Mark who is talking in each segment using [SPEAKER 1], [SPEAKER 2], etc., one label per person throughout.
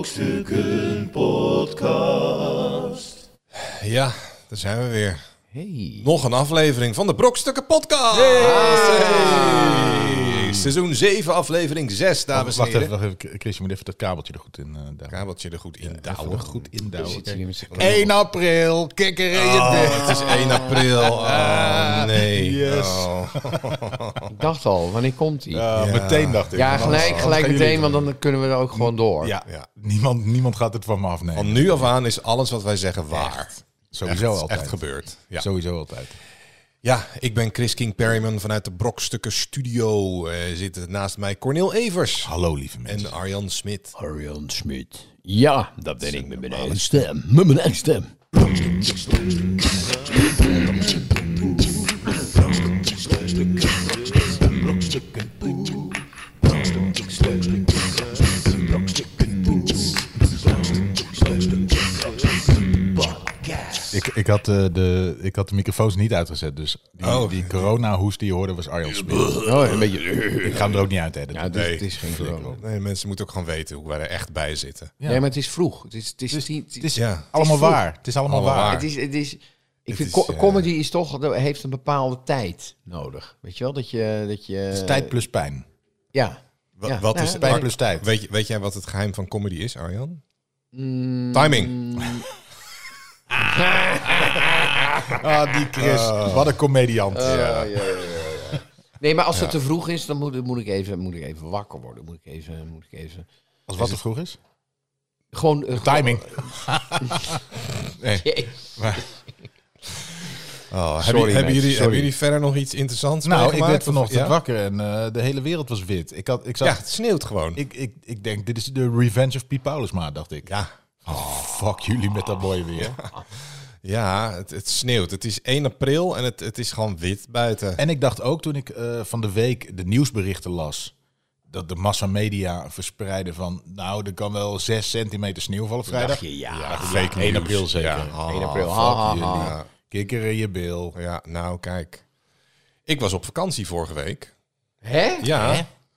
[SPEAKER 1] Brokstukken Podcast.
[SPEAKER 2] Ja, daar zijn we weer.
[SPEAKER 3] Hey.
[SPEAKER 2] Nog een aflevering van de Brokstukken Podcast. Hey. Seizoen 7, aflevering 6, dames en
[SPEAKER 3] Wacht even,
[SPEAKER 2] heren.
[SPEAKER 3] wacht even. Chris, je moet even dat kabeltje er goed in eh duwen.
[SPEAKER 2] Kabeltje er goed in
[SPEAKER 3] Even
[SPEAKER 2] douwen.
[SPEAKER 3] er goed in
[SPEAKER 2] Zit
[SPEAKER 3] duwen.
[SPEAKER 2] je
[SPEAKER 4] Dus
[SPEAKER 3] Kijk.
[SPEAKER 2] niet met z'n-
[SPEAKER 3] 1 april, kikker in je
[SPEAKER 2] Oh,
[SPEAKER 3] bek.
[SPEAKER 2] het is 1 april. Oh, nee.
[SPEAKER 3] Yes.
[SPEAKER 2] Oh.
[SPEAKER 4] Ik dacht al, wanneer komt hij? Ja,
[SPEAKER 3] Ja,
[SPEAKER 2] Ja.
[SPEAKER 3] meteen dacht ik. want anders-
[SPEAKER 4] gelijk,
[SPEAKER 3] anders
[SPEAKER 4] gelijk
[SPEAKER 3] gaan jullie
[SPEAKER 4] meteen,
[SPEAKER 3] het
[SPEAKER 4] want dan kunnen we er ook gewoon door.
[SPEAKER 3] doen. Ja, ja. Niemand, niemand gaat het van me afnemen.
[SPEAKER 2] Van nu af aan is alles wat wij zeggen waar.
[SPEAKER 3] Sowieso
[SPEAKER 2] echt,
[SPEAKER 3] altijd.
[SPEAKER 2] Echt gebeurd. Ja.
[SPEAKER 3] Sowieso altijd.
[SPEAKER 2] ja, ik ben Chris King Perryman vanuit de Brokstukken Studio. Eh zit naast mij Cornel Evers
[SPEAKER 3] Hallo lieve mensen.
[SPEAKER 2] en Arjan Smit.
[SPEAKER 4] Arjan Smit. Ja, dat ben ik met mijn eigen stem. Met mijn eigen stem.
[SPEAKER 3] ik, ik, had, eh, de, ik had de microfoons niet uitgezet, dus die,
[SPEAKER 2] Oh.
[SPEAKER 3] die corona-hoest die je hoorde was Arjan Smit.
[SPEAKER 4] Oh, een beetje...
[SPEAKER 3] Ik ga hem er ook niet uit editen.
[SPEAKER 4] Ja, het is, het is geen
[SPEAKER 3] flikker
[SPEAKER 4] corona.
[SPEAKER 3] op.
[SPEAKER 2] Nee, mensen moeten ook gewoon weten hoe wij er echt bij zitten.
[SPEAKER 3] Ja.
[SPEAKER 4] Nee, maar het is vroeg. Het is, het is, tien- het is,
[SPEAKER 3] Het is
[SPEAKER 2] Ja.
[SPEAKER 3] allemaal
[SPEAKER 4] Het is
[SPEAKER 3] waar. Het is allemaal
[SPEAKER 2] Allemaal
[SPEAKER 3] waar.
[SPEAKER 2] waar.
[SPEAKER 4] Het is, het is, ik vind
[SPEAKER 2] is,
[SPEAKER 4] co-
[SPEAKER 2] eh,
[SPEAKER 4] comedy is toch, dat heeft een bepaalde tijd nodig. Weet je wel, dat je... Dat je
[SPEAKER 3] Het is tijd plus pijn.
[SPEAKER 4] Ja.
[SPEAKER 2] Wa-
[SPEAKER 4] Ja.
[SPEAKER 2] Wat
[SPEAKER 4] Nou,
[SPEAKER 2] is
[SPEAKER 4] ja,
[SPEAKER 3] Pijn plus tijd.
[SPEAKER 2] Weet, je- weet jij wat het geheim van comedy is, Arjan?
[SPEAKER 3] Mm,
[SPEAKER 2] Timing.
[SPEAKER 3] Ah, die Chris. Wat een comediant.
[SPEAKER 4] Oh, Ja, ja, ja, ja, ja. Nee, maar als het te vroeg is, dan moet, moet, ik even, moet ik even wakker worden. Moet ik even... Moet ik even
[SPEAKER 3] Als wat te vroeg is?
[SPEAKER 4] gewoon... eh,
[SPEAKER 3] Timing.
[SPEAKER 4] gewoon-
[SPEAKER 2] Oh,
[SPEAKER 4] Sorry,
[SPEAKER 2] hebben, hebben,
[SPEAKER 4] mensen,
[SPEAKER 2] jullie,
[SPEAKER 4] sorry.
[SPEAKER 2] hebben jullie verder nog iets interessants
[SPEAKER 3] Nou, ik
[SPEAKER 2] meegemaakt?
[SPEAKER 3] werd vanochtend
[SPEAKER 2] Ja?
[SPEAKER 3] wakker en eh, de hele wereld was wit. Ik, had, ik, zag,
[SPEAKER 2] Ja, het sneeuwt gewoon.
[SPEAKER 3] ik, ik, ik denk, dit is de revenge of Piet Paulusma, dacht ik.
[SPEAKER 2] Ja,
[SPEAKER 3] Oh, fuck jullie met dat mooie weer.
[SPEAKER 2] ja het, het sneeuwt. Het is 1 april en het, het is gewoon wit buiten.
[SPEAKER 3] En ik dacht ook toen ik eh, van de week de nieuwsberichten las... dat de massamedia verspreiden van... nou, er kan wel 6 centimeter sneeuw vallen vrijdag.
[SPEAKER 4] dacht je, ja,
[SPEAKER 3] dacht ik, 1 april zeker.
[SPEAKER 2] Ja, ah,
[SPEAKER 4] 1 april.
[SPEAKER 3] Fuck
[SPEAKER 4] Ha, ha,
[SPEAKER 3] jullie.
[SPEAKER 4] ha.
[SPEAKER 3] Kikker in je bil.
[SPEAKER 2] ja, nou kijk. Ik was op vakantie vorige week.
[SPEAKER 4] Hè?
[SPEAKER 2] Ja,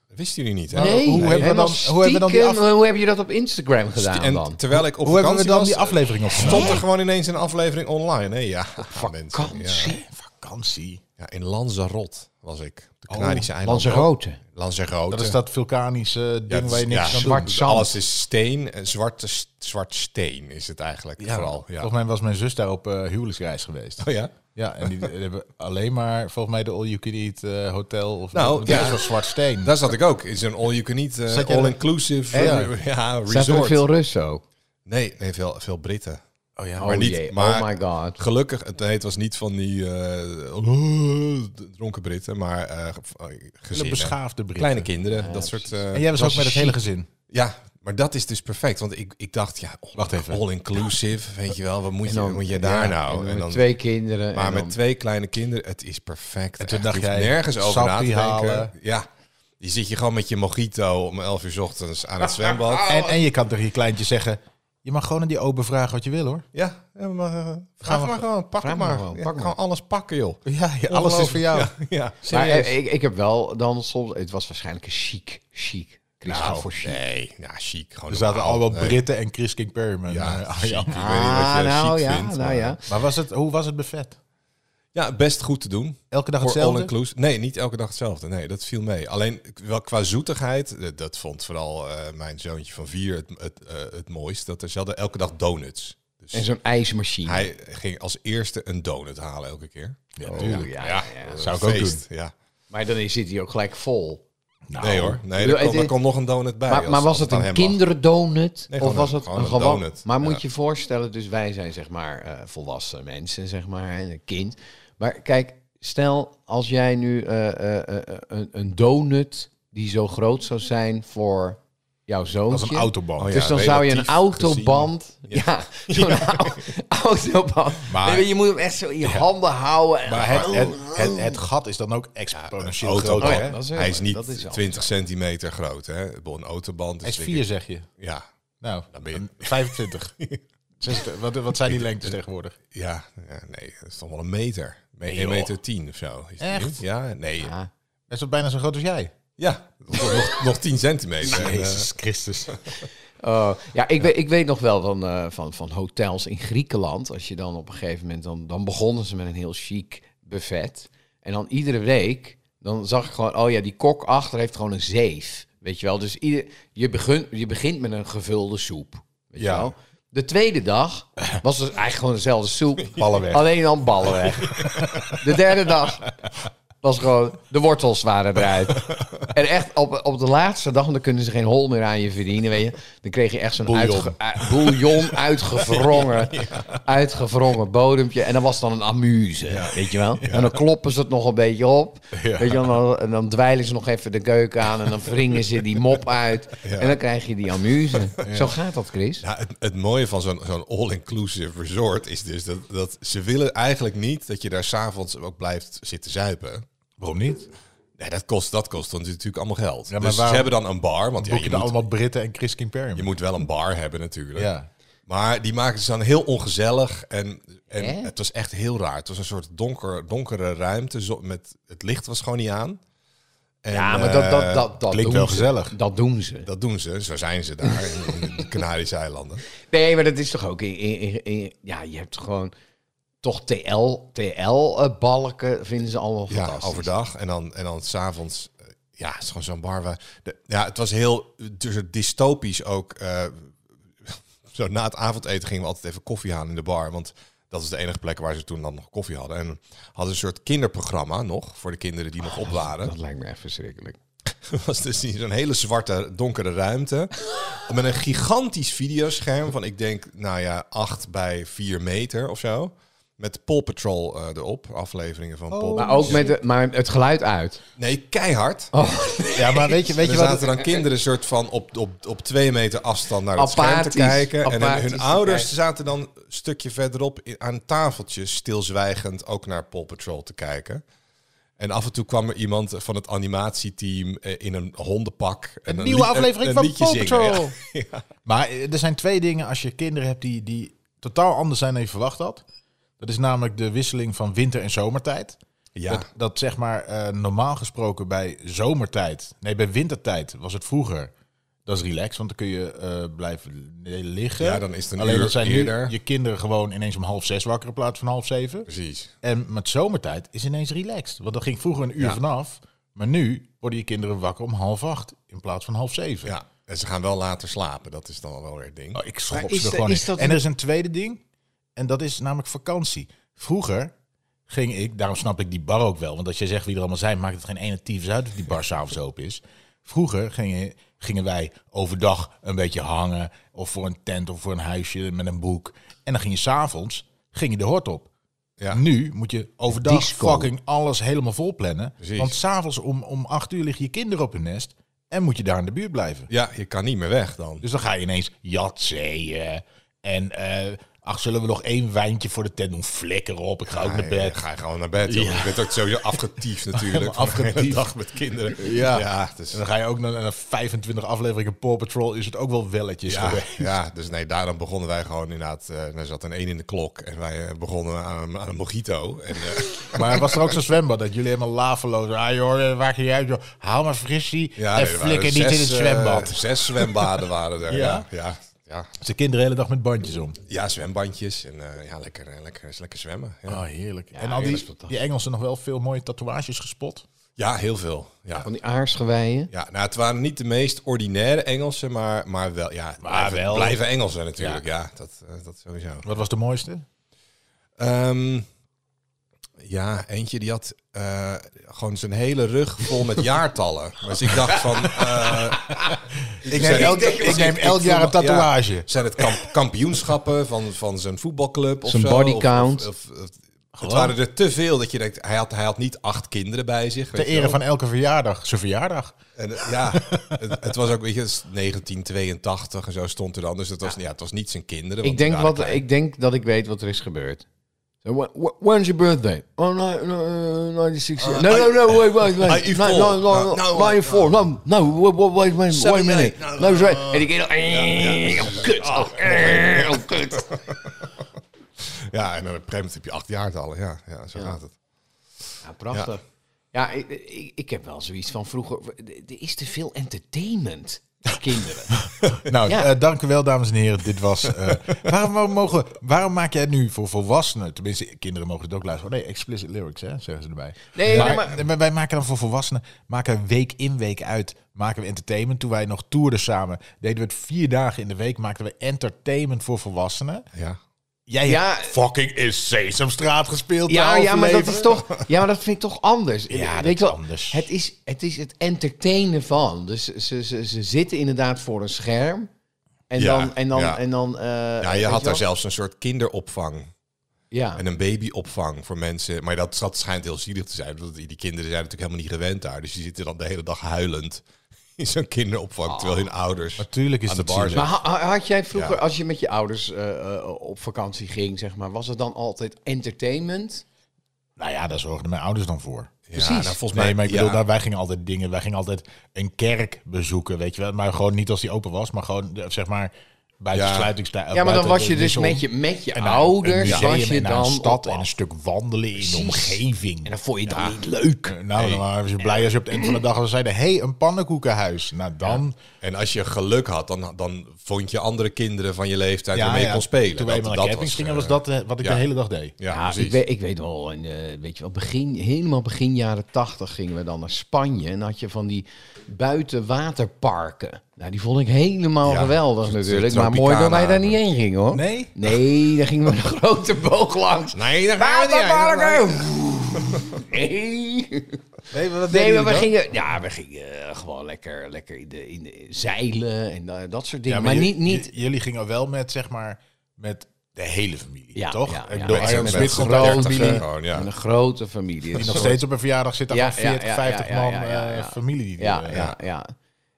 [SPEAKER 2] dat wisten jullie niet hè?
[SPEAKER 4] Nee,
[SPEAKER 3] hoe hebben we
[SPEAKER 4] helemaal
[SPEAKER 3] dan- hoe hebben we dan die
[SPEAKER 4] stiekem,
[SPEAKER 2] eh,
[SPEAKER 3] af-
[SPEAKER 4] hoe heb je dat op Instagram gedaan
[SPEAKER 2] En
[SPEAKER 4] dan?
[SPEAKER 2] terwijl ik op
[SPEAKER 3] Hoe hebben we
[SPEAKER 2] vakantie
[SPEAKER 3] dan
[SPEAKER 2] was,
[SPEAKER 3] die aflevering opgenomen?
[SPEAKER 2] stond er gewoon ineens een aflevering online. Hè? Ja, mensen, ja.
[SPEAKER 4] Vakantie.
[SPEAKER 3] Vakantie.
[SPEAKER 2] Ja, in Lanzarote was ik. Op de Canarische eilanden.
[SPEAKER 4] Lanzarote.
[SPEAKER 2] Lanzarote.
[SPEAKER 3] Oh, Dat is dat vulkanische eh, ding
[SPEAKER 2] het is-
[SPEAKER 3] waar je niks
[SPEAKER 2] ja,
[SPEAKER 3] aan kan
[SPEAKER 4] zwart
[SPEAKER 3] doen.
[SPEAKER 2] Dus
[SPEAKER 4] Zand.
[SPEAKER 2] Alles is steen, eh, zwarte, s- zwart steen is het eigenlijk
[SPEAKER 3] Ja,
[SPEAKER 2] vooral. Ja.
[SPEAKER 3] Volgens mij was mijn zus daar op eh, huwelijksreis geweest.
[SPEAKER 2] Oh ja?
[SPEAKER 3] Ja, en die, die hebben alleen maar volgens mij de All You Can Eat eh, hotel of
[SPEAKER 2] Nou,
[SPEAKER 3] ja,
[SPEAKER 2] ja.
[SPEAKER 3] zo'n zwart steen.
[SPEAKER 2] Daar zat ik ook. In zo'n all-you-can-eat, eh,
[SPEAKER 3] Zat jij daar-
[SPEAKER 2] all-inclusive eh,
[SPEAKER 3] Ja.
[SPEAKER 2] ja.
[SPEAKER 4] Zaten er
[SPEAKER 2] resort.
[SPEAKER 4] veel Russen ook?
[SPEAKER 2] Nee, nee veel, veel Britten.
[SPEAKER 3] oh ja,
[SPEAKER 4] Oh
[SPEAKER 2] Maar niet-
[SPEAKER 4] jee,
[SPEAKER 2] maar-
[SPEAKER 4] oh my god.
[SPEAKER 2] Gelukkig, het, nee, het was niet van die eh, dronken Britten, maar eh ge-
[SPEAKER 3] hele
[SPEAKER 2] gezinnen.
[SPEAKER 3] beschaafde Britten.
[SPEAKER 2] Kleine kinderen, dat soort... eh,
[SPEAKER 3] En jij was ook
[SPEAKER 4] was
[SPEAKER 3] met het
[SPEAKER 4] chic.
[SPEAKER 3] hele gezin.
[SPEAKER 2] Ja, maar dat is dus perfect. Want ik, ik dacht, ja, all-
[SPEAKER 3] Wacht even.
[SPEAKER 2] all-inclusive, weet je wel. Wat moet je,
[SPEAKER 4] dan-
[SPEAKER 2] wat moet je daar
[SPEAKER 4] ja,
[SPEAKER 2] nou?
[SPEAKER 4] met twee kinderen.
[SPEAKER 2] Maar
[SPEAKER 4] en
[SPEAKER 2] met
[SPEAKER 4] dan-
[SPEAKER 2] twee kleine kinderen, het is perfect. En
[SPEAKER 3] toen dacht
[SPEAKER 2] je hoeft
[SPEAKER 3] jij,
[SPEAKER 2] nergens over na te
[SPEAKER 3] sappie
[SPEAKER 2] denken.
[SPEAKER 3] halen.
[SPEAKER 2] Ja, je zit je gewoon met je mojito om 11 uur 's ochtends aan het zwembad.
[SPEAKER 3] En, en je kan tegen je kleintje zeggen, je mag gewoon aan die open vragen wat je wil hoor.
[SPEAKER 2] Ja, ja, maar, eh, vraag maar gewoon, pak
[SPEAKER 4] vraag
[SPEAKER 2] het
[SPEAKER 4] maar
[SPEAKER 2] maar.
[SPEAKER 4] gewoon,
[SPEAKER 2] Ja,
[SPEAKER 4] pak maar.
[SPEAKER 2] Gewoon alles pakken, joh.
[SPEAKER 3] Ja, alles is voor jou.
[SPEAKER 2] Ja, ja.
[SPEAKER 4] maar eh, ik, ik heb wel dan soms... Het was waarschijnlijk een chic, chic. Christophe
[SPEAKER 2] Nou,
[SPEAKER 4] chic.
[SPEAKER 2] nee, ja, chic. Gewoon
[SPEAKER 3] Er zaten
[SPEAKER 2] normaal.
[SPEAKER 3] allemaal
[SPEAKER 2] Nee.
[SPEAKER 3] Britten en Chris King Perryman.
[SPEAKER 2] Ja,
[SPEAKER 3] eh,
[SPEAKER 2] chic.
[SPEAKER 3] ja.
[SPEAKER 2] Ik weet niet wat
[SPEAKER 4] Ah,
[SPEAKER 2] je
[SPEAKER 4] nou
[SPEAKER 2] chic
[SPEAKER 4] ja,
[SPEAKER 2] vindt,
[SPEAKER 4] nou
[SPEAKER 2] maar-
[SPEAKER 4] ja.
[SPEAKER 3] Maar was het, hoe was het buffet?
[SPEAKER 2] Ja, best goed te doen.
[SPEAKER 3] Elke dag
[SPEAKER 2] Voor all
[SPEAKER 3] hetzelfde?
[SPEAKER 2] inclusive. Nee, niet elke dag hetzelfde. Nee, dat viel mee. Alleen k- wel qua zoetigheid, eh, dat vond vooral eh, mijn zoontje van vier het, het, eh, het mooist. Dat er, ze hadden elke dag donuts. Dus
[SPEAKER 4] En zo'n ijsmachine.
[SPEAKER 2] Hij ging als eerste een donut halen elke keer.
[SPEAKER 3] Ja,
[SPEAKER 4] Oh,
[SPEAKER 3] tuurlijk.
[SPEAKER 4] ja, ja.
[SPEAKER 2] dat
[SPEAKER 3] Zou
[SPEAKER 2] is
[SPEAKER 3] ik ook
[SPEAKER 2] een Ja.
[SPEAKER 4] Maar dan is- zit hij ook gelijk vol.
[SPEAKER 3] Nou,
[SPEAKER 2] Nee hoor, nee,
[SPEAKER 4] bedoel,
[SPEAKER 2] er
[SPEAKER 4] het
[SPEAKER 2] kwam, er
[SPEAKER 4] is-
[SPEAKER 2] kwam nog een donut bij.
[SPEAKER 4] Maar,
[SPEAKER 2] als-
[SPEAKER 4] maar was
[SPEAKER 2] als
[SPEAKER 4] het
[SPEAKER 2] aan
[SPEAKER 4] een
[SPEAKER 2] hem
[SPEAKER 4] kinderdonut?
[SPEAKER 2] Nee,
[SPEAKER 4] of
[SPEAKER 2] gewoon
[SPEAKER 4] was
[SPEAKER 2] een-
[SPEAKER 4] het
[SPEAKER 2] gewoon
[SPEAKER 4] een
[SPEAKER 2] een
[SPEAKER 4] gewoon...
[SPEAKER 2] donut,
[SPEAKER 4] Maar
[SPEAKER 2] ja.
[SPEAKER 4] moet je voorstellen, dus wij zijn zeg maar eh, volwassen mensen, zeg maar, en een kind. Maar kijk, stel als jij nu eh, eh, eh, een, een donut die zo groot zou zijn voor jouw
[SPEAKER 3] Dat
[SPEAKER 4] zoontje.
[SPEAKER 3] is een autoband.
[SPEAKER 2] Oh, ja.
[SPEAKER 4] dus dan zou je een
[SPEAKER 2] relatief
[SPEAKER 4] autoband... Ja, zo'n au- autoband.
[SPEAKER 2] Maar-
[SPEAKER 4] Nee, maar je moet hem echt zo in je handen houden. en-
[SPEAKER 3] Maar het, het, het, het gat is dan ook exponentieel
[SPEAKER 2] Auto,
[SPEAKER 3] groot.
[SPEAKER 2] dan.
[SPEAKER 3] hè?
[SPEAKER 4] dat is heel
[SPEAKER 2] Hij
[SPEAKER 4] leuk.
[SPEAKER 2] is
[SPEAKER 4] Dat is
[SPEAKER 2] niet
[SPEAKER 4] wel-
[SPEAKER 2] 20 centimeter groot, hè? Ik bedoel, Een autoband
[SPEAKER 3] Hij
[SPEAKER 2] is
[SPEAKER 3] is
[SPEAKER 2] denk
[SPEAKER 3] 4,
[SPEAKER 2] ik-
[SPEAKER 3] zeg je.
[SPEAKER 2] Ja,
[SPEAKER 3] Nou,
[SPEAKER 2] Dan ben je-
[SPEAKER 3] een 25. 60. Wat, wat zijn die lengtes tegenwoordig?
[SPEAKER 2] ja, ja, nee, dat is toch wel een meter. Nee,
[SPEAKER 3] joh.
[SPEAKER 2] 1 meter 10 of zo. Is die
[SPEAKER 3] Echt?
[SPEAKER 2] niet? Ja, nee.
[SPEAKER 4] Ja.
[SPEAKER 3] Hij is toch bijna zo groot als jij?
[SPEAKER 2] Ja, nog, nog 10 centimeter. En, eh,
[SPEAKER 3] Jezus Christus.
[SPEAKER 4] Oh, ja, ik, Weet, ik weet nog wel van, eh, van, van hotels in Griekenland. Als je dan op een gegeven moment, dan, dan begonnen ze met een heel chic buffet. En dan iedere week, dan zag ik gewoon, oh ja, die kok achter heeft gewoon een zeef. Weet je wel, dus ieder, je, begint je begint met een gevulde soep. Weet
[SPEAKER 2] Ja.
[SPEAKER 4] je wel? De tweede dag was dus eigenlijk gewoon dezelfde soep.
[SPEAKER 3] Ballen weg.
[SPEAKER 4] Alleen dan ballen weg. De derde dag was gewoon, de wortels waren eruit. En echt, op, op de laatste dag, dan kunnen ze geen hol meer aan je verdienen, weet je. Dan kreeg je echt zo'n
[SPEAKER 3] Bouillon.
[SPEAKER 4] uitge, u- bouillon uitgevrongen, uitgevrongen bodempje. En dan was dan een amuse, weet je wel. En dan kloppen ze het nog een beetje op,
[SPEAKER 3] Ja.
[SPEAKER 4] weet je wel. En dan- En dan dweilen ze nog even de keuken aan en dan wringen ze die mop uit. En dan krijg je die amuse. Zo gaat dat, Chris.
[SPEAKER 2] Nou, het, het mooie van zo'n zo'n all-inclusive resort is dus dat, dat ze willen eigenlijk niet dat je daar s'avonds ook blijft zitten zuipen.
[SPEAKER 3] Waarom niet?
[SPEAKER 2] Nee, dat kost, dat kost dan natuurlijk allemaal geld.
[SPEAKER 3] maar
[SPEAKER 2] dus
[SPEAKER 3] waarom
[SPEAKER 2] ze hebben dan een bar, want ja,
[SPEAKER 3] Boek je
[SPEAKER 2] je,
[SPEAKER 3] dan
[SPEAKER 2] moet,
[SPEAKER 3] allemaal Britten en Chris King Perry?
[SPEAKER 2] je moet wel een bar hebben natuurlijk.
[SPEAKER 3] Ja.
[SPEAKER 2] Maar die maken ze dan heel ongezellig en, en
[SPEAKER 4] Hè?
[SPEAKER 2] het was echt heel raar. Het was een soort donker, donkere ruimte, zo, met, het licht was gewoon niet aan. En,
[SPEAKER 4] Ja, maar dat, dat,
[SPEAKER 2] eh,
[SPEAKER 4] dat, dat
[SPEAKER 3] klinkt
[SPEAKER 4] doen
[SPEAKER 3] wel
[SPEAKER 4] ze.
[SPEAKER 3] gezellig.
[SPEAKER 4] Dat doen ze.
[SPEAKER 2] dat doen ze, zo zijn ze daar in, in de Canarische eilanden.
[SPEAKER 4] Nee, maar dat is toch ook. In, in, in- in- ja, je hebt gewoon toch TL, TL-balken eh, vinden ze allemaal
[SPEAKER 2] Ja,
[SPEAKER 4] fantastisch.
[SPEAKER 2] overdag. En dan, en dan s'avonds. eh, Ja, het is gewoon zo'n bar. Waar de, ja, het was heel eh, dus het dystopisch ook. eh, zo na het avondeten gingen we altijd even koffie halen in de bar. Want dat is de enige plek waar ze toen dan nog koffie hadden. En hadden een soort kinderprogramma nog voor de kinderen die nog op waren.
[SPEAKER 4] Dat lijkt me echt verschrikkelijk.
[SPEAKER 2] Het was dus in zo'n hele zwarte, donkere ruimte. met een gigantisch videoscherm van, ik denk, nou ja, 8 bij 4 meter of zo. Met Paw Patrol eh, erop, afleveringen van Paw
[SPEAKER 4] Oh. Maar
[SPEAKER 2] Patrol.
[SPEAKER 4] ook met de- maar het geluid uit.
[SPEAKER 2] Nee, keihard.
[SPEAKER 3] Ja, maar weet je, weet
[SPEAKER 2] Er
[SPEAKER 3] je wat?
[SPEAKER 2] zaten dan kinderen soort van op, op, op twee meter afstand naar het scherm te
[SPEAKER 4] Apathisch,
[SPEAKER 2] kijken. En hun-
[SPEAKER 4] apathisch
[SPEAKER 2] hun
[SPEAKER 4] te
[SPEAKER 2] ouders
[SPEAKER 4] kijken.
[SPEAKER 2] zaten dan een stukje verderop i- aan tafeltjes, stilzwijgend, ook naar Paw Patrol te kijken. En af en toe kwam er iemand van het animatieteam eh, in een hondenpak. en
[SPEAKER 3] Een
[SPEAKER 2] een
[SPEAKER 3] nieuwe
[SPEAKER 2] lied-
[SPEAKER 3] aflevering
[SPEAKER 2] een- een
[SPEAKER 3] van
[SPEAKER 2] liedje
[SPEAKER 3] Paw
[SPEAKER 2] zingen,
[SPEAKER 3] Patrol.
[SPEAKER 2] ja.
[SPEAKER 3] Maar eh, er zijn twee dingen als je kinderen hebt die, die totaal anders zijn dan je verwacht had. Dat is namelijk de wisseling van winter- en zomertijd.
[SPEAKER 2] Ja.
[SPEAKER 3] Dat, dat zeg maar eh, normaal gesproken bij zomertijd, nee bij wintertijd was het vroeger. Dat is relaxed, want dan kun je eh, blijven liggen.
[SPEAKER 2] Ja, dan is het een
[SPEAKER 3] Alleen
[SPEAKER 2] uur
[SPEAKER 3] dat zijn
[SPEAKER 2] eerder.
[SPEAKER 3] nu je kinderen gewoon ineens om half zes wakker in plaats van half zeven.
[SPEAKER 2] Precies.
[SPEAKER 3] En met zomertijd is ineens relaxed. Want dan ging vroeger een uur
[SPEAKER 2] Ja.
[SPEAKER 3] vanaf. Maar nu worden je kinderen wakker om half acht in plaats van half zeven.
[SPEAKER 2] Ja. En ze gaan wel later slapen, dat is dan wel weer het ding.
[SPEAKER 3] Oh, ik schrok
[SPEAKER 4] Maar
[SPEAKER 3] ze
[SPEAKER 4] is
[SPEAKER 3] er
[SPEAKER 4] de-
[SPEAKER 3] gewoon
[SPEAKER 4] is
[SPEAKER 3] in.
[SPEAKER 4] dat
[SPEAKER 3] En
[SPEAKER 4] een-
[SPEAKER 3] er is een tweede ding. En dat is namelijk vakantie. Vroeger ging ik, daarom snap ik die bar ook wel. Want als jij zegt wie er allemaal zijn, maakt het geen ene tyfus uit of die bar s'avonds open is. Vroeger gingen, gingen wij overdag een beetje hangen. Of voor een tent of voor een huisje met een boek. En dan ging je s'avonds ging je de hort op.
[SPEAKER 2] Ja.
[SPEAKER 3] Nu moet je overdag
[SPEAKER 4] Disco.
[SPEAKER 3] fucking alles helemaal vol plannen.
[SPEAKER 2] Precies.
[SPEAKER 3] Want s'avonds om, om acht uur liggen je kinderen op hun nest. En moet je daar in de buurt blijven.
[SPEAKER 2] Ja, je kan niet meer weg dan.
[SPEAKER 3] Dus dan ga je ineens jatzeeën. En eh, ach, zullen we nog één wijntje voor de tent doen? Flikker op, ik ga ook
[SPEAKER 2] Ah, Ja,
[SPEAKER 3] naar bed.
[SPEAKER 2] ga je gewoon naar bed. joh. Je bent ook sowieso afgetiefd natuurlijk.
[SPEAKER 3] Helemaal
[SPEAKER 2] Van de
[SPEAKER 3] afgetiefd.
[SPEAKER 2] hele dag met kinderen.
[SPEAKER 3] Ja.
[SPEAKER 2] ja dus- het is
[SPEAKER 3] En dan ga je ook naar, naar 25 afleveringen Paw Patrol. Is het ook wel welletjes
[SPEAKER 2] Ja,
[SPEAKER 3] geweest.
[SPEAKER 2] ja, dus nee, daarom begonnen wij gewoon inderdaad. eh, er zat een één in de klok en wij eh, begonnen aan, aan een mojito. En, eh,
[SPEAKER 3] Maar was er ook zo'n zwembad dat jullie helemaal laveloos... Ah joh, eh, waar ga jij uit joh? Haal maar frissie en
[SPEAKER 2] nee, er waren
[SPEAKER 3] flikker niet in het
[SPEAKER 2] zes, eh,
[SPEAKER 3] zwembad.
[SPEAKER 2] zes zwembaden waren er.
[SPEAKER 3] Ja?
[SPEAKER 2] Ja, ja, ja.
[SPEAKER 3] Ze kinderen de hele dag met bandjes om.
[SPEAKER 2] ja zwembandjes en eh, ja, lekker, eh, lekker, lekker zwemmen. Ja,
[SPEAKER 3] Oh, heerlijk. en al
[SPEAKER 4] heerlijk,
[SPEAKER 3] die, die
[SPEAKER 4] fantastisch.
[SPEAKER 3] Engelsen nog wel veel mooie tatoeages gespot.
[SPEAKER 2] ja heel veel. Ja.
[SPEAKER 4] Van die aarsgeweien.
[SPEAKER 2] Ja, nou, het waren niet de meest ordinaire Engelsen, maar, maar wel. Ja, maar
[SPEAKER 3] wel.
[SPEAKER 2] blijven Engelsen natuurlijk. Ja, dat, eh, dat sowieso.
[SPEAKER 3] Wat was de mooiste?
[SPEAKER 2] Ehm, ja, eentje die had eh, gewoon zijn hele rug vol met jaartallen. Dus ik dacht van... eh,
[SPEAKER 3] Ik
[SPEAKER 2] zei-
[SPEAKER 3] neem elk,
[SPEAKER 2] ik denk-
[SPEAKER 3] ik neem
[SPEAKER 2] ik-
[SPEAKER 3] elk
[SPEAKER 2] ik
[SPEAKER 3] jaar een
[SPEAKER 2] voel me- ja.
[SPEAKER 3] tatoeage.
[SPEAKER 2] Zijn het kamp- kampioenschappen van, van zijn voetbalclub of
[SPEAKER 4] Zijn
[SPEAKER 2] zo?
[SPEAKER 4] body
[SPEAKER 2] Of-
[SPEAKER 4] count.
[SPEAKER 2] of- of- of- het waren er te veel dat je denkt, hij had, hij had niet acht kinderen bij zich.
[SPEAKER 3] Ter
[SPEAKER 2] weet je
[SPEAKER 3] ere
[SPEAKER 2] wel.
[SPEAKER 3] van elke verjaardag. Zijn verjaardag.
[SPEAKER 2] En, eh, ja, het, het was ook, weet je, het is 1982 en zo stond er dan. Dus het was, ja. het was niet zijn kinderen.
[SPEAKER 4] Ik
[SPEAKER 2] want
[SPEAKER 4] denk,
[SPEAKER 2] die
[SPEAKER 4] wat,
[SPEAKER 2] waren
[SPEAKER 4] ik denk dat ik weet wat er is gebeurd. So, wh- wh- When's your birthday? Oh, no, no, uh, 96. No, no, no, wait, wait, wait.
[SPEAKER 2] I- I
[SPEAKER 4] No,
[SPEAKER 2] fall.
[SPEAKER 4] no, no,
[SPEAKER 2] No, no,
[SPEAKER 4] no, 94. No, Uh, no, wait, wait, wait, wait, wait a
[SPEAKER 2] 78.
[SPEAKER 4] minute.
[SPEAKER 2] No,
[SPEAKER 4] No, right. En ik denk, eh, oh, kut. Oh, eh, oh, kut.
[SPEAKER 2] klein. Ja, en dan op een gegeven moment heb je acht jaartallen. Ja, ja zo gaat het.
[SPEAKER 4] Ja, prachtig. Ja, ik, ik, ik heb wel zoiets van vroeger. Er is te veel entertainment. voor Kinderen.
[SPEAKER 3] Nou,
[SPEAKER 4] Ja.
[SPEAKER 3] eh, dank u wel, dames en heren. Dit was. eh, waarom, mogen, waarom maak jij het nu voor volwassenen? Tenminste, kinderen mogen het ook luisteren. Oh Nee, explicit lyrics, hè, zeggen ze erbij.
[SPEAKER 4] Nee,
[SPEAKER 3] maar,
[SPEAKER 4] nee, maar-
[SPEAKER 3] nee, maar wij maken dan voor volwassenen. Maken we week in, week uit. Maken we entertainment. Toen wij nog toerden samen, deden we het vier dagen in de week. Maakten we entertainment voor volwassenen.
[SPEAKER 2] Ja.
[SPEAKER 3] Jij
[SPEAKER 4] Ja.
[SPEAKER 3] hebt fucking in Sesamstraat gespeeld.
[SPEAKER 4] Ja,
[SPEAKER 3] de
[SPEAKER 4] ja, maar dat
[SPEAKER 3] overlever.
[SPEAKER 4] is toch. Ja, maar dat vind ik toch anders.
[SPEAKER 3] Ja, dat
[SPEAKER 4] Weet je wel,
[SPEAKER 3] is anders.
[SPEAKER 4] Het is, het is het entertainen van. Dus ze, ze, ze zitten inderdaad voor een scherm. En
[SPEAKER 2] Ja,
[SPEAKER 4] dan. En dan,
[SPEAKER 2] ja.
[SPEAKER 4] en dan eh,
[SPEAKER 2] Ja,
[SPEAKER 4] weet
[SPEAKER 2] je had
[SPEAKER 4] wel?
[SPEAKER 2] daar zelfs een soort kinderopvang
[SPEAKER 4] Ja.
[SPEAKER 2] en een babyopvang voor mensen. Maar dat, dat schijnt heel zielig te zijn. Want die die kinderen zijn natuurlijk helemaal niet gewend daar. Dus die zitten dan de hele dag huilend in zo'n kinderopvang. Terwijl
[SPEAKER 3] Ah.
[SPEAKER 2] hun ouders...
[SPEAKER 3] Natuurlijk is
[SPEAKER 2] Aan de
[SPEAKER 3] dat
[SPEAKER 2] bar
[SPEAKER 3] zielig.
[SPEAKER 4] Maar ha- ha- had jij vroeger,
[SPEAKER 2] Ja.
[SPEAKER 4] als je met je ouders eh, eh, op vakantie ging, zeg maar, was het dan altijd entertainment?
[SPEAKER 3] Nou ja, daar zorgden mijn ouders dan voor.
[SPEAKER 2] Ja,
[SPEAKER 4] precies.
[SPEAKER 2] nou, volgens mij,
[SPEAKER 3] Nee, maar ik bedoel,
[SPEAKER 2] ja.
[SPEAKER 3] daar, wij gingen altijd dingen, wij gingen altijd een kerk bezoeken, weet je wel. Maar gewoon niet als die open was, maar gewoon, eh, zeg maar, buiten
[SPEAKER 2] Ja.
[SPEAKER 3] sluitingstijd.
[SPEAKER 4] Ja, maar dan
[SPEAKER 3] eh, buiten
[SPEAKER 4] was
[SPEAKER 3] de
[SPEAKER 4] je dus
[SPEAKER 3] wissel.
[SPEAKER 4] met je, met je
[SPEAKER 3] En naar een
[SPEAKER 4] ouders,
[SPEAKER 3] museum
[SPEAKER 4] was je
[SPEAKER 3] en naar
[SPEAKER 4] dan
[SPEAKER 3] een stad
[SPEAKER 4] op
[SPEAKER 3] en een stuk wandelen in de
[SPEAKER 4] Precies.
[SPEAKER 3] omgeving.
[SPEAKER 4] En dat vond je dan niet leuk.
[SPEAKER 3] Eh, Nou, dan waren ze blij als je op het eind van de dag al zeiden, hé, hey, een pannenkoekenhuis. Nou, dan...
[SPEAKER 2] En als je geluk had, dan, dan vond je andere kinderen van je leeftijd
[SPEAKER 3] Ja,
[SPEAKER 2] waarmee je
[SPEAKER 3] ja,
[SPEAKER 2] kon spelen.
[SPEAKER 3] Toen we eenmaal naar campings gingen, was
[SPEAKER 2] eh,
[SPEAKER 3] dat eh, wat ik
[SPEAKER 2] ja.
[SPEAKER 3] de hele dag deed.
[SPEAKER 2] Ja,
[SPEAKER 4] Ja,
[SPEAKER 2] precies.
[SPEAKER 4] ik weet, ik weet wel, in, eh, weet je wel begin, helemaal begin jaren tachtig gingen we dan naar Spanje. En had je van die buitenwaterparken. Nou, die vond ik helemaal
[SPEAKER 2] Ja,
[SPEAKER 4] geweldig
[SPEAKER 2] het- het
[SPEAKER 4] natuurlijk. Maar mooi dat wij daar niet heen gingen hoor.
[SPEAKER 3] Nee?
[SPEAKER 4] Nee, daar gingen we een grote boog langs.
[SPEAKER 2] Nee, daar gaan we niet heen.
[SPEAKER 4] Waterparken! Nee.
[SPEAKER 3] Nee, maar,
[SPEAKER 4] Nee, maar we gingen, ja, we gingen eh, gewoon lekker, lekker in, de, in de zeilen en da- dat soort dingen. maar
[SPEAKER 3] j-
[SPEAKER 4] niet, niet
[SPEAKER 3] j- jullie gingen wel met, zeg maar, met de hele familie,
[SPEAKER 4] Ja,
[SPEAKER 3] toch? ik
[SPEAKER 4] ja, ja.
[SPEAKER 3] bedoel,
[SPEAKER 4] Met-
[SPEAKER 3] Arjan
[SPEAKER 2] met
[SPEAKER 3] Smit stond
[SPEAKER 2] grote
[SPEAKER 3] daar
[SPEAKER 4] grote
[SPEAKER 3] echt
[SPEAKER 2] familie.
[SPEAKER 4] familie.
[SPEAKER 2] gewoon, ja.
[SPEAKER 4] Met een grote familie.
[SPEAKER 3] Die nog steeds op een verjaardag zit, daar
[SPEAKER 4] Ja,
[SPEAKER 3] van 40,
[SPEAKER 4] ja, ja,
[SPEAKER 3] 50
[SPEAKER 4] ja, ja,
[SPEAKER 3] man
[SPEAKER 4] ja, ja,
[SPEAKER 3] eh,
[SPEAKER 4] ja.
[SPEAKER 3] familie. Die
[SPEAKER 4] Ja,
[SPEAKER 3] er-
[SPEAKER 4] ja, ja.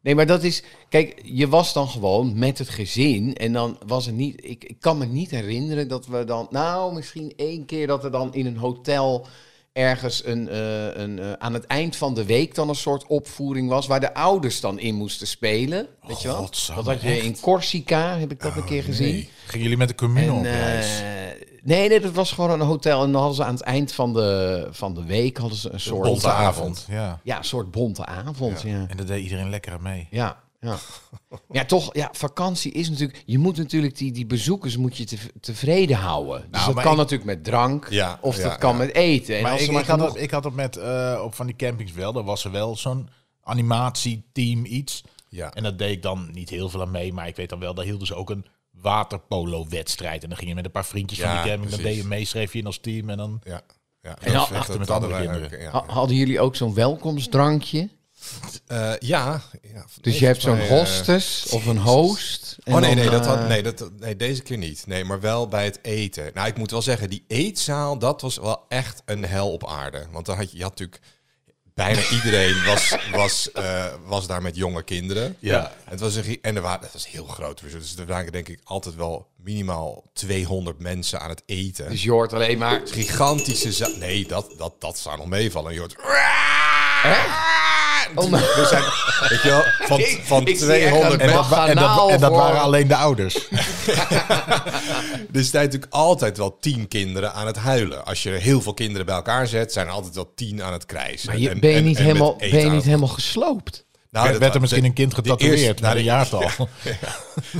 [SPEAKER 4] Nee, maar dat is. Kijk, je was dan gewoon met het gezin. En dan was het niet. Ik, ik kan me niet herinneren dat we dan. Nou, misschien één keer dat er dan in een hotel. Ergens een, eh, een, eh, aan het eind van de week dan een soort opvoering was. waar de ouders dan in moesten spelen. Weet je wel?
[SPEAKER 3] godsamme,
[SPEAKER 4] dat had je in Corsica, heb ik dat een keer gezien.
[SPEAKER 3] Oh, Nee. Gingen jullie met de commune op
[SPEAKER 4] En,
[SPEAKER 3] reis?
[SPEAKER 4] eh, nee, nee, dat was gewoon een hotel. En dan hadden ze aan het eind van de, van de week hadden ze een soort.
[SPEAKER 2] bonte avond.
[SPEAKER 3] Ja.
[SPEAKER 4] Ja, een soort bonte avond. ja.
[SPEAKER 3] En dat deed iedereen lekker aan mee.
[SPEAKER 4] Ja, ja. ja toch, ja, vakantie is natuurlijk... Je moet natuurlijk die, die bezoekers moet je tev- tevreden houden. Dus dat
[SPEAKER 3] maar
[SPEAKER 4] kan
[SPEAKER 3] ik-
[SPEAKER 4] natuurlijk met drank.
[SPEAKER 2] Ja,
[SPEAKER 4] of dat
[SPEAKER 2] ja,
[SPEAKER 4] kan
[SPEAKER 2] ja.
[SPEAKER 4] met eten. En
[SPEAKER 3] Maar,
[SPEAKER 4] als
[SPEAKER 3] ik,
[SPEAKER 4] ze maar
[SPEAKER 3] ik had
[SPEAKER 4] genoeg-
[SPEAKER 3] dat, ik had dat met eh, op van die campings wel. Daar was er wel zo'n animatieteam iets.
[SPEAKER 2] Ja.
[SPEAKER 3] En dat deed ik dan niet heel veel aan mee. Maar ik weet dan wel, daar hielden ze ook een waterpolo-wedstrijd. En dan ging je met een paar vriendjes van
[SPEAKER 2] Ja,
[SPEAKER 3] die camping. Dan
[SPEAKER 2] precies.
[SPEAKER 3] deed je mee, schreef je in als team. En dan...
[SPEAKER 2] ja, ja.
[SPEAKER 3] En
[SPEAKER 2] Dat-
[SPEAKER 3] achter
[SPEAKER 2] dat
[SPEAKER 3] met
[SPEAKER 2] hadden
[SPEAKER 3] andere
[SPEAKER 2] wij
[SPEAKER 3] kinderen.
[SPEAKER 2] ook,
[SPEAKER 4] Ha- Hadden jullie ook zo'n welkomstdrankje?
[SPEAKER 3] Ah.
[SPEAKER 2] Ja, Eh, ja. ja.
[SPEAKER 4] Dus
[SPEAKER 2] Nee,
[SPEAKER 4] je hebt zo'n
[SPEAKER 2] volgens mij, eh,
[SPEAKER 4] hostess of een host. en
[SPEAKER 2] Oh nee,
[SPEAKER 4] dan,
[SPEAKER 2] nee, dat
[SPEAKER 4] eh,
[SPEAKER 2] had, nee, dat, nee, deze keer niet. Nee, maar wel bij het eten. Nou, ik moet wel zeggen, die eetzaal, dat was wel echt een hel op aarde. Want dan had je, je had natuurlijk... Bijna iedereen was, was, eh, was daar met jonge kinderen.
[SPEAKER 3] Ja.
[SPEAKER 2] Het was een, gie- en er waren, het was heel groot. Dus er waren denk ik altijd wel minimaal 200 mensen aan het eten.
[SPEAKER 4] Dus je hoort alleen maar...
[SPEAKER 2] gigantische zaal. Nee, dat, dat, dat zou nog meevallen. Je hoort... We zijn, weet je wel, van,
[SPEAKER 4] Oh Ik-
[SPEAKER 2] van
[SPEAKER 4] ik zie echt
[SPEAKER 2] 200
[SPEAKER 4] een
[SPEAKER 2] mensen.
[SPEAKER 4] mag-
[SPEAKER 3] en, dat, en dat
[SPEAKER 4] voor-
[SPEAKER 3] waren alleen de
[SPEAKER 2] Nou,
[SPEAKER 3] ouders.
[SPEAKER 2] Er zijn natuurlijk altijd wel tien kinderen aan het huilen. Als je heel veel kinderen bij elkaar zet, zijn er altijd wel tien aan het krijsen.
[SPEAKER 4] Maar je,
[SPEAKER 2] En-
[SPEAKER 4] ben, je
[SPEAKER 2] en-
[SPEAKER 4] niet
[SPEAKER 2] en met
[SPEAKER 4] helemaal, ben je
[SPEAKER 2] eten
[SPEAKER 4] niet
[SPEAKER 2] aan-
[SPEAKER 4] helemaal gesloopt?
[SPEAKER 2] Nou, dat
[SPEAKER 3] werd
[SPEAKER 2] wa-
[SPEAKER 3] er misschien
[SPEAKER 2] de-
[SPEAKER 3] een kind
[SPEAKER 2] de
[SPEAKER 3] getatoeëerd
[SPEAKER 2] eerste-
[SPEAKER 3] naar de
[SPEAKER 2] nou,
[SPEAKER 3] jaartal.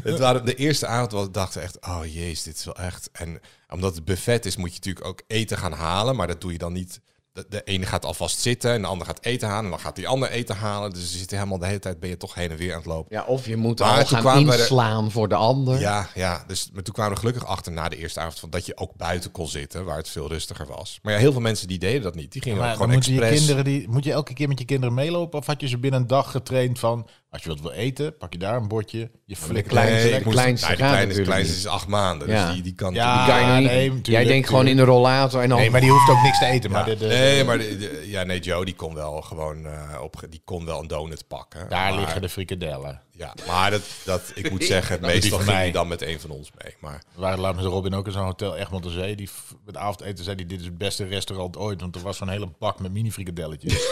[SPEAKER 2] Het waren de eerste avond was dachten we echt, oh jeez, dit is wel echt. En omdat het buffet is, moet je natuurlijk ook eten gaan halen, maar dat doe je dan niet. De, de ene gaat alvast zitten en de ander gaat eten halen en dan gaat die ander eten halen. Dus je zit helemaal de hele tijd ben je toch heen en weer aan het lopen.
[SPEAKER 4] Ja, of je moet
[SPEAKER 2] Maar
[SPEAKER 4] al
[SPEAKER 2] toen
[SPEAKER 4] gaan
[SPEAKER 2] kwamen we er-
[SPEAKER 4] inslaan voor de ander.
[SPEAKER 2] Ja, ja. Dus, maar toen kwamen we er gelukkig achter na de eerste avond van dat je ook buiten kon zitten, waar het veel rustiger was. Maar ja, heel veel mensen die deden dat niet. Die gingen ook
[SPEAKER 3] Maar dan
[SPEAKER 2] gewoon
[SPEAKER 3] moeten je
[SPEAKER 2] expres.
[SPEAKER 3] kinderen die, moet je elke keer met je kinderen meelopen? Of had je ze binnen een dag getraind van, als je wat wil eten, pak je daar een bordje, je flikkert
[SPEAKER 4] kleinste-
[SPEAKER 3] het
[SPEAKER 2] Nee, ik
[SPEAKER 3] lekker.
[SPEAKER 4] de kleinste
[SPEAKER 2] nou, die
[SPEAKER 4] gaat
[SPEAKER 2] kleine, de
[SPEAKER 4] natuurlijk
[SPEAKER 2] kleinste
[SPEAKER 4] niet.
[SPEAKER 2] is acht maanden, dus
[SPEAKER 4] Ja.
[SPEAKER 2] die, die kan
[SPEAKER 3] Ja,
[SPEAKER 2] die
[SPEAKER 4] Kan je
[SPEAKER 3] Ah,
[SPEAKER 4] niet-
[SPEAKER 3] nee,
[SPEAKER 4] Jij
[SPEAKER 3] tuurlijk,
[SPEAKER 4] denkt gewoon in
[SPEAKER 3] tuurlijk.
[SPEAKER 4] de rollator en dan...
[SPEAKER 3] Nee, maar die hoeft ook niks te eten. Maar de, de-
[SPEAKER 2] nee, maar de- de- ja, nee, Joe die kon wel gewoon eh, op, die kon wel een donut pakken.
[SPEAKER 3] daar
[SPEAKER 2] maar,
[SPEAKER 3] liggen de frikadellen.
[SPEAKER 2] Ja, maar dat, dat ik moet zeggen, meestal
[SPEAKER 3] van
[SPEAKER 2] ging
[SPEAKER 3] mij.
[SPEAKER 2] hij dan met een van ons mee. Maar
[SPEAKER 3] We waren laatst met Robin ook in zo'n hotel, Egmond de Zee. Die f- met avondeten zei, die, dit is het beste restaurant ooit. Want er was zo'n hele bak met mini-frikadelletjes.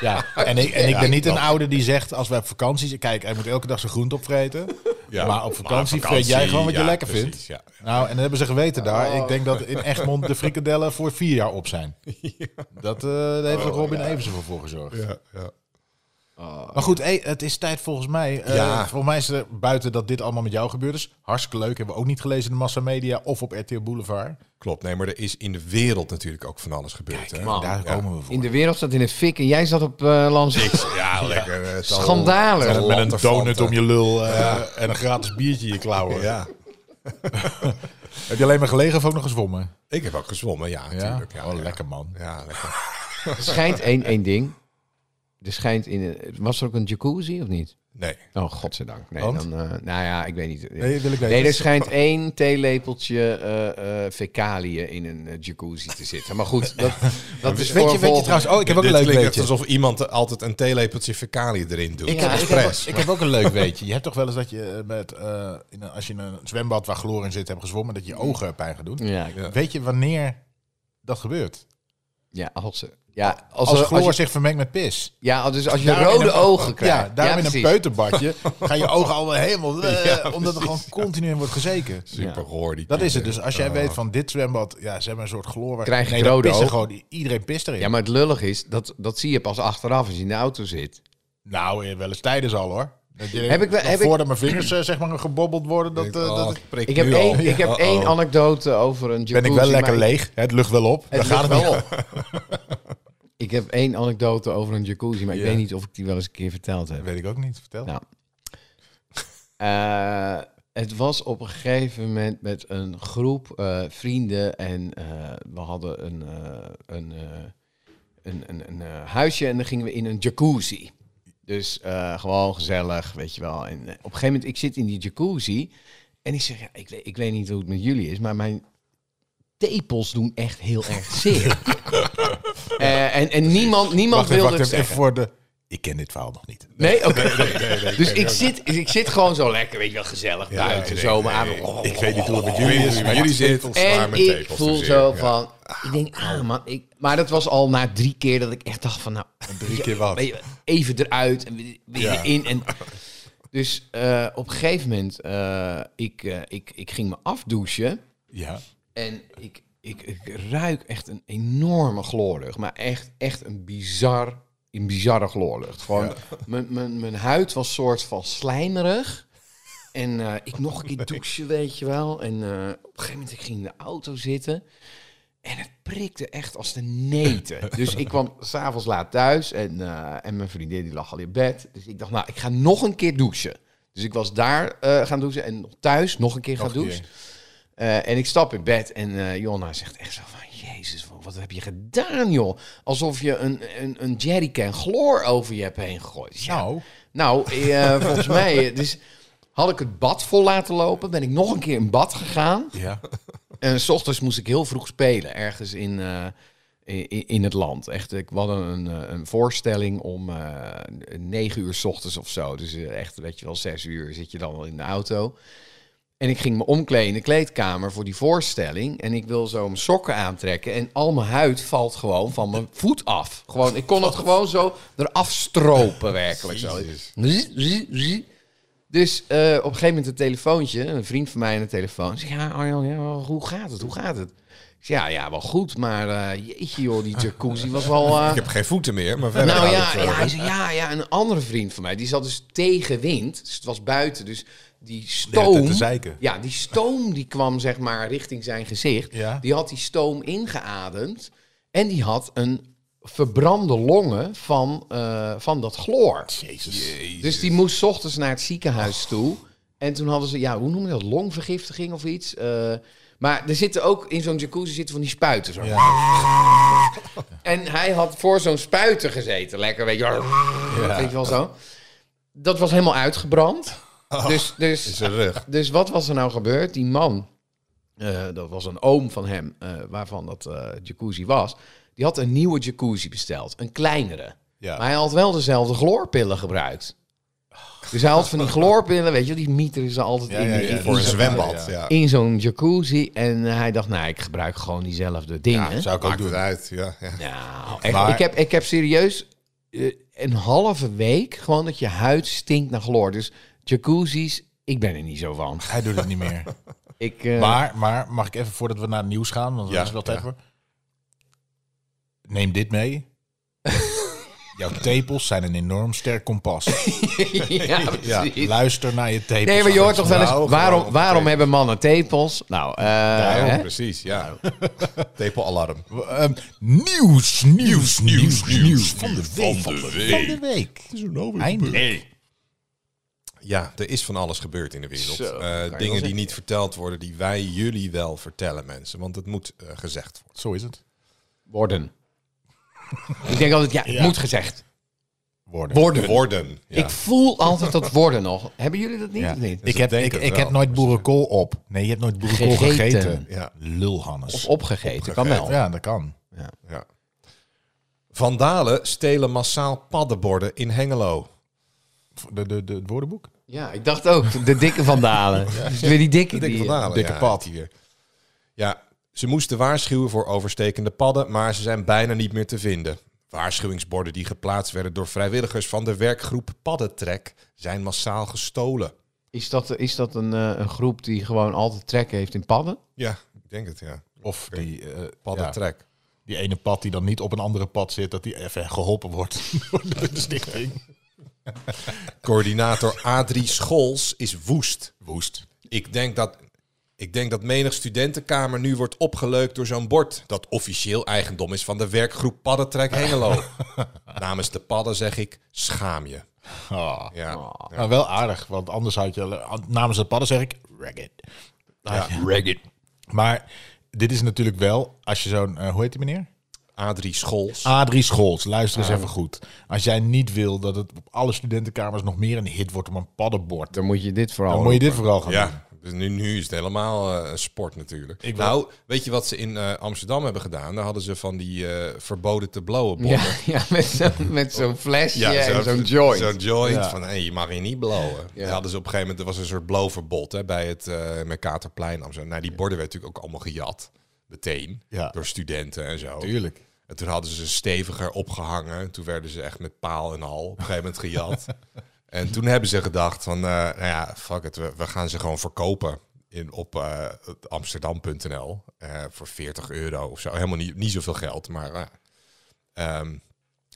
[SPEAKER 3] ja, en ik, en ik ben niet een oude die zegt, als wij op vakantie zijn... Kijk, hij moet elke dag zijn groente opvreten.
[SPEAKER 2] Ja.
[SPEAKER 3] Maar op vakantie
[SPEAKER 2] Maar
[SPEAKER 3] vreet jij gewoon wat je
[SPEAKER 2] ja,
[SPEAKER 3] lekker
[SPEAKER 2] precies,
[SPEAKER 3] vindt.
[SPEAKER 2] Ja.
[SPEAKER 3] Nou, en dat hebben ze geweten daar. Ik denk dat in Egmond de frikadellen voor vier jaar op zijn. Dat eh, daar heeft ook Robin Eversen voor, voor gezorgd.
[SPEAKER 2] Ja, ja.
[SPEAKER 3] Maar goed, hé, het is tijd volgens mij. eh,
[SPEAKER 2] Ja.
[SPEAKER 3] Volgens mij is er buiten dat dit allemaal met jou gebeurd is. Hartstikke leuk. Hebben we ook niet gelezen in de massamedia of op RTL Boulevard.
[SPEAKER 2] Klopt, nee, maar er is in de wereld natuurlijk ook van alles gebeurd. hè?
[SPEAKER 4] man.
[SPEAKER 3] Daar komen we voor.
[SPEAKER 4] In de wereld staat in een fik en jij zat op eh Lanzarote.
[SPEAKER 2] Niks. Ja, lekker. eh, het al-
[SPEAKER 4] Schandalen.
[SPEAKER 2] het al
[SPEAKER 3] Met een
[SPEAKER 2] lanterfanten.
[SPEAKER 3] donut om je lul eh, en een gratis biertje in je klauwen.
[SPEAKER 2] Ja.
[SPEAKER 3] Heb je alleen maar gelegen of ook nog gezwommen?
[SPEAKER 2] Ik heb ook gezwommen, ja, natuurlijk. Ja,
[SPEAKER 3] oh,
[SPEAKER 2] ja.
[SPEAKER 3] lekker man.
[SPEAKER 2] Ja, lekker.
[SPEAKER 4] Er schijnt één, één ding. Er schijnt in een- was er ook een jacuzzi of niet?
[SPEAKER 2] Nee.
[SPEAKER 4] Oh, godzijdank. Nee,
[SPEAKER 3] Want?
[SPEAKER 4] dan, eh, nou ja, ik weet niet.
[SPEAKER 3] Nee, wil ik weten. Dus
[SPEAKER 4] Nee, er schijnt één theelepeltje eh eh fecaliën in een eh, jacuzzi te zitten. Maar goed, dat, dat is
[SPEAKER 3] Weet
[SPEAKER 4] voor
[SPEAKER 3] je,
[SPEAKER 4] een
[SPEAKER 3] weet je
[SPEAKER 4] volgende-
[SPEAKER 3] trouwens, oh, ik heb ook een
[SPEAKER 2] Dit
[SPEAKER 3] leuk
[SPEAKER 2] klinkt echt
[SPEAKER 3] weetje.
[SPEAKER 2] alsof iemand altijd een theelepeltje fecalie erin doet.
[SPEAKER 4] Ik-
[SPEAKER 2] Ja,
[SPEAKER 4] ik-
[SPEAKER 3] Ik heb,
[SPEAKER 2] expres.
[SPEAKER 3] ook- ik heb ook een leuk weetje. Je hebt toch wel eens dat je met, eh, in een- als je in een zwembad waar chloor in zit hebt gezwommen, dat je ogen pijn gaan doen.
[SPEAKER 4] Ja, Mm. ja.
[SPEAKER 3] Weet je wanneer dat gebeurt?
[SPEAKER 4] als, ze- ja, als,
[SPEAKER 3] Als,
[SPEAKER 4] er-
[SPEAKER 3] chloor
[SPEAKER 4] als je,
[SPEAKER 3] zich vermengt met pis.
[SPEAKER 4] ja, dus als je
[SPEAKER 3] Daarom in
[SPEAKER 4] rode
[SPEAKER 3] een-
[SPEAKER 4] ogen krijgt.
[SPEAKER 3] Ja, daarom in een
[SPEAKER 4] precies.
[SPEAKER 3] peuterbadje gaan je ogen al helemaal... eh, omdat er gewoon continu in wordt gezeken.
[SPEAKER 2] Super hoor. Die Oh,
[SPEAKER 3] Dat is het.
[SPEAKER 2] kinderen.
[SPEAKER 3] Dus als jij weet van dit zwembad, ja, ze hebben een soort chloor. waar-
[SPEAKER 4] eh, Krijg je
[SPEAKER 3] dan
[SPEAKER 4] rode
[SPEAKER 3] pissen
[SPEAKER 4] ogen.
[SPEAKER 3] gewoon Iedereen pist erin.
[SPEAKER 4] Ja, maar het lullig is, dat, dat zie je pas achteraf als je in de auto zit.
[SPEAKER 3] Nou, eh, wel eens tijdens al hoor. Dat je-
[SPEAKER 4] Heb ik wel-
[SPEAKER 3] nog
[SPEAKER 4] heb ik-
[SPEAKER 3] voordat mijn vingers eh, zeg maar gebobbeld worden, dat,
[SPEAKER 2] Ik
[SPEAKER 3] eh,
[SPEAKER 2] denk, oh,
[SPEAKER 3] dat
[SPEAKER 2] het prikt
[SPEAKER 4] Ik heb,
[SPEAKER 2] nu al.
[SPEAKER 4] één, ik heb
[SPEAKER 2] Oh,
[SPEAKER 4] één
[SPEAKER 2] oh.
[SPEAKER 4] anekdote over een jacuzzi.
[SPEAKER 3] ben ik wel
[SPEAKER 4] maar
[SPEAKER 3] lekker
[SPEAKER 4] ik-
[SPEAKER 3] leeg. Het lucht wel op. Dan
[SPEAKER 4] Het
[SPEAKER 3] gaat het
[SPEAKER 4] lucht
[SPEAKER 3] wel
[SPEAKER 4] wel
[SPEAKER 3] op.
[SPEAKER 4] Ik heb één anekdote over een jacuzzi, maar ik
[SPEAKER 2] Ja.
[SPEAKER 4] weet niet of ik die wel eens een keer verteld heb.
[SPEAKER 3] Dat weet ik ook niet. Vertel.
[SPEAKER 4] Nou. Eh, het was op een gegeven moment met een groep eh, vrienden en eh, we hadden een, eh, een, eh, een, een, een eh, huisje en dan gingen we in een jacuzzi. Dus eh, gewoon gezellig, weet je wel. En eh, op een gegeven moment, ik zit in die jacuzzi en ik zeg, ja, ik, weet, ik weet niet hoe het met jullie is, maar mijn tepels doen echt heel erg zeer. Eh, en en niemand, niemand
[SPEAKER 3] wacht even,
[SPEAKER 4] wilde
[SPEAKER 3] wacht
[SPEAKER 4] het
[SPEAKER 3] even,
[SPEAKER 4] zeggen.
[SPEAKER 3] even voor de... Ik ken dit verhaal nog niet.
[SPEAKER 4] Nee, oké. dus ik zit, ik zit gewoon zo lekker, weet je wel, gezellig
[SPEAKER 2] Ja,
[SPEAKER 4] buiten,
[SPEAKER 2] nee,
[SPEAKER 4] zomeravond.
[SPEAKER 2] nee.
[SPEAKER 4] Oh,
[SPEAKER 2] Ik weet niet hoe het met jullie is, maar jullie zitten zwaar
[SPEAKER 4] en
[SPEAKER 2] met
[SPEAKER 4] ik
[SPEAKER 2] tepels te
[SPEAKER 4] voel
[SPEAKER 2] zeer.
[SPEAKER 4] zo
[SPEAKER 2] Ja. Oh.
[SPEAKER 4] van, ik denk, ah man, ik, maar dat was al na drie keer dat ik echt dacht van, nou,
[SPEAKER 3] Drie keer wat.
[SPEAKER 4] weet je, even eruit en weer weer
[SPEAKER 3] Ja.
[SPEAKER 4] in. En, dus eh, op een gegeven moment, eh, ik, eh, ik, ik ging me afdouchen.
[SPEAKER 3] Ja.
[SPEAKER 4] En ik, ik, ik ruik echt een enorme gloorlucht. Maar echt, echt een bizar, een bizarre gloorlucht. Gewoon, mijn, mijn, mijn huid was soort van slijmerig. En eh, ik nog een keer douchen, weet je wel. En eh, op een gegeven moment ik ging in de auto zitten. En het prikte echt als de neten. Dus ik kwam s'avonds laat thuis. En, eh, en mijn vriendin die lag al in bed. Dus ik dacht, nou, ik ga nog een keer douchen. Dus ik was daar eh, gaan douchen. En nog thuis nog een keer gaan
[SPEAKER 3] een keer.
[SPEAKER 4] douchen. Eh, en ik stap in bed en eh Jonna zegt echt zo van... Jezus, wat, wat heb je gedaan, joh? Alsof je een, een, een jerrycan chloor over je hebt heen gegooid. Ja.
[SPEAKER 3] Nou,
[SPEAKER 4] Nou, eh, volgens mij... eh, Dus had ik het bad vol laten lopen, ben ik nog een keer in bad gegaan.
[SPEAKER 3] ja.
[SPEAKER 4] En s ochtends moest ik heel vroeg spelen, ergens in, eh, i- i- in het land. Echt, ik had een, eh, een voorstelling om eh, negen 9 uur s ochtends of zo. Dus eh, echt, weet je wel, 6 uur zit je dan al in de auto. En ik ging me omkleden in de kleedkamer voor die voorstelling. En ik wil zo mijn sokken aantrekken. En al mijn huid valt gewoon van mijn voet af. Gewoon, ik kon het gewoon zo eraf stropen, werkelijk. Zo. Zzz, zzz, zzz. Dus eh, op een gegeven moment een telefoontje, een vriend van mij aan de telefoon. Zeg, ja, Arjan, ja, oh, hoe gaat het? Hoe gaat het? Ik zeg, ja, ja, wel goed, maar eh, jeetje joh, die jacuzzi was wel... eh,
[SPEAKER 2] Ik heb geen voeten meer, maar verder
[SPEAKER 4] nou
[SPEAKER 2] gaat
[SPEAKER 4] ja,
[SPEAKER 2] het, eh,
[SPEAKER 4] ja, hij zei, ja, ja, een andere vriend van mij, die zat dus tegen wind. Dus het was buiten, dus die
[SPEAKER 3] hele
[SPEAKER 4] stoom...
[SPEAKER 3] tijd te zeiken.
[SPEAKER 4] Ja, die stoom die kwam zeg maar richting zijn gezicht.
[SPEAKER 3] Ja.
[SPEAKER 4] Die had die stoom ingeademd en die had een verbrande longen van, eh, van dat chloor.
[SPEAKER 3] Oh, Jezus. Oh.
[SPEAKER 4] Dus die moest 's ochtends naar het ziekenhuis toe. En toen hadden ze, ja, hoe noem je dat? Longvergiftiging of iets. Eh, maar er zitten ook in zo'n jacuzzi zitten van die spuiten. Zo.
[SPEAKER 3] Ja.
[SPEAKER 4] En hij had voor zo'n spuiten gezeten. Lekker, weet je wel. Weet je wel zo. Dat was helemaal uitgebrand.
[SPEAKER 3] Oh,
[SPEAKER 4] dus,
[SPEAKER 2] in
[SPEAKER 4] dus,
[SPEAKER 2] zijn rug.
[SPEAKER 4] dus wat was er nou gebeurd? Die man, eh, dat was een oom van hem, eh, waarvan dat eh, jacuzzi was. Die had een nieuwe jacuzzi besteld. Een kleinere.
[SPEAKER 3] Ja.
[SPEAKER 4] Maar hij had wel dezelfde chloorpillen gebruikt. Dus hij had van die chloorpillen, weet je, wel, die mieteren ze altijd
[SPEAKER 3] Ja,
[SPEAKER 4] in,
[SPEAKER 3] ja,
[SPEAKER 4] die-
[SPEAKER 3] ja,
[SPEAKER 4] in-
[SPEAKER 3] die
[SPEAKER 2] Voor een
[SPEAKER 3] zijn-
[SPEAKER 2] zwembad,
[SPEAKER 3] ja.
[SPEAKER 2] ja.
[SPEAKER 4] in zo'n jacuzzi. En hij dacht, nou, ik gebruik gewoon diezelfde dingen.
[SPEAKER 3] Zou ik ook
[SPEAKER 2] Maakt het
[SPEAKER 3] doen.
[SPEAKER 2] uit, ja. ja.
[SPEAKER 4] Nou, echt,
[SPEAKER 3] Maar-
[SPEAKER 4] ik, heb, ik heb serieus eh, een halve week gewoon dat je huid stinkt naar chloor. Dus jacuzzis Ik ben er niet zo van.
[SPEAKER 3] Hij doet het niet meer.
[SPEAKER 4] Ik, eh,
[SPEAKER 3] Maar, maar mag ik even voordat we naar het nieuws gaan, want dat
[SPEAKER 2] Ja,
[SPEAKER 3] is wel
[SPEAKER 2] ja.
[SPEAKER 3] tijd voor. Neem dit mee. Jouw tepels zijn een enorm sterk kompas.
[SPEAKER 4] ja, precies.
[SPEAKER 3] Luister naar je tepels.
[SPEAKER 4] Nee, maar je hoort toch wel
[SPEAKER 2] Nou,
[SPEAKER 4] eens, waarom,
[SPEAKER 2] gewoon
[SPEAKER 4] waarom
[SPEAKER 2] tepels.
[SPEAKER 4] hebben mannen tepels? Nou, eh,
[SPEAKER 2] Ja,
[SPEAKER 4] hè?
[SPEAKER 2] precies, ja. Tepelalarm.
[SPEAKER 3] Ehm, nieuws, nieuws, nieuws, nieuws van de week.
[SPEAKER 2] Van de
[SPEAKER 3] Van de week. Eindelijk.
[SPEAKER 2] Ja, er is van alles gebeurd in de wereld.
[SPEAKER 4] Zo,
[SPEAKER 2] Eh,
[SPEAKER 4] dat kan je wel
[SPEAKER 2] dingen die
[SPEAKER 4] zeggen,
[SPEAKER 2] niet
[SPEAKER 4] ja.
[SPEAKER 2] verteld worden, die wij jullie wel vertellen, mensen. Want het moet eh, gezegd worden.
[SPEAKER 3] Zo is het.
[SPEAKER 4] worden. Ik denk altijd, ja, het
[SPEAKER 3] Ja.
[SPEAKER 4] moet gezegd.
[SPEAKER 3] Worden.
[SPEAKER 4] Worden.
[SPEAKER 2] Worden. Ja.
[SPEAKER 4] Ik voel altijd dat worden nog. Hebben jullie dat niet
[SPEAKER 3] Ja.
[SPEAKER 4] of niet?
[SPEAKER 3] Ik, heb,
[SPEAKER 2] denken
[SPEAKER 3] ik, ik
[SPEAKER 2] wel,
[SPEAKER 3] heb nooit boerenkool op. Nee, je hebt nooit boerenkool
[SPEAKER 4] Gegeten.
[SPEAKER 3] gegeten.
[SPEAKER 2] Ja.
[SPEAKER 3] Lul, Hannes.
[SPEAKER 4] Of opgegeten, kan wel.
[SPEAKER 3] Ja, dat kan.
[SPEAKER 2] ja. Vandalen stelen massaal paddenborden in Hengelo.
[SPEAKER 3] De, de, de, het woordenboek?
[SPEAKER 4] Ja, ik dacht ook, de dikke vandalen. Dus weer die dikke.
[SPEAKER 2] De dikke
[SPEAKER 4] die-
[SPEAKER 2] vandalen.
[SPEAKER 3] dikke
[SPEAKER 2] ja,
[SPEAKER 3] pad.
[SPEAKER 2] die weer. Ja, ze moesten waarschuwen voor overstekende padden, maar ze zijn bijna niet meer te vinden. Waarschuwingsborden die geplaatst werden door vrijwilligers van de werkgroep Paddentrek zijn massaal gestolen.
[SPEAKER 4] eh, Is dat, is dat een, eh, een groep die gewoon altijd trek heeft in padden?
[SPEAKER 2] Ja, ik denk het, ja.
[SPEAKER 3] Of die, eh, ja,
[SPEAKER 2] Paddentrek.
[SPEAKER 3] die ene pad die dan niet op een andere pad zit, dat die even geholpen wordt door de stichting.
[SPEAKER 2] Coördinator Adrie Schols is woest.
[SPEAKER 3] Woest.
[SPEAKER 2] Ik denk dat, ik denk dat menig studentenkamer nu wordt opgeleukt door zo'n bord. Dat officieel eigendom is van de werkgroep Paddentrek Hengelo. Namens de padden zeg ik, schaam je.
[SPEAKER 3] Ah.
[SPEAKER 2] Ja.
[SPEAKER 3] Nou, wel aardig, want anders had je... Namens de padden zeg ik... Ragged. Ah,
[SPEAKER 2] Ja.
[SPEAKER 4] Ragged.
[SPEAKER 3] Maar dit is natuurlijk wel, als je zo'n... eh, hoe heet die meneer?
[SPEAKER 2] Adrie Schols.
[SPEAKER 3] Adrie Scholz, luister eens even goed. Als jij niet wil dat het op alle studentenkamers nog meer een hit wordt om een paddenbord...
[SPEAKER 4] Dan moet je dit vooral.
[SPEAKER 3] Dan moet je dit vooral gaan doen.
[SPEAKER 2] ja, dus nu, nu is het helemaal eh, een sport natuurlijk.
[SPEAKER 3] Ik wil-
[SPEAKER 2] nou, weet je wat ze in eh, Amsterdam hebben gedaan? Daar hadden ze van die eh, verboden te blowen borden.
[SPEAKER 4] Ja, ja met zo'n met zo'n flesje en zo'n joint.
[SPEAKER 2] Zo'n joint
[SPEAKER 3] Ja.
[SPEAKER 2] van, hé, je mag hier niet blowen.
[SPEAKER 4] Ja.
[SPEAKER 2] Ja. Hadden ze op een gegeven moment, er was een soort blowverbod hè, bij het eh Mercatorplein. Amsterdam. Nou, die borden werden natuurlijk ook allemaal gejat, meteen,
[SPEAKER 3] Ja.
[SPEAKER 2] door studenten en zo.
[SPEAKER 3] Tuurlijk.
[SPEAKER 2] En toen hadden ze ze steviger opgehangen. Toen werden ze echt met paal en al op een gegeven moment gejat. en toen hebben ze gedacht van, eh, nou ja, fuck it, we, we gaan ze gewoon verkopen. In, op eh, amsterdam.nl eh, voor 40 euro of zo. Helemaal niet, niet zoveel geld, maar... eh, ehm,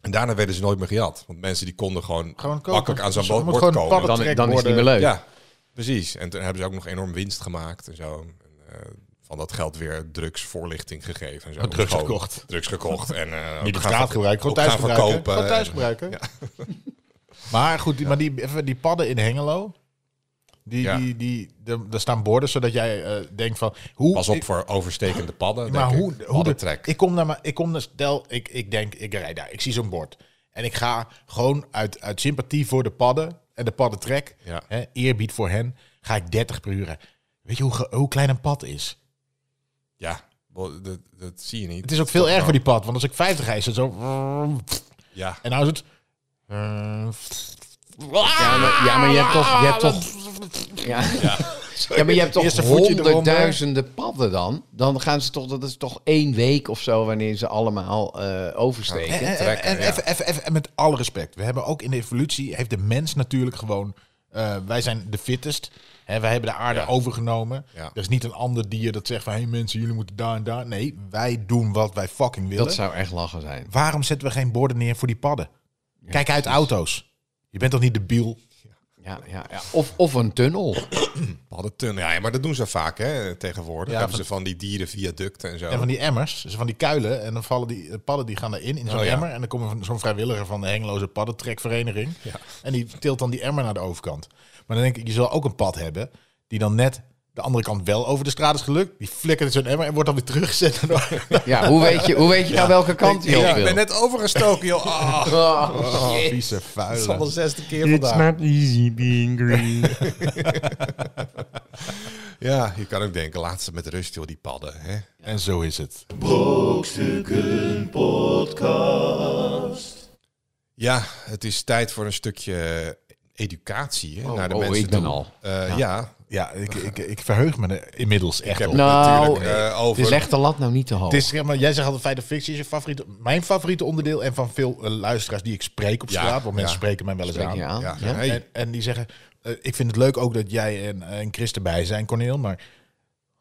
[SPEAKER 2] en daarna werden ze nooit meer gejat. Want mensen die konden gewoon,
[SPEAKER 3] Gewoon kopen.
[SPEAKER 2] makkelijk aan zo'n
[SPEAKER 3] Ze
[SPEAKER 2] boot
[SPEAKER 3] moet
[SPEAKER 2] bord
[SPEAKER 3] gewoon
[SPEAKER 2] komen.
[SPEAKER 3] padden-
[SPEAKER 4] dan, dan is het niet meer leuk.
[SPEAKER 2] Ja, precies. En toen hebben ze ook nog enorm winst gemaakt en zo. En, eh, van dat geld weer drugsvoorlichting gegeven. En zo.
[SPEAKER 3] Oh, drugs
[SPEAKER 2] Gewoon
[SPEAKER 3] gekocht.
[SPEAKER 2] Drugs gekocht. En, eh,
[SPEAKER 3] Niet op
[SPEAKER 2] ook gaan
[SPEAKER 3] straat
[SPEAKER 2] ver-
[SPEAKER 3] gebruiken, gewoon
[SPEAKER 2] ook
[SPEAKER 3] thuis
[SPEAKER 2] gaan
[SPEAKER 3] gebruiken.
[SPEAKER 2] verkopen. eh,
[SPEAKER 3] Gewoon thuis gebruiken. Maar goed, die, maar die, even die padden in Hengelo, die,
[SPEAKER 2] Ja.
[SPEAKER 3] die, die, de- daar staan borden zodat jij eh, denkt van... Hoe,
[SPEAKER 2] Pas op voor overstekende padden.
[SPEAKER 3] maar
[SPEAKER 2] denk
[SPEAKER 3] hoe,
[SPEAKER 2] ik.
[SPEAKER 3] hoe de,
[SPEAKER 2] Paddentrek.
[SPEAKER 3] ik kom naar maar ik kom naar stel ik, ik denk ik rijd daar ik zie zo'n bord en ik ga gewoon uit, uit sympathie voor de padden en de paddentrek
[SPEAKER 2] Ja.
[SPEAKER 3] hè, eerbied voor hen ga ik 30 per uur rijden. weet je hoe, ge- hoe klein een pad is
[SPEAKER 2] Ja, wel, dat, dat zie je niet.
[SPEAKER 3] het is ook veel erger voor
[SPEAKER 2] gewoon-
[SPEAKER 3] die pad want als ik 50 ga is het zo
[SPEAKER 2] Ja,
[SPEAKER 3] en nou is het eh,
[SPEAKER 4] Ja, maar, eh, ja, maar je hebt toch... Je
[SPEAKER 3] Ah,
[SPEAKER 4] hebt toch ja. Ja. maar je hebt toch
[SPEAKER 3] Eerst een voetje eronder.
[SPEAKER 4] honderdduizenden padden dan? Dan gaan ze toch... Dat is toch één week of zo wanneer ze allemaal eh, oversteken.
[SPEAKER 3] En, en-
[SPEAKER 2] trekken,
[SPEAKER 3] en
[SPEAKER 2] ja.
[SPEAKER 3] even, even, even, en met alle respect. We hebben ook in de evolutie, heeft de mens natuurlijk gewoon... eh, wij zijn de fittest. Hè, wij hebben de aarde
[SPEAKER 2] Ja.
[SPEAKER 3] overgenomen.
[SPEAKER 2] Ja.
[SPEAKER 3] Er is niet een ander dier dat zegt van... Hé hey mensen, jullie moeten daar en daar. Nee, wij doen wat wij fucking willen.
[SPEAKER 4] Dat zou echt lachen zijn.
[SPEAKER 3] Waarom zetten we geen borden neer voor die padden? Kijk uit auto's. Je bent toch niet debiel?
[SPEAKER 4] Ja, ja, ja. Of, of een tunnel.
[SPEAKER 2] paddentunnel. Ja, maar dat doen ze vaak hè, tegenwoordig.
[SPEAKER 3] Ja,
[SPEAKER 2] hebben
[SPEAKER 3] van-
[SPEAKER 2] ze van die dierenviaducten en zo.
[SPEAKER 3] En van die emmers, dus van die kuilen. En dan vallen die eh, padden, die gaan erin, in zo'n
[SPEAKER 2] Oh ja.
[SPEAKER 3] emmer. En dan komt er van- zo'n vrijwilliger van de Hengeloze Paddentrekvereniging. En die tilt dan die emmer naar de overkant. Maar dan denk ik, je zal ook een pad hebben... die dan net de andere kant wel over de straat is gelukt. Die flikkert in zo'n emmer en wordt dan weer teruggezet. naar
[SPEAKER 4] Ja, hoe weet je, hoe weet je nou welke kant je op
[SPEAKER 2] ja, ik
[SPEAKER 4] wil?
[SPEAKER 2] ben net overgestoken, joh. Ah,
[SPEAKER 4] Oh, shit.
[SPEAKER 3] vieze
[SPEAKER 2] dat is al
[SPEAKER 3] vuile.
[SPEAKER 2] de zesde keer vandaag.
[SPEAKER 1] easy being green.
[SPEAKER 2] Ja, je kan ook denken, laat ze met rust, joh, die padden. Hè?
[SPEAKER 3] En zo is het.
[SPEAKER 2] Ja, het is tijd voor een stukje educatie hè,
[SPEAKER 4] Oh,
[SPEAKER 2] naar de
[SPEAKER 4] oh,
[SPEAKER 2] mensen
[SPEAKER 4] ik ben
[SPEAKER 2] toe.
[SPEAKER 4] al.
[SPEAKER 2] Eh, ja.
[SPEAKER 3] Ja, ik, ik, ik verheug me er inmiddels echt op.
[SPEAKER 2] heb-
[SPEAKER 4] Nou,
[SPEAKER 2] natuurlijk, eh,
[SPEAKER 4] eh,
[SPEAKER 2] over-
[SPEAKER 4] dus leg de lat nou niet te hoog.
[SPEAKER 3] Het is, zeg maar, jij zegt altijd feit of fictie is je favoriete, mijn favoriete onderdeel. En van veel eh, luisteraars die ik spreek op
[SPEAKER 2] Ja,
[SPEAKER 3] straat. Want mensen
[SPEAKER 2] ja.
[SPEAKER 3] spreken mij wel eens
[SPEAKER 4] Spreek
[SPEAKER 3] aan.
[SPEAKER 4] je aan?
[SPEAKER 2] Ja,
[SPEAKER 4] Ja?
[SPEAKER 2] hey,
[SPEAKER 3] En, en die zeggen, eh, ik vind het leuk ook dat jij en, eh, en Chris erbij zijn, Corneel. Maar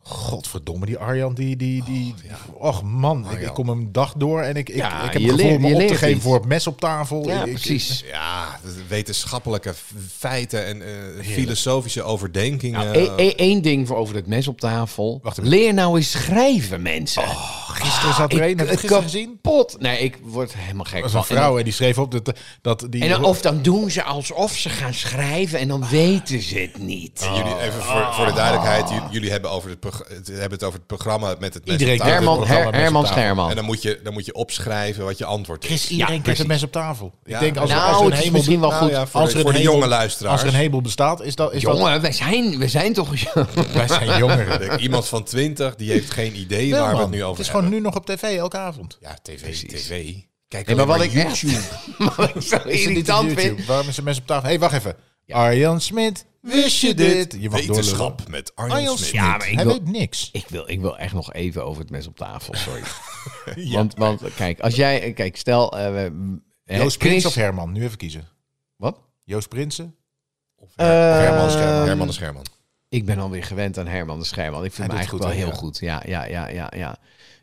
[SPEAKER 3] godverdomme, die Arjan, die...
[SPEAKER 2] Oh,
[SPEAKER 3] die, die Och man, ik, ik kom hem dag door en ik, ik,
[SPEAKER 4] Ja,
[SPEAKER 3] ik heb het
[SPEAKER 4] je
[SPEAKER 3] gevoel
[SPEAKER 4] leert-
[SPEAKER 3] om me
[SPEAKER 4] je
[SPEAKER 3] op te
[SPEAKER 4] leert
[SPEAKER 3] geven
[SPEAKER 4] iets.
[SPEAKER 3] voor het mes op tafel.
[SPEAKER 4] Ja,
[SPEAKER 3] Ik- ik-
[SPEAKER 4] precies.
[SPEAKER 2] Ja, de wetenschappelijke f- feiten en eh, filosofische overdenkingen.
[SPEAKER 4] Eén E, ding voor over het mes op tafel.
[SPEAKER 3] Wacht even. Oh,
[SPEAKER 4] Leer nou eens schrijven, mensen.
[SPEAKER 3] gisteren zat er
[SPEAKER 4] Ah, ik-
[SPEAKER 3] een, heb je het
[SPEAKER 4] ik
[SPEAKER 3] gisteren
[SPEAKER 4] kan-
[SPEAKER 3] gezien?
[SPEAKER 4] Pot. Nee, ik word helemaal gek.
[SPEAKER 3] Dat was een
[SPEAKER 4] van. En dan-
[SPEAKER 3] vrouw en die schreef op dat, eh, dat die...
[SPEAKER 4] En dan, of dan doen ze alsof ze gaan schrijven en dan weten ze het niet.
[SPEAKER 2] Jullie, even voor, voor de duidelijkheid, j- jullie hebben, over het, prog- het- hebben het over het programma met het mes
[SPEAKER 3] Iedereen
[SPEAKER 2] op tafel.
[SPEAKER 4] Herman,
[SPEAKER 3] programma
[SPEAKER 4] Her,
[SPEAKER 3] met z'n
[SPEAKER 4] Herman
[SPEAKER 3] tafel.
[SPEAKER 2] En dan
[SPEAKER 4] Scherman.
[SPEAKER 2] moet, je, dan moet je opschrijven wat je antwoord is.
[SPEAKER 3] Chris, iedereen krijgt het mes op tafel. Ik
[SPEAKER 2] Ja.
[SPEAKER 3] denk als,
[SPEAKER 4] Nou,
[SPEAKER 3] als er een
[SPEAKER 4] het is
[SPEAKER 3] hemel
[SPEAKER 4] misschien wel
[SPEAKER 2] Nou
[SPEAKER 4] goed.
[SPEAKER 2] ja, voor,
[SPEAKER 3] als
[SPEAKER 2] de,
[SPEAKER 3] er
[SPEAKER 2] voor
[SPEAKER 3] een
[SPEAKER 2] de
[SPEAKER 3] hemel-
[SPEAKER 2] jonge
[SPEAKER 3] Als
[SPEAKER 2] luisteraars.
[SPEAKER 3] er een hemel bestaat, is dat... Is
[SPEAKER 4] Jongen, we zijn, we zijn toch...
[SPEAKER 3] Dat, wij zijn jongeren.
[SPEAKER 2] Ik denk, Iemand van 20 die heeft geen idee
[SPEAKER 3] Wel,
[SPEAKER 2] waar we
[SPEAKER 3] man.
[SPEAKER 2] het nu over
[SPEAKER 3] het is
[SPEAKER 2] hebben.
[SPEAKER 3] gewoon nu nog op tv, elke avond.
[SPEAKER 2] Ja, tv, tv. Kijk
[SPEAKER 4] Nee,
[SPEAKER 2] alleen
[SPEAKER 4] maar wat ik echt
[SPEAKER 2] YouTube.
[SPEAKER 4] wat ik
[SPEAKER 3] Is
[SPEAKER 4] zo
[SPEAKER 3] het niet op
[SPEAKER 4] irritant
[SPEAKER 3] YouTube?
[SPEAKER 4] vind...
[SPEAKER 3] Waarom is er mensen op tafel? Hé, hey, wacht even. Arjan Smit, wist je dit? Je mag doorlullen.
[SPEAKER 2] Wetenschap met Arjan,
[SPEAKER 3] Arjan
[SPEAKER 2] Smit.
[SPEAKER 3] Smit.
[SPEAKER 4] Ja, maar ik
[SPEAKER 3] Hij
[SPEAKER 4] wil-
[SPEAKER 3] weet niks.
[SPEAKER 4] Ik wil, ik wil echt nog even over het mes op tafel, sorry. want, want kijk, als jij... eh, Kijk, stel... eh, we- eh,
[SPEAKER 3] Joost Prins
[SPEAKER 4] Chris-
[SPEAKER 3] of Herman? Nu even kiezen.
[SPEAKER 4] Wat?
[SPEAKER 3] Joost Prinsen?
[SPEAKER 2] Of Her- of Herman
[SPEAKER 4] Ehm,
[SPEAKER 2] Scherman. Herman de Scherman.
[SPEAKER 4] Ik ben alweer gewend aan Herman de Scherman. Ik vind
[SPEAKER 3] Hij
[SPEAKER 4] hem
[SPEAKER 3] doet
[SPEAKER 4] eigenlijk
[SPEAKER 3] goed,
[SPEAKER 4] wel
[SPEAKER 3] hè?
[SPEAKER 4] heel goed. Ja, ja, ja, ja, ja.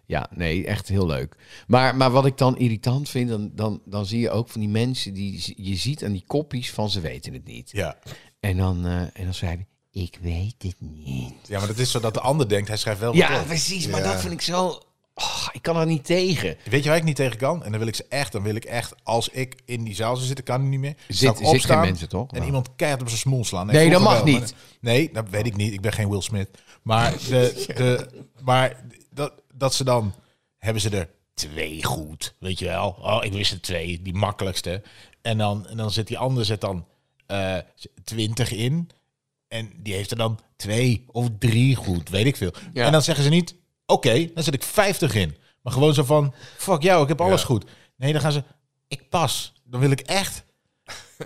[SPEAKER 4] Ja, nee, echt heel leuk. Maar, maar wat ik dan irritant vind, dan, dan, dan zie je ook van die mensen die z- je ziet aan die kopjes van ze weten het niet.
[SPEAKER 3] Ja.
[SPEAKER 4] En dan, eh, en dan schrijven, ik weet het niet.
[SPEAKER 3] ja, maar dat is zodat de ander denkt, hij schrijft wel wat
[SPEAKER 4] Ja,
[SPEAKER 3] op.
[SPEAKER 4] precies, maar
[SPEAKER 2] Ja.
[SPEAKER 4] dat vind ik zo... Oh, ik kan er niet tegen.
[SPEAKER 3] Weet je waar ik niet tegen kan? En dan wil ik ze echt, dan wil ik echt, als ik in die zaal zou zitten, kan het niet meer. Zou
[SPEAKER 4] Zit-
[SPEAKER 3] ik
[SPEAKER 4] zit geen mensen, toch?
[SPEAKER 3] En
[SPEAKER 4] Ja.
[SPEAKER 3] iemand keihard op zijn smoel slaan.
[SPEAKER 4] Nee, dat
[SPEAKER 3] vroeger
[SPEAKER 4] mag
[SPEAKER 3] wel,
[SPEAKER 4] niet.
[SPEAKER 3] maar- nee, dat weet ik niet. Ik ben geen Will Smith. Maar, de, de, maar dat, dat ze dan, hebben ze er twee goed, weet je wel. Oh, ik wist er twee, die makkelijkste. En dan, en dan zit die ander zet dan eh, twintig in. En die heeft er dan twee of drie goed, weet ik veel.
[SPEAKER 4] Ja.
[SPEAKER 3] En dan zeggen ze niet, oké, dan zet ik 50 in. Maar gewoon zo van, fuck jou, ik heb alles goed. Nee, dan gaan ze, ik pas. Dan wil ik echt...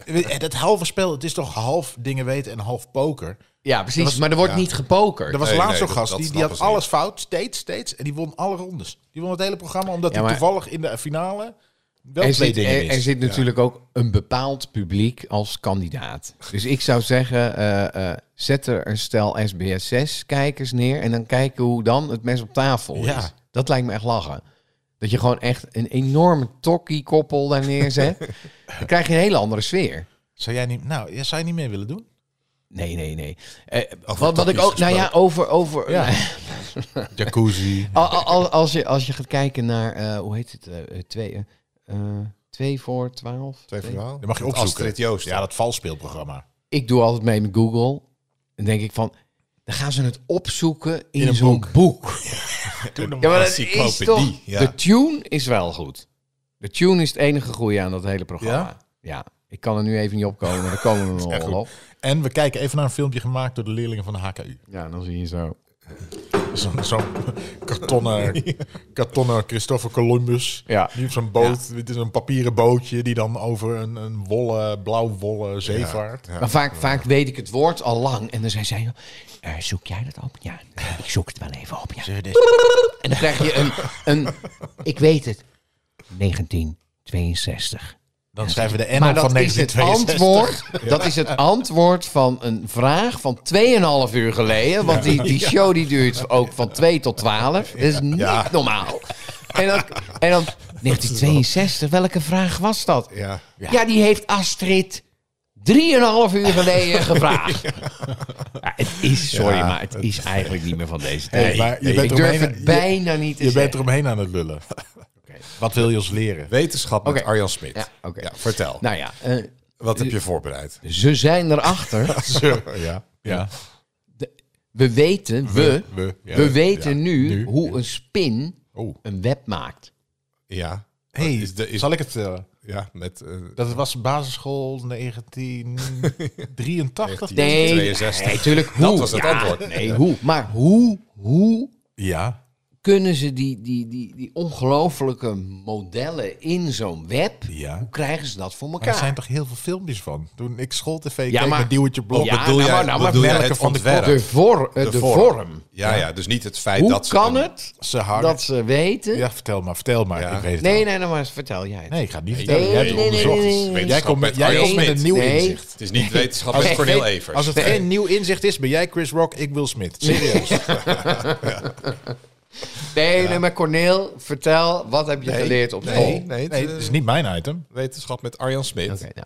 [SPEAKER 3] En Eh, Dat halve spel, het is toch half dingen weten en half poker.
[SPEAKER 4] Ja, precies, maar er wordt niet gepokerd.
[SPEAKER 3] Er was
[SPEAKER 2] Nee,
[SPEAKER 3] laatst
[SPEAKER 2] nee,
[SPEAKER 3] zo'n
[SPEAKER 2] dat-
[SPEAKER 3] gast,
[SPEAKER 2] dat
[SPEAKER 3] die, die had
[SPEAKER 2] snappen ze niet.
[SPEAKER 3] alles fout, steeds, steeds. En die won alle rondes. Die won het hele programma, omdat
[SPEAKER 4] Ja,
[SPEAKER 3] hij
[SPEAKER 4] maar-
[SPEAKER 3] toevallig in de finale wel twee
[SPEAKER 4] Er zit,
[SPEAKER 3] dingen
[SPEAKER 4] er,
[SPEAKER 3] wist.
[SPEAKER 4] er zit natuurlijk ook een bepaald publiek als kandidaat. Dus ik zou zeggen, eh, eh, zet er een stel SBS 6 kijkers neer en dan kijken hoe dan het mes op tafel is.
[SPEAKER 3] Ja.
[SPEAKER 4] Dat lijkt me echt lachen. Dat je gewoon echt een enorme tokkie koppel daar neerzet. dan krijg je een hele andere sfeer.
[SPEAKER 3] Zou jij niet, nou, ja, zou je niet meer willen doen?
[SPEAKER 4] Nee, nee, nee. Eh,
[SPEAKER 2] Over
[SPEAKER 4] wat, wat ik
[SPEAKER 2] tokkies
[SPEAKER 4] ook, nou ja, over, over,
[SPEAKER 3] Ja. Jacuzzi.
[SPEAKER 4] Al- al- al- als, je, als je gaat kijken naar, eh, hoe heet het, eh, eh, twee, eh, eh, twee voor twaalf?
[SPEAKER 2] Twee voor twaalf.
[SPEAKER 3] Dat mag je
[SPEAKER 2] Met
[SPEAKER 3] opzoeken.
[SPEAKER 2] Astrid Joost.
[SPEAKER 3] Ja, dat valspeelprogramma.
[SPEAKER 4] ik doe altijd mee met Google. Dan denk ik van, dan gaan ze het opzoeken in,
[SPEAKER 3] In een
[SPEAKER 4] zo'n
[SPEAKER 3] boek.
[SPEAKER 4] boek.
[SPEAKER 2] Een
[SPEAKER 4] Ja, maar dat is
[SPEAKER 2] encyclopedie.
[SPEAKER 4] toch...
[SPEAKER 2] Ja.
[SPEAKER 4] De tune is wel goed. De tune is het enige goede aan dat hele programma. Ja? Ik kan er nu even niet opkomen, maar daar komen we nog
[SPEAKER 3] echt
[SPEAKER 4] wel op.
[SPEAKER 3] En we kijken even naar een filmpje gemaakt door de leerlingen van de HKU.
[SPEAKER 4] Ja, dan zie je zo.
[SPEAKER 3] Zo'n zo'n kartonnen, kartonnen Christopher Columbus.
[SPEAKER 4] Ja.
[SPEAKER 3] Die op zo'n boot, dit is een papieren bootje die dan over een, een wollen, blauw wollen zee vaart.
[SPEAKER 4] Maar vaak, vaak weet ik het woord al lang. En dan zei zij, "Eh, zoek jij dat op? Ja, ik zoek het wel even op, ja. En dan krijg je een, een ik weet het, 1962.
[SPEAKER 3] Dan schrijven we de N
[SPEAKER 4] Maar
[SPEAKER 3] op van
[SPEAKER 4] dat is het
[SPEAKER 3] 1962.
[SPEAKER 4] antwoord. Dat is het antwoord van een vraag van 2,5 uur geleden. Want die, die show die duurt ook van 2 tot 12. Dat is niet normaal. En dan, en dan 1962, welke vraag was dat?
[SPEAKER 2] Ja.
[SPEAKER 4] Ja, die heeft Astrid 3,5 uur geleden gevraagd. Ja, het is, sorry,
[SPEAKER 2] Ja,
[SPEAKER 4] maar het is eigenlijk niet meer van deze tijd.
[SPEAKER 3] Hey, maar je
[SPEAKER 2] Nee,
[SPEAKER 3] bent
[SPEAKER 4] Ik
[SPEAKER 3] er
[SPEAKER 4] durf
[SPEAKER 3] omheen,
[SPEAKER 4] het
[SPEAKER 3] je,
[SPEAKER 4] bijna niet te
[SPEAKER 3] je bent
[SPEAKER 4] zeggen.
[SPEAKER 3] eromheen aan het lullen. Wat wil je ons leren?
[SPEAKER 2] Wetenschap met
[SPEAKER 4] Oké.
[SPEAKER 2] Arjan Smit.
[SPEAKER 4] Ja, oké.
[SPEAKER 2] Ja, vertel.
[SPEAKER 4] Nou ja, eh,
[SPEAKER 2] Wat heb je voorbereid?
[SPEAKER 4] ze zijn erachter.
[SPEAKER 2] ja.
[SPEAKER 3] Ja,
[SPEAKER 4] We weten, we, we,
[SPEAKER 3] we, ja.
[SPEAKER 4] weten nu,
[SPEAKER 3] nu,
[SPEAKER 4] hoe een spin
[SPEAKER 3] Oh.
[SPEAKER 4] een web maakt.
[SPEAKER 2] Ja.
[SPEAKER 3] Hey,
[SPEAKER 2] Is de- is-
[SPEAKER 3] zal ik het vertellen?
[SPEAKER 2] Ja, met...
[SPEAKER 4] Nou,
[SPEAKER 2] eh,
[SPEAKER 3] Dat was basisschool 1983.
[SPEAKER 4] Nee,
[SPEAKER 2] 1962.
[SPEAKER 4] nee, tuurlijk hoe.
[SPEAKER 2] Dat was het
[SPEAKER 4] Ja,
[SPEAKER 2] antwoord.
[SPEAKER 4] Nee, hoe. Maar hoe, hoe
[SPEAKER 3] Ja.
[SPEAKER 4] kunnen ze die, die, die, die ongelofelijke modellen in zo'n web,
[SPEAKER 3] Ja.
[SPEAKER 4] hoe krijgen ze dat voor
[SPEAKER 3] Maar er
[SPEAKER 4] elkaar?
[SPEAKER 3] zijn toch heel veel filmpjes van. Toen ik schooltv
[SPEAKER 4] Ja,
[SPEAKER 3] keek
[SPEAKER 4] maar-
[SPEAKER 3] met Duwtje Blok.
[SPEAKER 4] Ja,
[SPEAKER 2] bedoel
[SPEAKER 4] nou,
[SPEAKER 2] jij,
[SPEAKER 4] maar- nou, maar
[SPEAKER 2] bedoel jij
[SPEAKER 3] welke
[SPEAKER 2] het
[SPEAKER 3] van de
[SPEAKER 2] ontwerp?
[SPEAKER 4] de, vor, eh, de, vorm.
[SPEAKER 2] vorm. Ja, ja, dus niet het feit
[SPEAKER 4] Hoe
[SPEAKER 2] dat ze...
[SPEAKER 4] kan
[SPEAKER 2] een-
[SPEAKER 4] het
[SPEAKER 3] Ze hangen.
[SPEAKER 4] dat ze weten?
[SPEAKER 3] Ja, vertel maar, vertel maar.
[SPEAKER 2] Ja.
[SPEAKER 3] Ik weet het
[SPEAKER 4] nee,
[SPEAKER 3] al.
[SPEAKER 4] nee, nou, maar vertel jij het.
[SPEAKER 3] nee, ik ga het niet vertellen.
[SPEAKER 4] nee,
[SPEAKER 3] jij hebt
[SPEAKER 4] nee,
[SPEAKER 3] het
[SPEAKER 4] nee,
[SPEAKER 3] onderzocht.
[SPEAKER 4] nee, nee, nee.
[SPEAKER 3] Jij komt met, jij
[SPEAKER 2] Wetenschap
[SPEAKER 3] komt met
[SPEAKER 4] Smit.
[SPEAKER 3] een nieuw
[SPEAKER 4] Nee.
[SPEAKER 3] inzicht.
[SPEAKER 2] Het is niet wetenschap, het is
[SPEAKER 4] Als-
[SPEAKER 2] Cornel
[SPEAKER 4] nee,
[SPEAKER 2] Evers.
[SPEAKER 3] Als het geen nieuw inzicht is, ben jij Chris Rock, ik Will Smith. Serieus.
[SPEAKER 4] Nee, nee, maar Corneel, vertel, wat heb je geleerd op school?
[SPEAKER 2] Nee, nee, het,
[SPEAKER 3] Nee,
[SPEAKER 2] eh,
[SPEAKER 3] dat is niet mijn item.
[SPEAKER 2] wetenschap met Arjan Smit.
[SPEAKER 4] Oké, ja.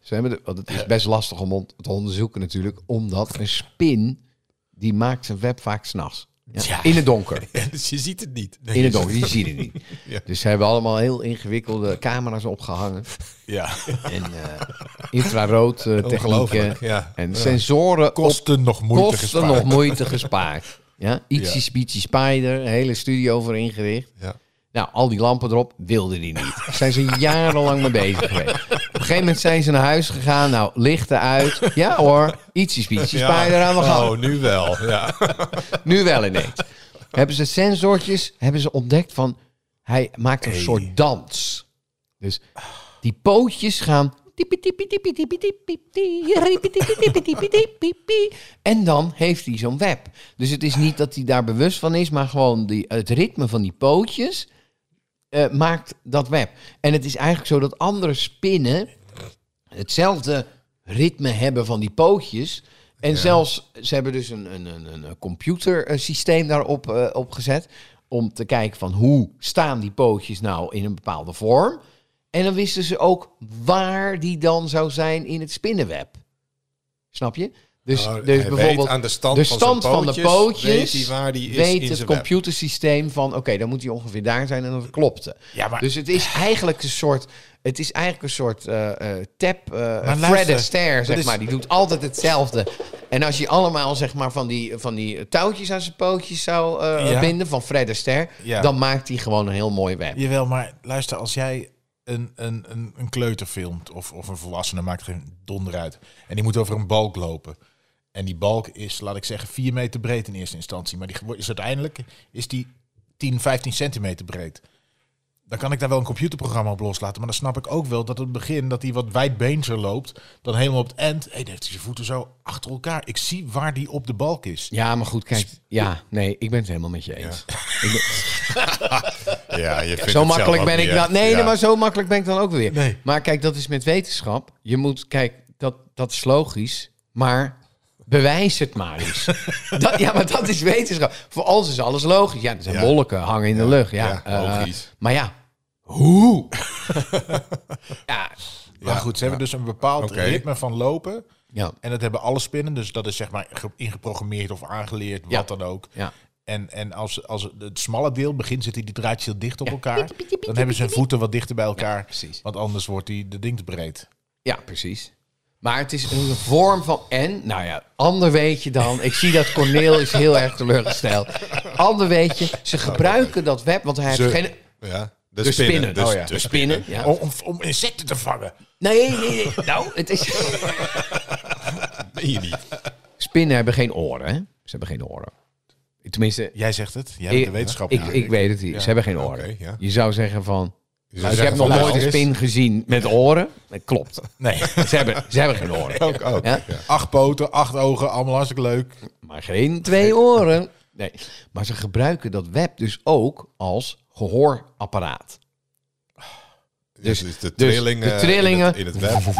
[SPEAKER 4] Ze hebben de, want het is best lastig om on- te onderzoeken natuurlijk, omdat een spin, die maakt zijn web vaak s'nachts. Ja,
[SPEAKER 3] Ja.
[SPEAKER 4] In het donker.
[SPEAKER 2] Dus je ziet het niet.
[SPEAKER 4] In het donker, die zien het niet.
[SPEAKER 2] Ja.
[SPEAKER 4] Dus ze hebben allemaal heel ingewikkelde camera's opgehangen.
[SPEAKER 3] Ja.
[SPEAKER 4] En eh, infrarood eh, technieken.
[SPEAKER 2] Ongelooflijk, ja.
[SPEAKER 4] En sensoren op
[SPEAKER 3] Kosten nog moeite
[SPEAKER 4] kosten
[SPEAKER 3] gespaard.
[SPEAKER 4] nog moeite gespaard. Ja, ietsje
[SPEAKER 3] Ja.
[SPEAKER 4] Speechy Spider, een hele studio voor ingericht.
[SPEAKER 2] Ja.
[SPEAKER 4] Nou, al die lampen erop wilden die niet. Daar zijn ze jarenlang mee bezig geweest. Op een gegeven moment zijn ze naar huis gegaan. Nou, lichten uit. Ja hoor, ietsje Speechy Spider aan de gang.
[SPEAKER 2] Oh, nu wel. Ja.
[SPEAKER 4] Nu wel ineens. Hebben ze sensortjes, hebben ze ontdekt van... Hij maakt een soort dans. Dus die pootjes gaan... En dan heeft hij zo'n web. Dus het is niet dat hij daar bewust van is, maar gewoon die, het ritme van die pootjes eh, maakt dat web. En het is eigenlijk zo dat andere spinnen hetzelfde ritme hebben van die pootjes. En zelfs, ze hebben dus een, een, een, een computersysteem daarop eh, opgezet. Om te kijken van hoe staan die pootjes nou in een bepaalde vorm. En dan wisten ze ook waar die dan zou zijn in het spinnenweb. Snap je? Dus,
[SPEAKER 2] Oh, hij
[SPEAKER 4] dus bijvoorbeeld
[SPEAKER 2] weet aan de stand van zijn
[SPEAKER 4] de
[SPEAKER 2] pootjes,
[SPEAKER 4] pootjes.
[SPEAKER 2] weet hij waar die is
[SPEAKER 4] weet
[SPEAKER 2] in
[SPEAKER 4] het
[SPEAKER 2] zijn web.
[SPEAKER 4] computersysteem van oké, dan moet hij ongeveer daar zijn en dat klopte.
[SPEAKER 3] Ja, maar-
[SPEAKER 4] dus het is eigenlijk een soort. Het is eigenlijk een soort eh, eh, tap. eh Fred
[SPEAKER 3] luister,
[SPEAKER 4] Astaire,
[SPEAKER 3] dat
[SPEAKER 4] zeg
[SPEAKER 3] is-
[SPEAKER 4] maar. Die doet altijd hetzelfde. En als je allemaal zeg maar, van, die, van die touwtjes aan zijn pootjes zou eh,
[SPEAKER 3] Ja.
[SPEAKER 4] binden van Fred Astaire...
[SPEAKER 3] Ja.
[SPEAKER 4] dan maakt hij gewoon een heel mooi web.
[SPEAKER 3] Jawel, maar luister, als jij een, een, een, een kleuter filmt of, of een volwassene maakt geen donder uit. En die moet over een balk lopen. En die balk is, laat ik zeggen, 4 meter breed in eerste instantie. Maar die wordt- is uiteindelijk is die 10, 15 centimeter breed. Dan kan ik daar wel een computerprogramma op loslaten. Maar dan snap ik ook wel dat het begin dat hij wat wijdbeenser loopt. Dan helemaal op het eind. Hey, dan heeft hij zijn voeten zo achter elkaar. Ik zie waar die op de balk is.
[SPEAKER 4] Ja, maar goed, kijk. Ja, nee, ik ben het helemaal met je eens. Ik ben-
[SPEAKER 2] Ja, je vindt
[SPEAKER 4] zo
[SPEAKER 2] het zelf
[SPEAKER 4] makkelijk
[SPEAKER 2] ook
[SPEAKER 4] ben
[SPEAKER 2] niet
[SPEAKER 4] ik
[SPEAKER 2] echt.
[SPEAKER 4] dan. Nee,
[SPEAKER 2] Ja.
[SPEAKER 4] nee, maar zo makkelijk ben ik dan ook weer.
[SPEAKER 3] Nee.
[SPEAKER 4] Maar kijk, dat is met wetenschap. Je moet, kijk, dat, dat is logisch. Maar bewijs het maar eens. dat, ja, maar dat is wetenschap. Voor ons is alles logisch. Ja, er zijn
[SPEAKER 2] Ja.
[SPEAKER 4] wolken hangen in de lucht. Ja,
[SPEAKER 2] ja,
[SPEAKER 4] eh,
[SPEAKER 2] logisch.
[SPEAKER 4] maar ja, hoe? ja,
[SPEAKER 3] maar goed, ze hebben dus een bepaald
[SPEAKER 2] Oké.
[SPEAKER 3] ritme van lopen.
[SPEAKER 4] ja,
[SPEAKER 3] En dat hebben alle spinnen, dus dat is zeg maar ge- ingeprogrammeerd of aangeleerd, wat
[SPEAKER 4] Ja.
[SPEAKER 3] dan ook.
[SPEAKER 4] ja.
[SPEAKER 3] En, en als, als het smalle deel begint, zitten die draadjes heel dicht op elkaar. Dan hebben zijn voeten wat dichter bij elkaar.
[SPEAKER 4] precies.
[SPEAKER 3] Want anders wordt die de ding te breed.
[SPEAKER 4] Ja, precies. Maar het is een vorm van... En, nou ja, ander weet je dan... Ik zie dat Corneel is heel erg teleurgesteld. Ander weet je, ze gebruiken dat web... Want hij heeft
[SPEAKER 2] Nou, Ze-
[SPEAKER 4] geen...
[SPEAKER 2] Ja, de,
[SPEAKER 4] De
[SPEAKER 2] spinnen.
[SPEAKER 4] spinnen.
[SPEAKER 2] Dus,
[SPEAKER 4] oh ja. De spinnen, ja.
[SPEAKER 3] Om, om insecten te vangen.
[SPEAKER 4] Nee, nee, nee. Nou, het is...
[SPEAKER 2] Meen je
[SPEAKER 4] Nou,
[SPEAKER 2] niet.
[SPEAKER 4] Spinnen hebben geen oren, hè? Ze hebben geen oren. Tenminste...
[SPEAKER 3] Jij zegt het, jij bent
[SPEAKER 4] Ik,
[SPEAKER 3] de
[SPEAKER 4] ik,
[SPEAKER 3] wetenschapper.
[SPEAKER 4] ik weet het niet. Ze hebben geen oren.
[SPEAKER 2] oké, ja. Dus
[SPEAKER 4] Je zou zeggen van...
[SPEAKER 2] Je
[SPEAKER 4] ik heb nog
[SPEAKER 2] nou,
[SPEAKER 4] nooit een spin gezien met oren. Dat klopt.
[SPEAKER 3] Nee,
[SPEAKER 4] Ze hebben, ze hebben geen oren.
[SPEAKER 2] Ook, ook.
[SPEAKER 4] Ja?
[SPEAKER 3] acht poten, acht ogen, allemaal hartstikke leuk.
[SPEAKER 4] Maar geen twee oren. Nee. Maar ze gebruiken dat web dus ook als gehoorapparaat.
[SPEAKER 2] Dus, de
[SPEAKER 4] dus
[SPEAKER 2] trillingen,
[SPEAKER 4] de trillingen.
[SPEAKER 2] in het, in het web.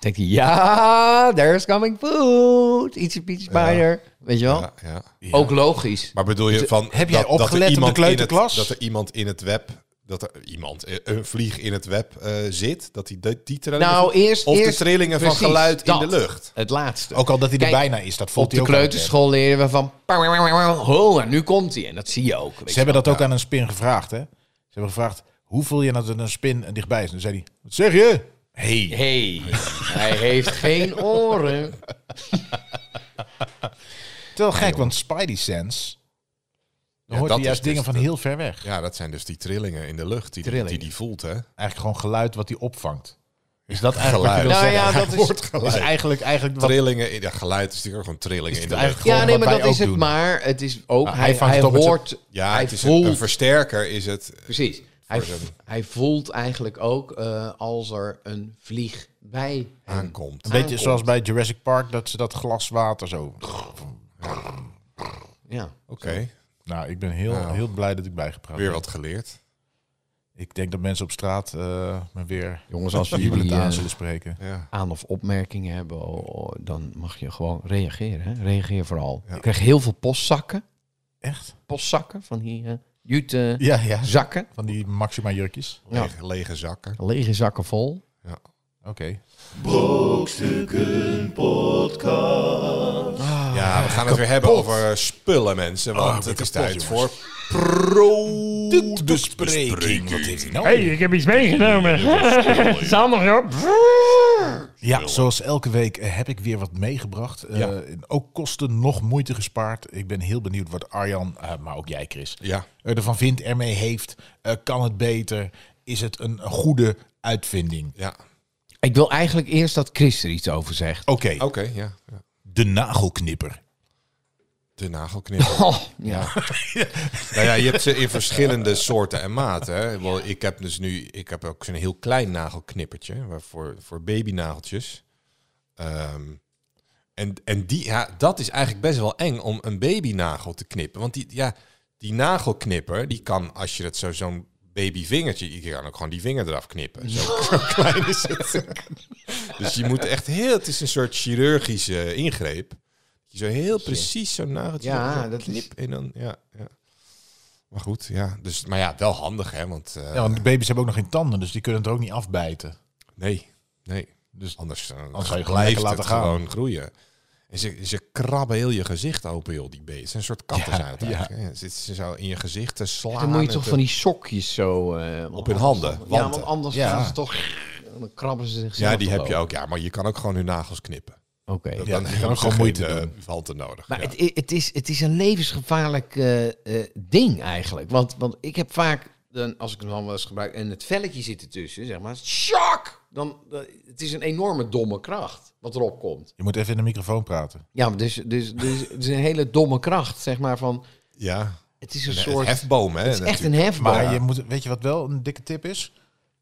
[SPEAKER 4] Denkt hij, ja, there's coming food. Ietsje Pietje Spider. Weet je wel?
[SPEAKER 2] Ja, ja.
[SPEAKER 4] Ook logisch.
[SPEAKER 2] Maar bedoel je van...
[SPEAKER 3] Dus, eh, heb jij opgelet op de
[SPEAKER 2] iemand in het-
[SPEAKER 3] kleuterklas?
[SPEAKER 2] Dat er iemand in het web... Dat er iemand, eh, een vlieg in het web eh, zit, dat die, die, die trillingen...
[SPEAKER 4] nou, eerst...
[SPEAKER 2] of
[SPEAKER 4] eerst,
[SPEAKER 2] de trillingen van
[SPEAKER 4] precies,
[SPEAKER 2] geluid in
[SPEAKER 4] dat.
[SPEAKER 2] de lucht.
[SPEAKER 4] Het laatste.
[SPEAKER 3] Ook al dat hij er
[SPEAKER 4] Kijk,
[SPEAKER 3] bijna is, dat
[SPEAKER 4] Op
[SPEAKER 3] voelt hij
[SPEAKER 4] de
[SPEAKER 3] ook aan het web.
[SPEAKER 4] kleuterschool leren we van... Oh, en nu komt hij. En dat zie je ook. weet
[SPEAKER 3] Ze
[SPEAKER 4] je
[SPEAKER 3] hebben dat ook aan een spin gevraagd, hè? Ze hebben gevraagd, hoe voel je nou dat een spin dichtbij is? En toen zei hij, wat zeg je? hey.
[SPEAKER 4] Hé, hey, hij heeft geen oren.
[SPEAKER 3] Het is wel gek, want Spidey Sense. Dan
[SPEAKER 2] Ja,
[SPEAKER 3] hoort
[SPEAKER 2] dat
[SPEAKER 3] hij juist
[SPEAKER 2] is dus
[SPEAKER 3] dingen van
[SPEAKER 2] dat-
[SPEAKER 3] heel ver weg.
[SPEAKER 2] Ja, dat zijn dus die trillingen in de lucht die die, die,
[SPEAKER 4] Trillingen.
[SPEAKER 2] die voelt, hè?
[SPEAKER 3] Eigenlijk gewoon geluid wat hij opvangt. Is dat eigenlijk wat je wil
[SPEAKER 4] Nou
[SPEAKER 3] zeggen?
[SPEAKER 4] ja, dat is,
[SPEAKER 3] is eigenlijk, eigenlijk wat,
[SPEAKER 2] Nou, Trillingen, in, ja, geluid is natuurlijk gewoon trillingen
[SPEAKER 3] Is
[SPEAKER 2] in
[SPEAKER 3] het
[SPEAKER 2] de lucht.
[SPEAKER 3] eigenlijk
[SPEAKER 4] ja, nee,
[SPEAKER 3] wat
[SPEAKER 4] maar
[SPEAKER 3] wij
[SPEAKER 4] dat is
[SPEAKER 3] ook
[SPEAKER 4] het.
[SPEAKER 3] doen.
[SPEAKER 4] Maar het is ook,
[SPEAKER 3] Ah, hij
[SPEAKER 4] Nou, hij, hij,
[SPEAKER 3] vangt het op met zijn-
[SPEAKER 4] hoort,
[SPEAKER 2] Ja,
[SPEAKER 4] hij
[SPEAKER 2] het is een,
[SPEAKER 4] voelt
[SPEAKER 2] een versterker is het.
[SPEAKER 4] Precies. Hij,
[SPEAKER 2] zo'n-
[SPEAKER 4] hij voelt eigenlijk ook eh, als er een vlieg bij hem
[SPEAKER 2] Aankomt.
[SPEAKER 3] een beetje
[SPEAKER 4] aankomt.
[SPEAKER 3] zoals bij Jurassic Park, dat ze dat glas water zo...
[SPEAKER 4] Ja.
[SPEAKER 2] Oké,
[SPEAKER 3] Nou, ik ben heel,
[SPEAKER 2] Nou.
[SPEAKER 3] heel blij dat ik bijgepraat
[SPEAKER 2] weer
[SPEAKER 3] ben.
[SPEAKER 2] wat geleerd.
[SPEAKER 3] Ik denk dat mensen op straat eh, me weer
[SPEAKER 4] Jongens, als jullie
[SPEAKER 3] jubelend
[SPEAKER 4] eh,
[SPEAKER 3] aan zullen spreken.
[SPEAKER 2] Ja.
[SPEAKER 4] aan- of opmerkingen hebben, oh, oh, dan mag je gewoon reageren. Hè? Reageer vooral.
[SPEAKER 2] Ja.
[SPEAKER 4] Ik krijg heel veel postzakken.
[SPEAKER 3] Echt?
[SPEAKER 4] Postzakken van die eh jute
[SPEAKER 3] Ja, ja.
[SPEAKER 4] zakken.
[SPEAKER 3] Van die Maxima jurkjes.
[SPEAKER 4] Ja.
[SPEAKER 2] Lege, lege zakken.
[SPEAKER 4] Lege zakken vol.
[SPEAKER 3] Oké. Ah,
[SPEAKER 2] Ja, we gaan het weer hebben over eh, spullen, mensen.
[SPEAKER 3] Oh,
[SPEAKER 2] Want
[SPEAKER 3] ik ben
[SPEAKER 2] het is
[SPEAKER 3] kapot,
[SPEAKER 2] tijd voor
[SPEAKER 3] jongens.
[SPEAKER 2] pro
[SPEAKER 3] De spreking. Wat heeft hij nou?
[SPEAKER 1] Hey, ik heb iets meegenomen. Sander, joh.
[SPEAKER 3] Ja, zoals elke week eh, heb ik weer wat meegebracht. Eh,
[SPEAKER 2] Ja.
[SPEAKER 3] Ook kosten, nog moeite gespaard. Ik ben heel benieuwd wat Arjan, eh, maar ook jij Chris,
[SPEAKER 2] Ja,
[SPEAKER 3] eh, ervan vindt, ermee heeft. Eh, kan het beter? Is het een goede uitvinding?
[SPEAKER 2] ja.
[SPEAKER 4] Ik wil eigenlijk eerst dat Chris er iets over zegt.
[SPEAKER 3] Oké,
[SPEAKER 2] Oké, ja. ja.
[SPEAKER 3] de nagelknipper.
[SPEAKER 2] De nagelknipper.
[SPEAKER 4] Oh, ja.
[SPEAKER 2] nou ja, je hebt ze in verschillende soorten en maten. Hè. Ik bedoel, Ik heb dus nu, ik heb ook zo'n heel klein nagelknippertje waar- voor, voor babynageltjes. Ehm, en en die, ja, dat is eigenlijk best wel eng om een babynagel te knippen. Want die, ja, die nagelknipper, die kan als je dat zo, zo'n babyvingertje, je kan ook gewoon die vinger eraf knippen. Zo, zo klein is het. dus je moet echt heel, het is een soort chirurgische ingreep. Je zo heel precies zo'n nageltje.
[SPEAKER 4] Ja,
[SPEAKER 2] zo
[SPEAKER 4] dat is-
[SPEAKER 2] knip en dan, ja, ja. Maar goed, ja. Dus, maar ja, wel handig, hè? Want, eh,
[SPEAKER 3] Ja, want de baby's hebben ook nog geen tanden, dus die kunnen het ook niet afbijten.
[SPEAKER 2] nee, nee.
[SPEAKER 3] Dus
[SPEAKER 2] Anders, dan
[SPEAKER 3] ga je gewoon
[SPEAKER 2] blijft
[SPEAKER 3] lekker laten
[SPEAKER 2] het
[SPEAKER 3] gaan.
[SPEAKER 2] gewoon groeien. En ze, ze krabben heel je gezicht open, joh, die beesten. Een soort katten
[SPEAKER 3] Ja,
[SPEAKER 2] zijn het
[SPEAKER 3] ja.
[SPEAKER 2] eigenlijk. hè. Zitten ze zo in je gezicht te slaan.
[SPEAKER 4] Dan moet je
[SPEAKER 2] en
[SPEAKER 4] toch
[SPEAKER 2] te-
[SPEAKER 4] van die sokjes zo... eh,
[SPEAKER 2] Op hun handen,
[SPEAKER 4] Ja,
[SPEAKER 2] wanten.
[SPEAKER 4] want anders
[SPEAKER 3] Ja.
[SPEAKER 4] gaan ze toch... Dan krabben ze zichzelf
[SPEAKER 2] Ja, die
[SPEAKER 4] toch
[SPEAKER 2] heb je
[SPEAKER 4] over.
[SPEAKER 2] ook. Ja, maar je kan ook gewoon hun nagels knippen.
[SPEAKER 4] Oké.
[SPEAKER 3] Ja,
[SPEAKER 2] dan
[SPEAKER 3] je
[SPEAKER 2] hebben
[SPEAKER 3] kan ook
[SPEAKER 2] ze
[SPEAKER 3] gewoon moeite
[SPEAKER 2] geen, eh,
[SPEAKER 3] doen.
[SPEAKER 2] wanten nodig.
[SPEAKER 4] Maar
[SPEAKER 2] ja.
[SPEAKER 4] het, i- het, is, het is een levensgevaarlijk eh, eh, ding eigenlijk. Want, want ik heb vaak, dan, als ik hem dan wel eens gebruik, en het velletje zit ertussen, zeg maar, shock! Dan, eh, het is een enorme domme kracht wat erop komt.
[SPEAKER 3] je moet even in de microfoon praten.
[SPEAKER 4] Ja, maar dus, dus, dus het is een hele domme kracht, zeg maar, van,
[SPEAKER 2] ja.
[SPEAKER 4] het is een
[SPEAKER 2] Een
[SPEAKER 4] soort, het
[SPEAKER 2] hefboom, hè?
[SPEAKER 4] is echt een hefboom.
[SPEAKER 3] Maar je moet, weet je wat wel een dikke tip is?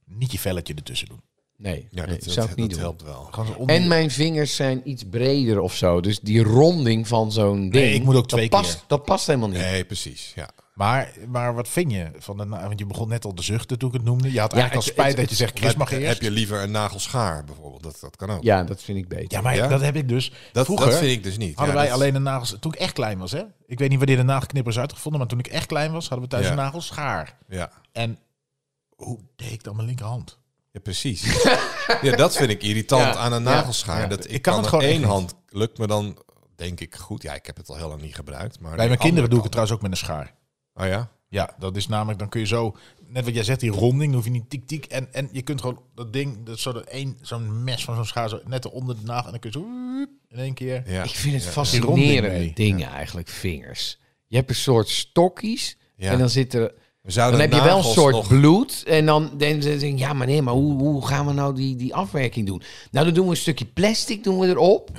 [SPEAKER 3] Niet je velletje ertussen doen.
[SPEAKER 4] nee,
[SPEAKER 2] Ja,
[SPEAKER 4] nee,
[SPEAKER 2] dat,
[SPEAKER 4] zou
[SPEAKER 2] dat,
[SPEAKER 4] ik niet
[SPEAKER 2] dat
[SPEAKER 4] doen.
[SPEAKER 2] helpt wel.
[SPEAKER 3] Gewoon zo onder
[SPEAKER 4] En mijn vingers zijn iets breder of zo. Dus die ronding van zo'n ding,
[SPEAKER 3] ik moet ook twee
[SPEAKER 4] dat,
[SPEAKER 3] keer.
[SPEAKER 4] past, dat past helemaal niet.
[SPEAKER 2] Nee, precies. Ja.
[SPEAKER 3] Maar, maar wat vind je van de na- Want je begon net al te zuchten toen ik het noemde. Je had
[SPEAKER 4] Ja,
[SPEAKER 3] eigenlijk
[SPEAKER 4] het-
[SPEAKER 3] al spijt
[SPEAKER 4] het-
[SPEAKER 3] dat je zegt, Chris
[SPEAKER 2] Maar
[SPEAKER 3] mag eerst.
[SPEAKER 2] Heb je liever een nagelschaar bijvoorbeeld? Dat, dat kan ook.
[SPEAKER 4] Ja, dat vind ik beter.
[SPEAKER 3] ja, maar
[SPEAKER 2] Ja?
[SPEAKER 3] dat heb ik dus.
[SPEAKER 2] dat,
[SPEAKER 3] Vroeger
[SPEAKER 2] dat vind ik dus niet.
[SPEAKER 3] hadden
[SPEAKER 2] Ja,
[SPEAKER 3] wij
[SPEAKER 2] dat-
[SPEAKER 3] alleen de nagels... Toen ik echt klein was, hè. Ik weet niet wanneer de nagelknipper is uitgevonden. Maar toen ik echt klein was, hadden we thuis
[SPEAKER 2] Ja.
[SPEAKER 3] een nagelschaar.
[SPEAKER 2] Ja.
[SPEAKER 3] En hoe deed ik dan mijn linkerhand?
[SPEAKER 2] Ja, precies. ja, dat vind ik irritant
[SPEAKER 4] Ja,
[SPEAKER 2] aan een
[SPEAKER 4] ja,
[SPEAKER 2] nagelschaar.
[SPEAKER 3] ja.
[SPEAKER 2] Dat, ik,
[SPEAKER 3] Ik kan
[SPEAKER 2] kan,
[SPEAKER 3] het
[SPEAKER 2] er
[SPEAKER 3] gewoon echt
[SPEAKER 2] één
[SPEAKER 3] niet.
[SPEAKER 2] hand lukt me dan, denk ik, goed. Ja, ik heb het al heel lang niet gebruikt. Maar
[SPEAKER 3] Bij
[SPEAKER 2] die
[SPEAKER 3] mijn kinderen doe ik
[SPEAKER 2] andere
[SPEAKER 3] het trouwens ook met een schaar.
[SPEAKER 2] kant- Oh ja?
[SPEAKER 3] Ja, dat is namelijk, dan kun je zo, net wat jij zegt, die ronding, dan hoef je niet tik tik. En, en je kunt gewoon dat ding, dat, zo dat één, zo'n mes van zo'n schaar, zo net eronder de nagel. En dan kun je zo woep, in één keer.
[SPEAKER 2] ja.
[SPEAKER 4] Ik vind het
[SPEAKER 3] die ronding
[SPEAKER 4] fascinerende
[SPEAKER 3] mee.
[SPEAKER 4] dingen eigenlijk, vingers. Je hebt een soort stokjes
[SPEAKER 2] Ja.
[SPEAKER 4] en dan zit er...
[SPEAKER 2] We zouden
[SPEAKER 4] Dan heb je wel een
[SPEAKER 2] nagels
[SPEAKER 4] soort
[SPEAKER 2] nog-
[SPEAKER 4] bloed en dan denk je, denk je, ja maar nee, maar hoe, hoe gaan we nou die, die afwerking doen? Nou, dan doen we een stukje plastic doen we erop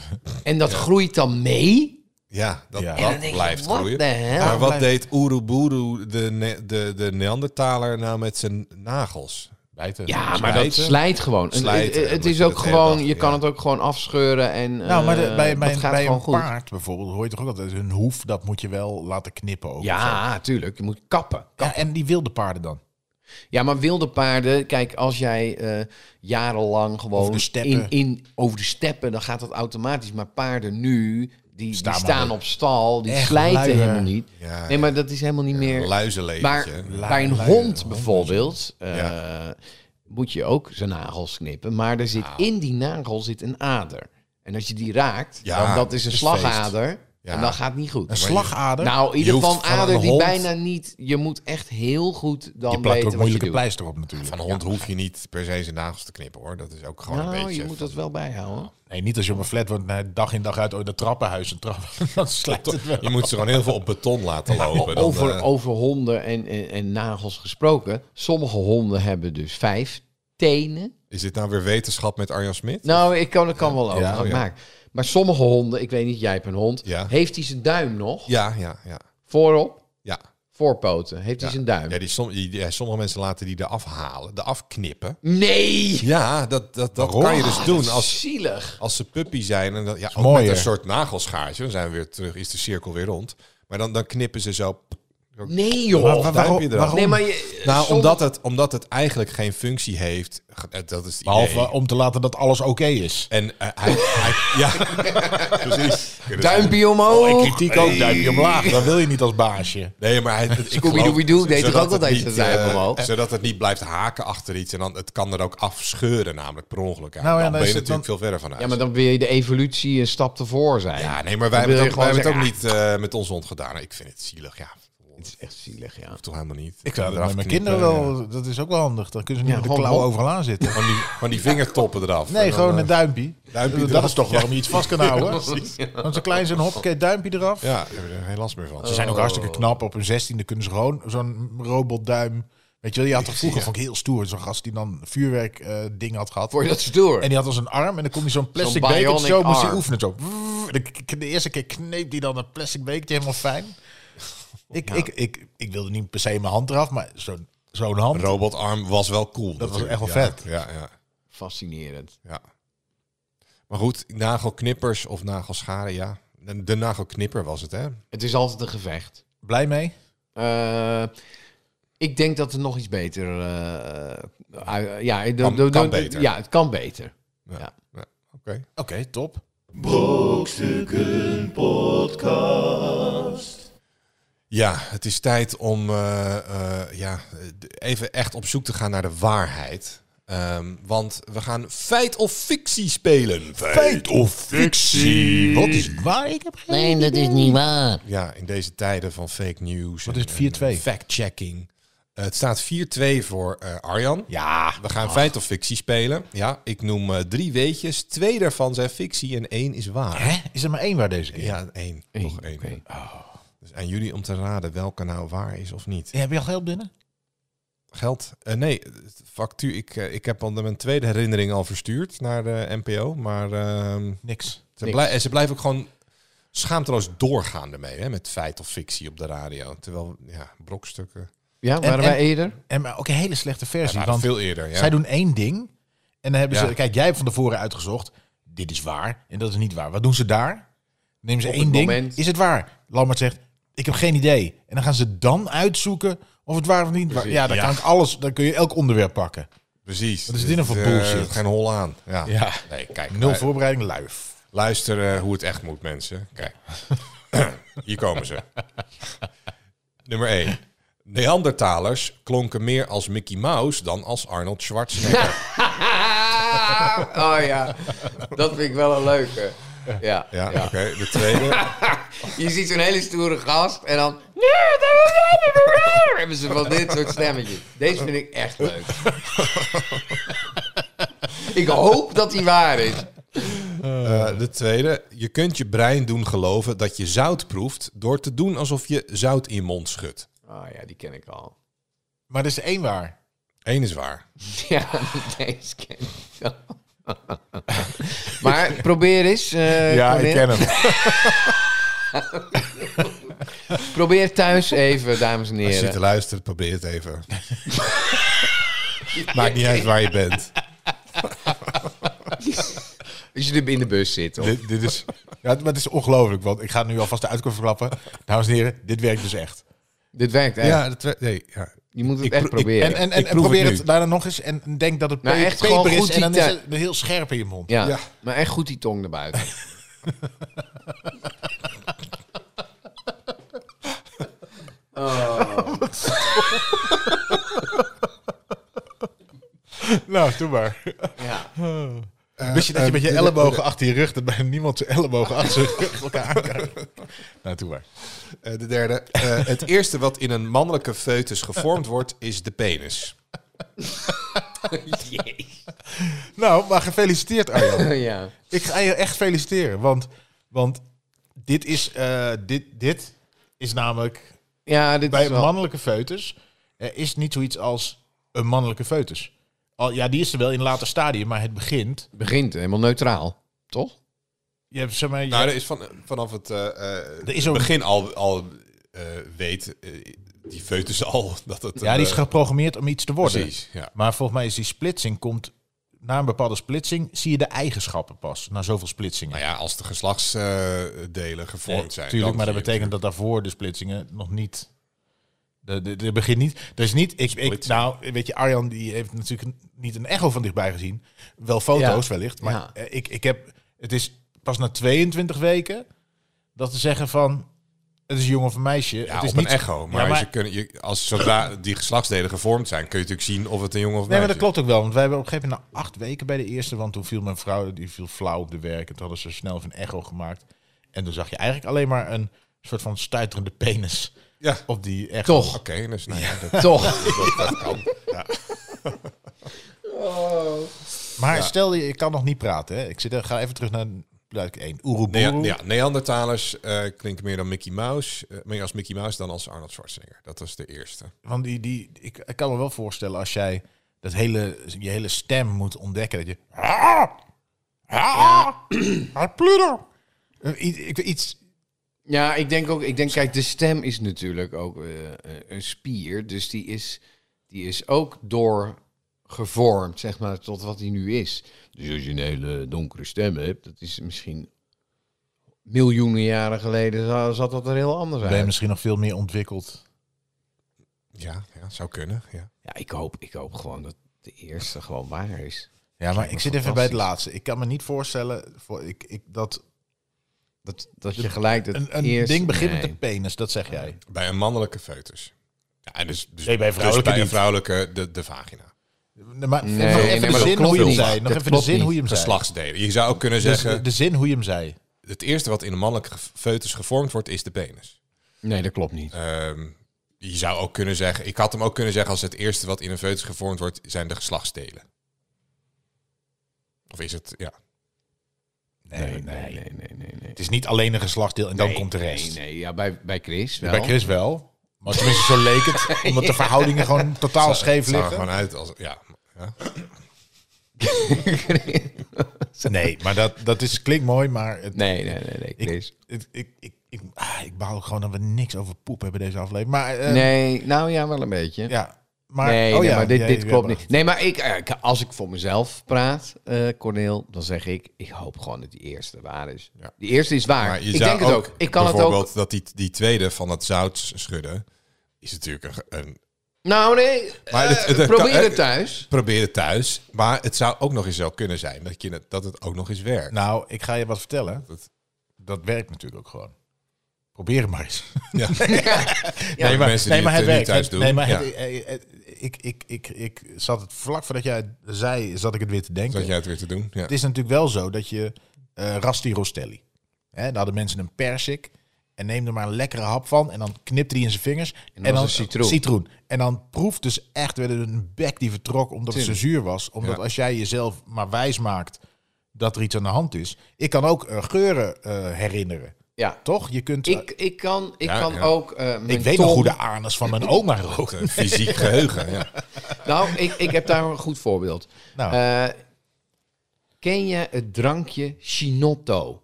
[SPEAKER 4] en dat groeit dan mee.
[SPEAKER 2] Ja, dat,
[SPEAKER 3] Ja.
[SPEAKER 2] dat
[SPEAKER 3] En
[SPEAKER 4] dan denk je,
[SPEAKER 2] blijft
[SPEAKER 4] what
[SPEAKER 2] groeien.
[SPEAKER 4] the hell?
[SPEAKER 2] Maar wat
[SPEAKER 3] Blijft-
[SPEAKER 2] deed Oeruburu, de, ne- de, de Neandertaler, nou met zijn nagels?
[SPEAKER 3] Bijten.
[SPEAKER 4] Ja,
[SPEAKER 2] Dus
[SPEAKER 4] maar dat
[SPEAKER 2] bijten?
[SPEAKER 4] slijt gewoon. Het-
[SPEAKER 2] Slijten,
[SPEAKER 4] het, het
[SPEAKER 2] omdat
[SPEAKER 4] is
[SPEAKER 2] eh, je
[SPEAKER 4] ook
[SPEAKER 2] dat de hele
[SPEAKER 4] gewoon,
[SPEAKER 2] dag-
[SPEAKER 4] je kan
[SPEAKER 2] ja.
[SPEAKER 4] het ook gewoon afscheuren en
[SPEAKER 3] Nou, maar de-
[SPEAKER 4] eh,
[SPEAKER 3] bij, bij,
[SPEAKER 4] dat gaat
[SPEAKER 3] bij
[SPEAKER 4] gewoon
[SPEAKER 3] een
[SPEAKER 4] goed.
[SPEAKER 3] paard bijvoorbeeld hoor je toch ook altijd hun hoef, dat moet je wel laten knippen ook. of zo.
[SPEAKER 4] Ja, tuurlijk. Je moet kappen.
[SPEAKER 3] Ja, en die wilde paarden dan?
[SPEAKER 4] Ja, maar wilde paarden, kijk, als jij eh, jarenlang gewoon
[SPEAKER 3] Over de steppen.
[SPEAKER 4] In, in, over de steppen, dan gaat dat automatisch. Maar paarden nu, die
[SPEAKER 3] Staan
[SPEAKER 4] staan, die
[SPEAKER 3] maar
[SPEAKER 4] staan
[SPEAKER 3] op.
[SPEAKER 4] op stal, die
[SPEAKER 3] Echt
[SPEAKER 4] slijten
[SPEAKER 3] luier.
[SPEAKER 4] helemaal niet.
[SPEAKER 2] Ja,
[SPEAKER 4] Nee, maar dat is helemaal niet meer. maar
[SPEAKER 2] luizenleventje.
[SPEAKER 4] bij een
[SPEAKER 3] luier,
[SPEAKER 4] hond
[SPEAKER 3] hond.
[SPEAKER 4] bijvoorbeeld, eh,
[SPEAKER 2] Ja.
[SPEAKER 4] moet je ook zijn nagels knippen. Maar er zit
[SPEAKER 3] Nou.
[SPEAKER 4] in die nagel zit een ader. En als je die raakt,
[SPEAKER 2] Ja,
[SPEAKER 4] dan dat is een
[SPEAKER 2] is
[SPEAKER 4] slagader.
[SPEAKER 2] Ja.
[SPEAKER 4] En dat gaat niet goed.
[SPEAKER 3] Een slagader?
[SPEAKER 4] Nou, in ieder
[SPEAKER 2] hoeft
[SPEAKER 4] geval een
[SPEAKER 2] van
[SPEAKER 4] ader
[SPEAKER 2] een
[SPEAKER 4] die
[SPEAKER 2] hond-
[SPEAKER 4] bijna niet... Je moet echt heel goed dan
[SPEAKER 3] je plakt
[SPEAKER 4] weten
[SPEAKER 3] ook
[SPEAKER 4] wat je
[SPEAKER 3] moeilijke
[SPEAKER 4] doet.
[SPEAKER 3] pleister op natuurlijk.
[SPEAKER 2] Van een hond hoef je niet per se zijn nagels te knippen, hoor. Dat is ook gewoon
[SPEAKER 4] nou,
[SPEAKER 2] een beetje...
[SPEAKER 4] je moet dat wel bijhouden.
[SPEAKER 3] Nee, niet als je op een flat woont, nee, dag in dag uit, oh, dat trappenhuis, een trap, dan slijt het wel.
[SPEAKER 2] Je moet ze gewoon heel veel op beton laten lopen. dan,
[SPEAKER 4] over,
[SPEAKER 2] eh,
[SPEAKER 4] over honden en, en, en nagels gesproken. Sommige honden hebben dus vijf tenen.
[SPEAKER 2] Is dit nou weer wetenschap met Arjan Smit?
[SPEAKER 4] Nou, ik kan, ik kan wel over
[SPEAKER 3] Ja,
[SPEAKER 4] gaan
[SPEAKER 2] oh ja.
[SPEAKER 4] maken. Maar sommige honden, ik weet niet, jij hebt een hond.
[SPEAKER 2] Ja.
[SPEAKER 4] Heeft hij zijn duim nog?
[SPEAKER 2] Ja, ja, ja.
[SPEAKER 4] Voorop?
[SPEAKER 2] Ja,
[SPEAKER 4] Voorpoten. Heeft hij zijn duim?
[SPEAKER 2] ja, die, som, die- die- ja, sommige mensen laten die eraf halen, eraf knippen.
[SPEAKER 4] Nee! Oh,
[SPEAKER 2] Ja, dat, dat, dat
[SPEAKER 3] Waarom?
[SPEAKER 2] kan je dus doen als,
[SPEAKER 4] Zielig.
[SPEAKER 2] als ze puppy zijn. En dat, ja, ook
[SPEAKER 3] mooier.
[SPEAKER 2] met een soort nagelschaartje. Dan zijn we weer terug, is de cirkel weer rond. Maar dan, dan knippen ze zo.
[SPEAKER 4] Nee, joh.
[SPEAKER 3] Maar wa- waarom-
[SPEAKER 2] duimpje eraf.
[SPEAKER 3] waarom?
[SPEAKER 4] nee, maar je,
[SPEAKER 2] Nou,
[SPEAKER 4] sommige-
[SPEAKER 2] omdat het, omdat het eigenlijk geen functie heeft. ge- eh, Dat is het
[SPEAKER 3] Behalve
[SPEAKER 2] idee.
[SPEAKER 3] om te laten dat alles oké is.
[SPEAKER 2] En eh, hij, hij- Ja, precies.
[SPEAKER 4] Duimpje omhoog.
[SPEAKER 2] Oh,
[SPEAKER 3] Kritiek ook, duimpje omlaag. Dat wil je niet als baasje.
[SPEAKER 2] Nee, maar hij, ik
[SPEAKER 4] Scooby-Dooby-Doo
[SPEAKER 2] geloof-
[SPEAKER 4] deed toch
[SPEAKER 2] zodat
[SPEAKER 4] ook altijd
[SPEAKER 2] het
[SPEAKER 4] zijn
[SPEAKER 2] niet,
[SPEAKER 4] duim
[SPEAKER 2] eh,
[SPEAKER 4] omhoog?
[SPEAKER 2] Zodat het niet blijft haken achter iets. En dan, het kan er ook afscheuren, namelijk per ongeluk.
[SPEAKER 3] ja,
[SPEAKER 2] Nou, dan,
[SPEAKER 3] dan
[SPEAKER 2] ben je
[SPEAKER 3] is het
[SPEAKER 2] natuurlijk veel verder van huis.
[SPEAKER 4] Ja, maar dan wil je de evolutie een stap tevoor zijn.
[SPEAKER 2] Ja, nee, maar wij
[SPEAKER 4] Dan
[SPEAKER 2] hebben
[SPEAKER 4] wil
[SPEAKER 2] het
[SPEAKER 4] je
[SPEAKER 2] ook, wij hebben het
[SPEAKER 4] gewoon
[SPEAKER 2] ook niet eh, met ons hond gedaan. Ik vind het zielig, ja.
[SPEAKER 4] Het is echt zielig, ja.
[SPEAKER 2] Of toch helemaal niet.
[SPEAKER 3] Ik zou eh, dat
[SPEAKER 2] Eraf
[SPEAKER 3] met mijn
[SPEAKER 2] knippen,
[SPEAKER 3] kinderen wel... Dat is ook wel handig. Dan kunnen ze niet
[SPEAKER 4] Ja,
[SPEAKER 3] met de
[SPEAKER 4] gewoon
[SPEAKER 3] klauw
[SPEAKER 4] hop.
[SPEAKER 3] overal aan zitten.
[SPEAKER 2] Van die, van die vingertoppen eraf. En
[SPEAKER 3] Nee,
[SPEAKER 2] dan,
[SPEAKER 3] gewoon
[SPEAKER 2] eh,
[SPEAKER 3] een duimpje.
[SPEAKER 2] duimpje
[SPEAKER 3] dat
[SPEAKER 2] eraf.
[SPEAKER 3] is toch waarom je iets vast kan houden.
[SPEAKER 2] precies.
[SPEAKER 3] Want zo klein zijn hop, oké, duimpje eraf.
[SPEAKER 2] Ja, daar heb je er geen last meer van.
[SPEAKER 3] Ze zijn ook hartstikke knap. Op hun zestiende kunnen ze gewoon zo'n robotduim... Weet je wel, je had toch vroeger, vond ik heel stoer, zo'n gast die dan vuurwerk eh, ding had gehad.
[SPEAKER 4] Voor je dat stoer.
[SPEAKER 3] En die had als een arm en dan kon hij zo'n plastic
[SPEAKER 4] Zo'n
[SPEAKER 3] bekertje, zo
[SPEAKER 4] bionic
[SPEAKER 3] moest hij
[SPEAKER 4] arm.
[SPEAKER 3] oefenen. Zo. En De, k- de eerste keer kneep hij dan een plastic bekertje helemaal fijn. Ik, ik, ik, ik wilde niet per se mijn hand eraf, maar zo'n zo'n hand.
[SPEAKER 2] Robotarm was wel cool.
[SPEAKER 3] Dat was
[SPEAKER 2] natuurlijk.
[SPEAKER 3] echt wel
[SPEAKER 2] Ja,
[SPEAKER 3] vet.
[SPEAKER 2] Ja, ja,
[SPEAKER 4] Fascinerend.
[SPEAKER 2] ja. Maar goed, nagelknippers of nagelscharen, ja. De, de nagelknipper was het, hè?
[SPEAKER 4] Het is altijd een gevecht.
[SPEAKER 3] Blij mee?
[SPEAKER 4] Eh, ik denk dat er nog iets beter... eh, eh, ja, ik-
[SPEAKER 2] Kan-
[SPEAKER 4] do- do-
[SPEAKER 2] kan
[SPEAKER 4] do-
[SPEAKER 2] beter.
[SPEAKER 4] Ja, het kan beter.
[SPEAKER 2] Ja, Oké.
[SPEAKER 3] Oké, top.
[SPEAKER 2] Ja, het is tijd om eh, eh, ja, d- even echt op zoek te gaan naar de waarheid. Ehm, want we gaan feit of fictie spelen.
[SPEAKER 3] Feit of fictie? Wat is waar? Ik heb geen...
[SPEAKER 5] Nee, dat is niet waar.
[SPEAKER 2] Ja, in deze tijden van fake news.
[SPEAKER 3] Wat
[SPEAKER 2] en-
[SPEAKER 3] is het? 4-2?
[SPEAKER 2] en Fact-checking. Eh, het staat 4-2 voor eh, Arjan.
[SPEAKER 3] Ja, Ah.
[SPEAKER 2] We gaan feit of fictie spelen. Ja, ik noem eh, drie weetjes. Twee daarvan zijn fictie en één is waar.
[SPEAKER 3] hè? Is er maar één waar deze keer?
[SPEAKER 2] Ja, één. Nog één.
[SPEAKER 4] Oké.
[SPEAKER 2] Dus aan jullie om te raden welke nou waar is of niet.
[SPEAKER 3] Heb je al geld binnen?
[SPEAKER 2] Geld? Eh, nee, factuur. Ik, eh, ik heb al mijn tweede herinnering al verstuurd naar de NPO. Maar ehm,
[SPEAKER 3] Niks.
[SPEAKER 2] ze,
[SPEAKER 4] Niks.
[SPEAKER 2] blij- en ze blijven ook gewoon schaamteloos doorgaan ermee. Hè, met feit of fictie op de radio. Terwijl, ja, brokstukken.
[SPEAKER 4] Ja, waren
[SPEAKER 3] en-
[SPEAKER 4] wij eerder?
[SPEAKER 3] En maar ook een hele slechte versie.
[SPEAKER 2] Ja, nou,
[SPEAKER 3] want
[SPEAKER 2] veel eerder. Ja.
[SPEAKER 3] zij doen één ding. En dan hebben ze...
[SPEAKER 2] Ja.
[SPEAKER 3] Kijk, jij hebt van tevoren uitgezocht. Dit is waar. En dat is niet waar. Wat doen ze daar? Nemen ze
[SPEAKER 4] Op
[SPEAKER 3] één
[SPEAKER 4] het
[SPEAKER 3] ding.
[SPEAKER 4] moment.
[SPEAKER 3] Is het waar? Lammert zegt, ik heb geen idee. En dan gaan ze dan uitzoeken of het waar of niet waar.
[SPEAKER 4] Precies.
[SPEAKER 3] Ja, dan
[SPEAKER 2] Ja.
[SPEAKER 3] kan ik alles... Dan kun je elk onderwerp pakken.
[SPEAKER 2] Precies.
[SPEAKER 3] Wat is dit nou voor
[SPEAKER 2] eh,
[SPEAKER 3] bullshit?
[SPEAKER 2] Geen hol aan. Ja.
[SPEAKER 3] Ja.
[SPEAKER 2] Nee, kijk.
[SPEAKER 3] Nul
[SPEAKER 2] lu-
[SPEAKER 3] voorbereiding, luif.
[SPEAKER 2] Luister eh, hoe het echt moet, mensen. Kijk. Hier komen ze. Nummer 1. Neandertalers klonken meer als Mickey Mouse dan als Arnold Schwarzenegger.
[SPEAKER 4] oh ja, dat vind ik wel een leuke. Ja,
[SPEAKER 2] Ja,
[SPEAKER 4] ja.
[SPEAKER 2] oké. De tweede.
[SPEAKER 4] Je ziet zo'n hele stoere gast en dan... Dan hebben ze van dit soort stemmetjes. Deze vind ik echt leuk. ik hoop dat die waar is.
[SPEAKER 2] Eh, de tweede. Je kunt je brein doen geloven dat je zout proeft door te doen alsof je zout in je mond schudt.
[SPEAKER 4] Oh ja, die ken ik al.
[SPEAKER 3] Maar er is één waar.
[SPEAKER 2] Eén is waar.
[SPEAKER 4] Ja, deze ken ik al. maar probeer eens. eh, probeer,
[SPEAKER 3] hem.
[SPEAKER 4] probeer thuis even, dames en
[SPEAKER 2] Als je zit te
[SPEAKER 4] heren.
[SPEAKER 2] luisteren, probeer het even. Maakt niet uit waar je bent.
[SPEAKER 4] Als je in de bus zit. Of
[SPEAKER 3] dit, dit is... Ja, maar het is ongelooflijk, want ik ga nu alvast de uitkomst verklappen. Dames en heren, dit werkt dus echt.
[SPEAKER 4] Dit werkt
[SPEAKER 3] Eh,
[SPEAKER 4] echt.
[SPEAKER 2] Ja, de twee, nee, ja.
[SPEAKER 4] Je moet het
[SPEAKER 2] Ik
[SPEAKER 4] echt
[SPEAKER 2] pro- ik-
[SPEAKER 4] proberen.
[SPEAKER 3] En, en,
[SPEAKER 2] Ik
[SPEAKER 3] en, en
[SPEAKER 2] proef
[SPEAKER 3] probeer
[SPEAKER 2] het
[SPEAKER 3] het,
[SPEAKER 2] nu.
[SPEAKER 3] daarna nog eens en en denk dat het
[SPEAKER 4] Nou,
[SPEAKER 3] pe-
[SPEAKER 4] echt gewoon
[SPEAKER 3] peper is
[SPEAKER 4] goed
[SPEAKER 3] en dan
[SPEAKER 4] die
[SPEAKER 3] is
[SPEAKER 4] tui-
[SPEAKER 3] het heel scherp in je mond.
[SPEAKER 4] ja,
[SPEAKER 2] ja.
[SPEAKER 4] maar echt goed die tong naar buiten. Oh,
[SPEAKER 3] Nou, doe maar.
[SPEAKER 4] ja.
[SPEAKER 3] Wist
[SPEAKER 2] Eh,
[SPEAKER 3] je dat je met je ellebogen achter je rug, dat bij niemand zijn ellebogen achter zijn rug elkaar aankijkt? Nou, doe maar.
[SPEAKER 2] Eh, de derde. Eh, het eerste wat in een mannelijke foetus gevormd wordt, is de penis.
[SPEAKER 3] Nou, maar gefeliciteerd Arjan.
[SPEAKER 4] ja.
[SPEAKER 3] Ik ga je echt feliciteren, want, want dit, is, eh, dit, dit is namelijk...
[SPEAKER 4] Ja, dit
[SPEAKER 3] Bij
[SPEAKER 4] is wel...
[SPEAKER 3] mannelijke foetus er is niet zoiets als een mannelijke foetus. Al, ja, die is er wel in een later stadium, maar het begint.
[SPEAKER 4] Begint helemaal neutraal, toch?
[SPEAKER 3] Je hebt, zeg maar, je-
[SPEAKER 2] Nou, er is van, vanaf het eh, eh,
[SPEAKER 3] is ook-
[SPEAKER 2] begin al, al eh, weet eh, die foetus al dat het...
[SPEAKER 3] ja, die is
[SPEAKER 2] eh,
[SPEAKER 3] geprogrammeerd om iets te worden.
[SPEAKER 2] Precies, ja.
[SPEAKER 3] Maar volgens mij is die splitsing komt na een bepaalde splitsing zie je de eigenschappen pas na zoveel splitsingen.
[SPEAKER 2] Nou ja, als de geslachtsdelen gevormd
[SPEAKER 3] Nee,
[SPEAKER 2] zijn.
[SPEAKER 3] Tuurlijk,
[SPEAKER 2] dan
[SPEAKER 3] maar dat
[SPEAKER 2] zie je
[SPEAKER 3] betekent dat daarvoor de splitsingen nog niet. De, de, de begint niet. Dus niet. Ik, ik,
[SPEAKER 2] Splitsing.
[SPEAKER 3] nou, weet je, Arjan die heeft natuurlijk niet een echo van dichtbij gezien. Wel foto's
[SPEAKER 4] Ja.
[SPEAKER 3] wellicht. Maar
[SPEAKER 4] Ja.
[SPEAKER 3] eh, ik, ik heb. Het is pas na 22 weken dat te zeggen van. Het is een jongen of een meisje.
[SPEAKER 2] Ja,
[SPEAKER 3] het is
[SPEAKER 2] op
[SPEAKER 3] niet
[SPEAKER 2] een echo. Maar,
[SPEAKER 3] Ja, maar-
[SPEAKER 2] Ze kunnen, je, als zodra die geslachtsdelen gevormd zijn, kun je natuurlijk zien of het een jongen of een
[SPEAKER 3] Nee, maar dat
[SPEAKER 2] meisje is.
[SPEAKER 3] klopt ook wel. Want wij hebben op een gegeven moment na acht weken bij de eerste. Want toen viel mijn vrouw die viel flauw op de werk. En toen hadden ze snel even een echo gemaakt. En toen zag je eigenlijk alleen maar een soort van stuiterende penis
[SPEAKER 2] Ja,
[SPEAKER 3] op die echo.
[SPEAKER 4] Toch?
[SPEAKER 2] oké. dus nou ja, dat,
[SPEAKER 4] Toch?
[SPEAKER 2] dat, dat kan. Ja.
[SPEAKER 3] Maar stel je, ik kan nog niet praten. Hè? Ik zit, er- ga even terug naar luik 1. Oeroboeroe.
[SPEAKER 2] Nea- ja, Neandertalers eh, klinken meer dan Mickey Mouse. eh, meer als Mickey Mouse dan als Arnold Schwarzenegger. Dat was de eerste.
[SPEAKER 3] Want die, die, ik, ik kan me wel voorstellen als jij dat hele, je hele stem moet ontdekken. Dat je... Ah! Ah! Ah, Pluto! Eh, i- ik- Iets...
[SPEAKER 4] Ja, ik denk ook. Ik denk, kijk, de stem is natuurlijk ook eh, eh, een spier. Dus die is, die is ook doorgevormd, zeg maar, tot wat die nu is. Dus als je een hele donkere stem hebt, dat is misschien miljoenen jaren geleden za- zat dat er heel anders
[SPEAKER 3] Ben je
[SPEAKER 4] uit.
[SPEAKER 3] misschien nog veel meer ontwikkeld?
[SPEAKER 2] Ja, ja zou kunnen. Ja.
[SPEAKER 4] Ja, ik hoop, ik hoop gewoon dat de eerste gewoon waar is.
[SPEAKER 3] Ja, maar ik zit even bij het
[SPEAKER 4] fantastisch.
[SPEAKER 3] laatste. Ik kan me niet voorstellen voor, ik, ik, dat
[SPEAKER 4] Dat, dat je gelijk dat
[SPEAKER 3] een, een
[SPEAKER 4] eerste-
[SPEAKER 3] ding begint met
[SPEAKER 4] nee.
[SPEAKER 3] een penis. Dat zeg jij.
[SPEAKER 2] Bij een mannelijke foetus. Ja, en dus, dus,
[SPEAKER 3] Nee, bij
[SPEAKER 2] dus
[SPEAKER 3] vrouwelijke
[SPEAKER 2] bij een
[SPEAKER 3] niet.
[SPEAKER 2] vrouwelijke de, de vagina.
[SPEAKER 3] Nee, maar
[SPEAKER 4] Nee,
[SPEAKER 3] nog
[SPEAKER 4] nee,
[SPEAKER 3] even
[SPEAKER 4] maar
[SPEAKER 3] de
[SPEAKER 4] dat
[SPEAKER 3] zin
[SPEAKER 4] klopt
[SPEAKER 3] hoe je hem
[SPEAKER 4] niet.
[SPEAKER 3] zei. Nog
[SPEAKER 4] Dat
[SPEAKER 3] even de
[SPEAKER 4] klopt
[SPEAKER 3] zin
[SPEAKER 4] niet.
[SPEAKER 3] hoe je hem zei.
[SPEAKER 2] Geslachtsdelen. Je zou ook kunnen
[SPEAKER 3] Dus
[SPEAKER 2] zeggen,
[SPEAKER 3] de, de zin hoe je hem zei.
[SPEAKER 2] het eerste wat in een mannelijke ge- foetus gevormd wordt, is de penis.
[SPEAKER 4] Nee, dat klopt
[SPEAKER 3] Eh,
[SPEAKER 4] niet.
[SPEAKER 2] Ehm, je zou ook kunnen zeggen, ik had hem ook kunnen zeggen als het eerste wat in een foetus gevormd wordt, zijn de geslachtsdelen. Of is het, ja.
[SPEAKER 4] Nee, nee, nee, nee, nee. nee.
[SPEAKER 3] Het is niet alleen een geslachtsdeel en dan komt de rest.
[SPEAKER 4] Nee, nee, ja, bij, bij Chris wel.
[SPEAKER 3] Bij Chris wel. Maar tenminste, zo leek het. Omdat de verhoudingen gewoon totaal scheef
[SPEAKER 2] Het zag er
[SPEAKER 3] liggen.
[SPEAKER 2] gewoon uit als, ja. ja.
[SPEAKER 3] Nee, maar dat, dat is, klinkt mooi, maar... Het,
[SPEAKER 4] Nee, nee, nee, nee, Chris.
[SPEAKER 3] ik, het- ik, ik, ik, ah, ik baal gewoon dat we niks over poep hebben deze aflevering. Maar, eh,
[SPEAKER 4] Nee, nou ja, wel een beetje.
[SPEAKER 3] Ja, maar,
[SPEAKER 4] nee,
[SPEAKER 3] oh
[SPEAKER 4] nee,
[SPEAKER 3] ja,
[SPEAKER 4] maar dit,
[SPEAKER 3] jij-
[SPEAKER 4] dit
[SPEAKER 3] jij
[SPEAKER 4] klopt
[SPEAKER 3] mag.
[SPEAKER 4] niet. Nee, maar ik, eh, als ik voor mezelf praat, eh Corneel, dan zeg ik, ik hoop gewoon dat die eerste waar is.
[SPEAKER 2] Ja.
[SPEAKER 4] Die eerste is waar.
[SPEAKER 2] Maar je
[SPEAKER 4] ik
[SPEAKER 2] zou
[SPEAKER 4] denk het ook. Ik kan het
[SPEAKER 2] bijvoorbeeld
[SPEAKER 4] ook.
[SPEAKER 2] dat die, die tweede van het zout schudden, is natuurlijk een, ge- een
[SPEAKER 4] Nou nee,
[SPEAKER 2] Maar
[SPEAKER 4] eh,
[SPEAKER 2] het- het- het-
[SPEAKER 4] probeer
[SPEAKER 2] eh,
[SPEAKER 4] het thuis.
[SPEAKER 2] probeer het thuis. Maar het zou ook nog eens wel kunnen zijn dat, je, het- dat het ook nog eens werkt.
[SPEAKER 3] Nou, ik ga je wat vertellen.
[SPEAKER 2] Dat-
[SPEAKER 3] Dat werkt natuurlijk ook gewoon. Probeer het maar eens.
[SPEAKER 2] ja.
[SPEAKER 3] nee, maar,
[SPEAKER 2] mensen
[SPEAKER 3] nee,
[SPEAKER 2] die
[SPEAKER 3] maar het
[SPEAKER 2] het, eh,
[SPEAKER 3] werkt.
[SPEAKER 2] niet thuis
[SPEAKER 3] Het-
[SPEAKER 2] doen.
[SPEAKER 3] Nee, maar het-
[SPEAKER 2] Ja.
[SPEAKER 3] eh, eh, ik, ik, ik, ik zat het vlak voordat jij het zei, zat ik het weer te denken.
[SPEAKER 2] Dat jij het weer te doen. Ja.
[SPEAKER 3] Het is natuurlijk wel zo dat je eh Rasti Rostelli. Hè, daar hadden mensen een persik. En neem er maar een lekkere hap van. En dan knipte die in zijn vingers. En,
[SPEAKER 4] dan was
[SPEAKER 3] dan
[SPEAKER 4] het citroen.
[SPEAKER 3] En dan proeft dus echt weer een bek die vertrok omdat het zo zuur was. Omdat
[SPEAKER 2] Ja.
[SPEAKER 3] als jij jezelf maar wijs maakt dat er iets aan de hand is. Ik kan ook eh, geuren eh, herinneren.
[SPEAKER 4] Ja.
[SPEAKER 3] Toch? Je kunt. eh,
[SPEAKER 4] Ik, ik kan, ik
[SPEAKER 2] Ja,
[SPEAKER 4] kan
[SPEAKER 2] ja.
[SPEAKER 4] ook. eh, mijn
[SPEAKER 3] ik weet
[SPEAKER 4] tong-
[SPEAKER 3] nog hoe de anus van mijn oma rook.
[SPEAKER 2] Eh, Fysiek geheugen, ja.
[SPEAKER 4] Nou, ik, ik heb daar een goed voorbeeld.
[SPEAKER 3] Nou.
[SPEAKER 4] Eh, ken je het drankje Chinotto?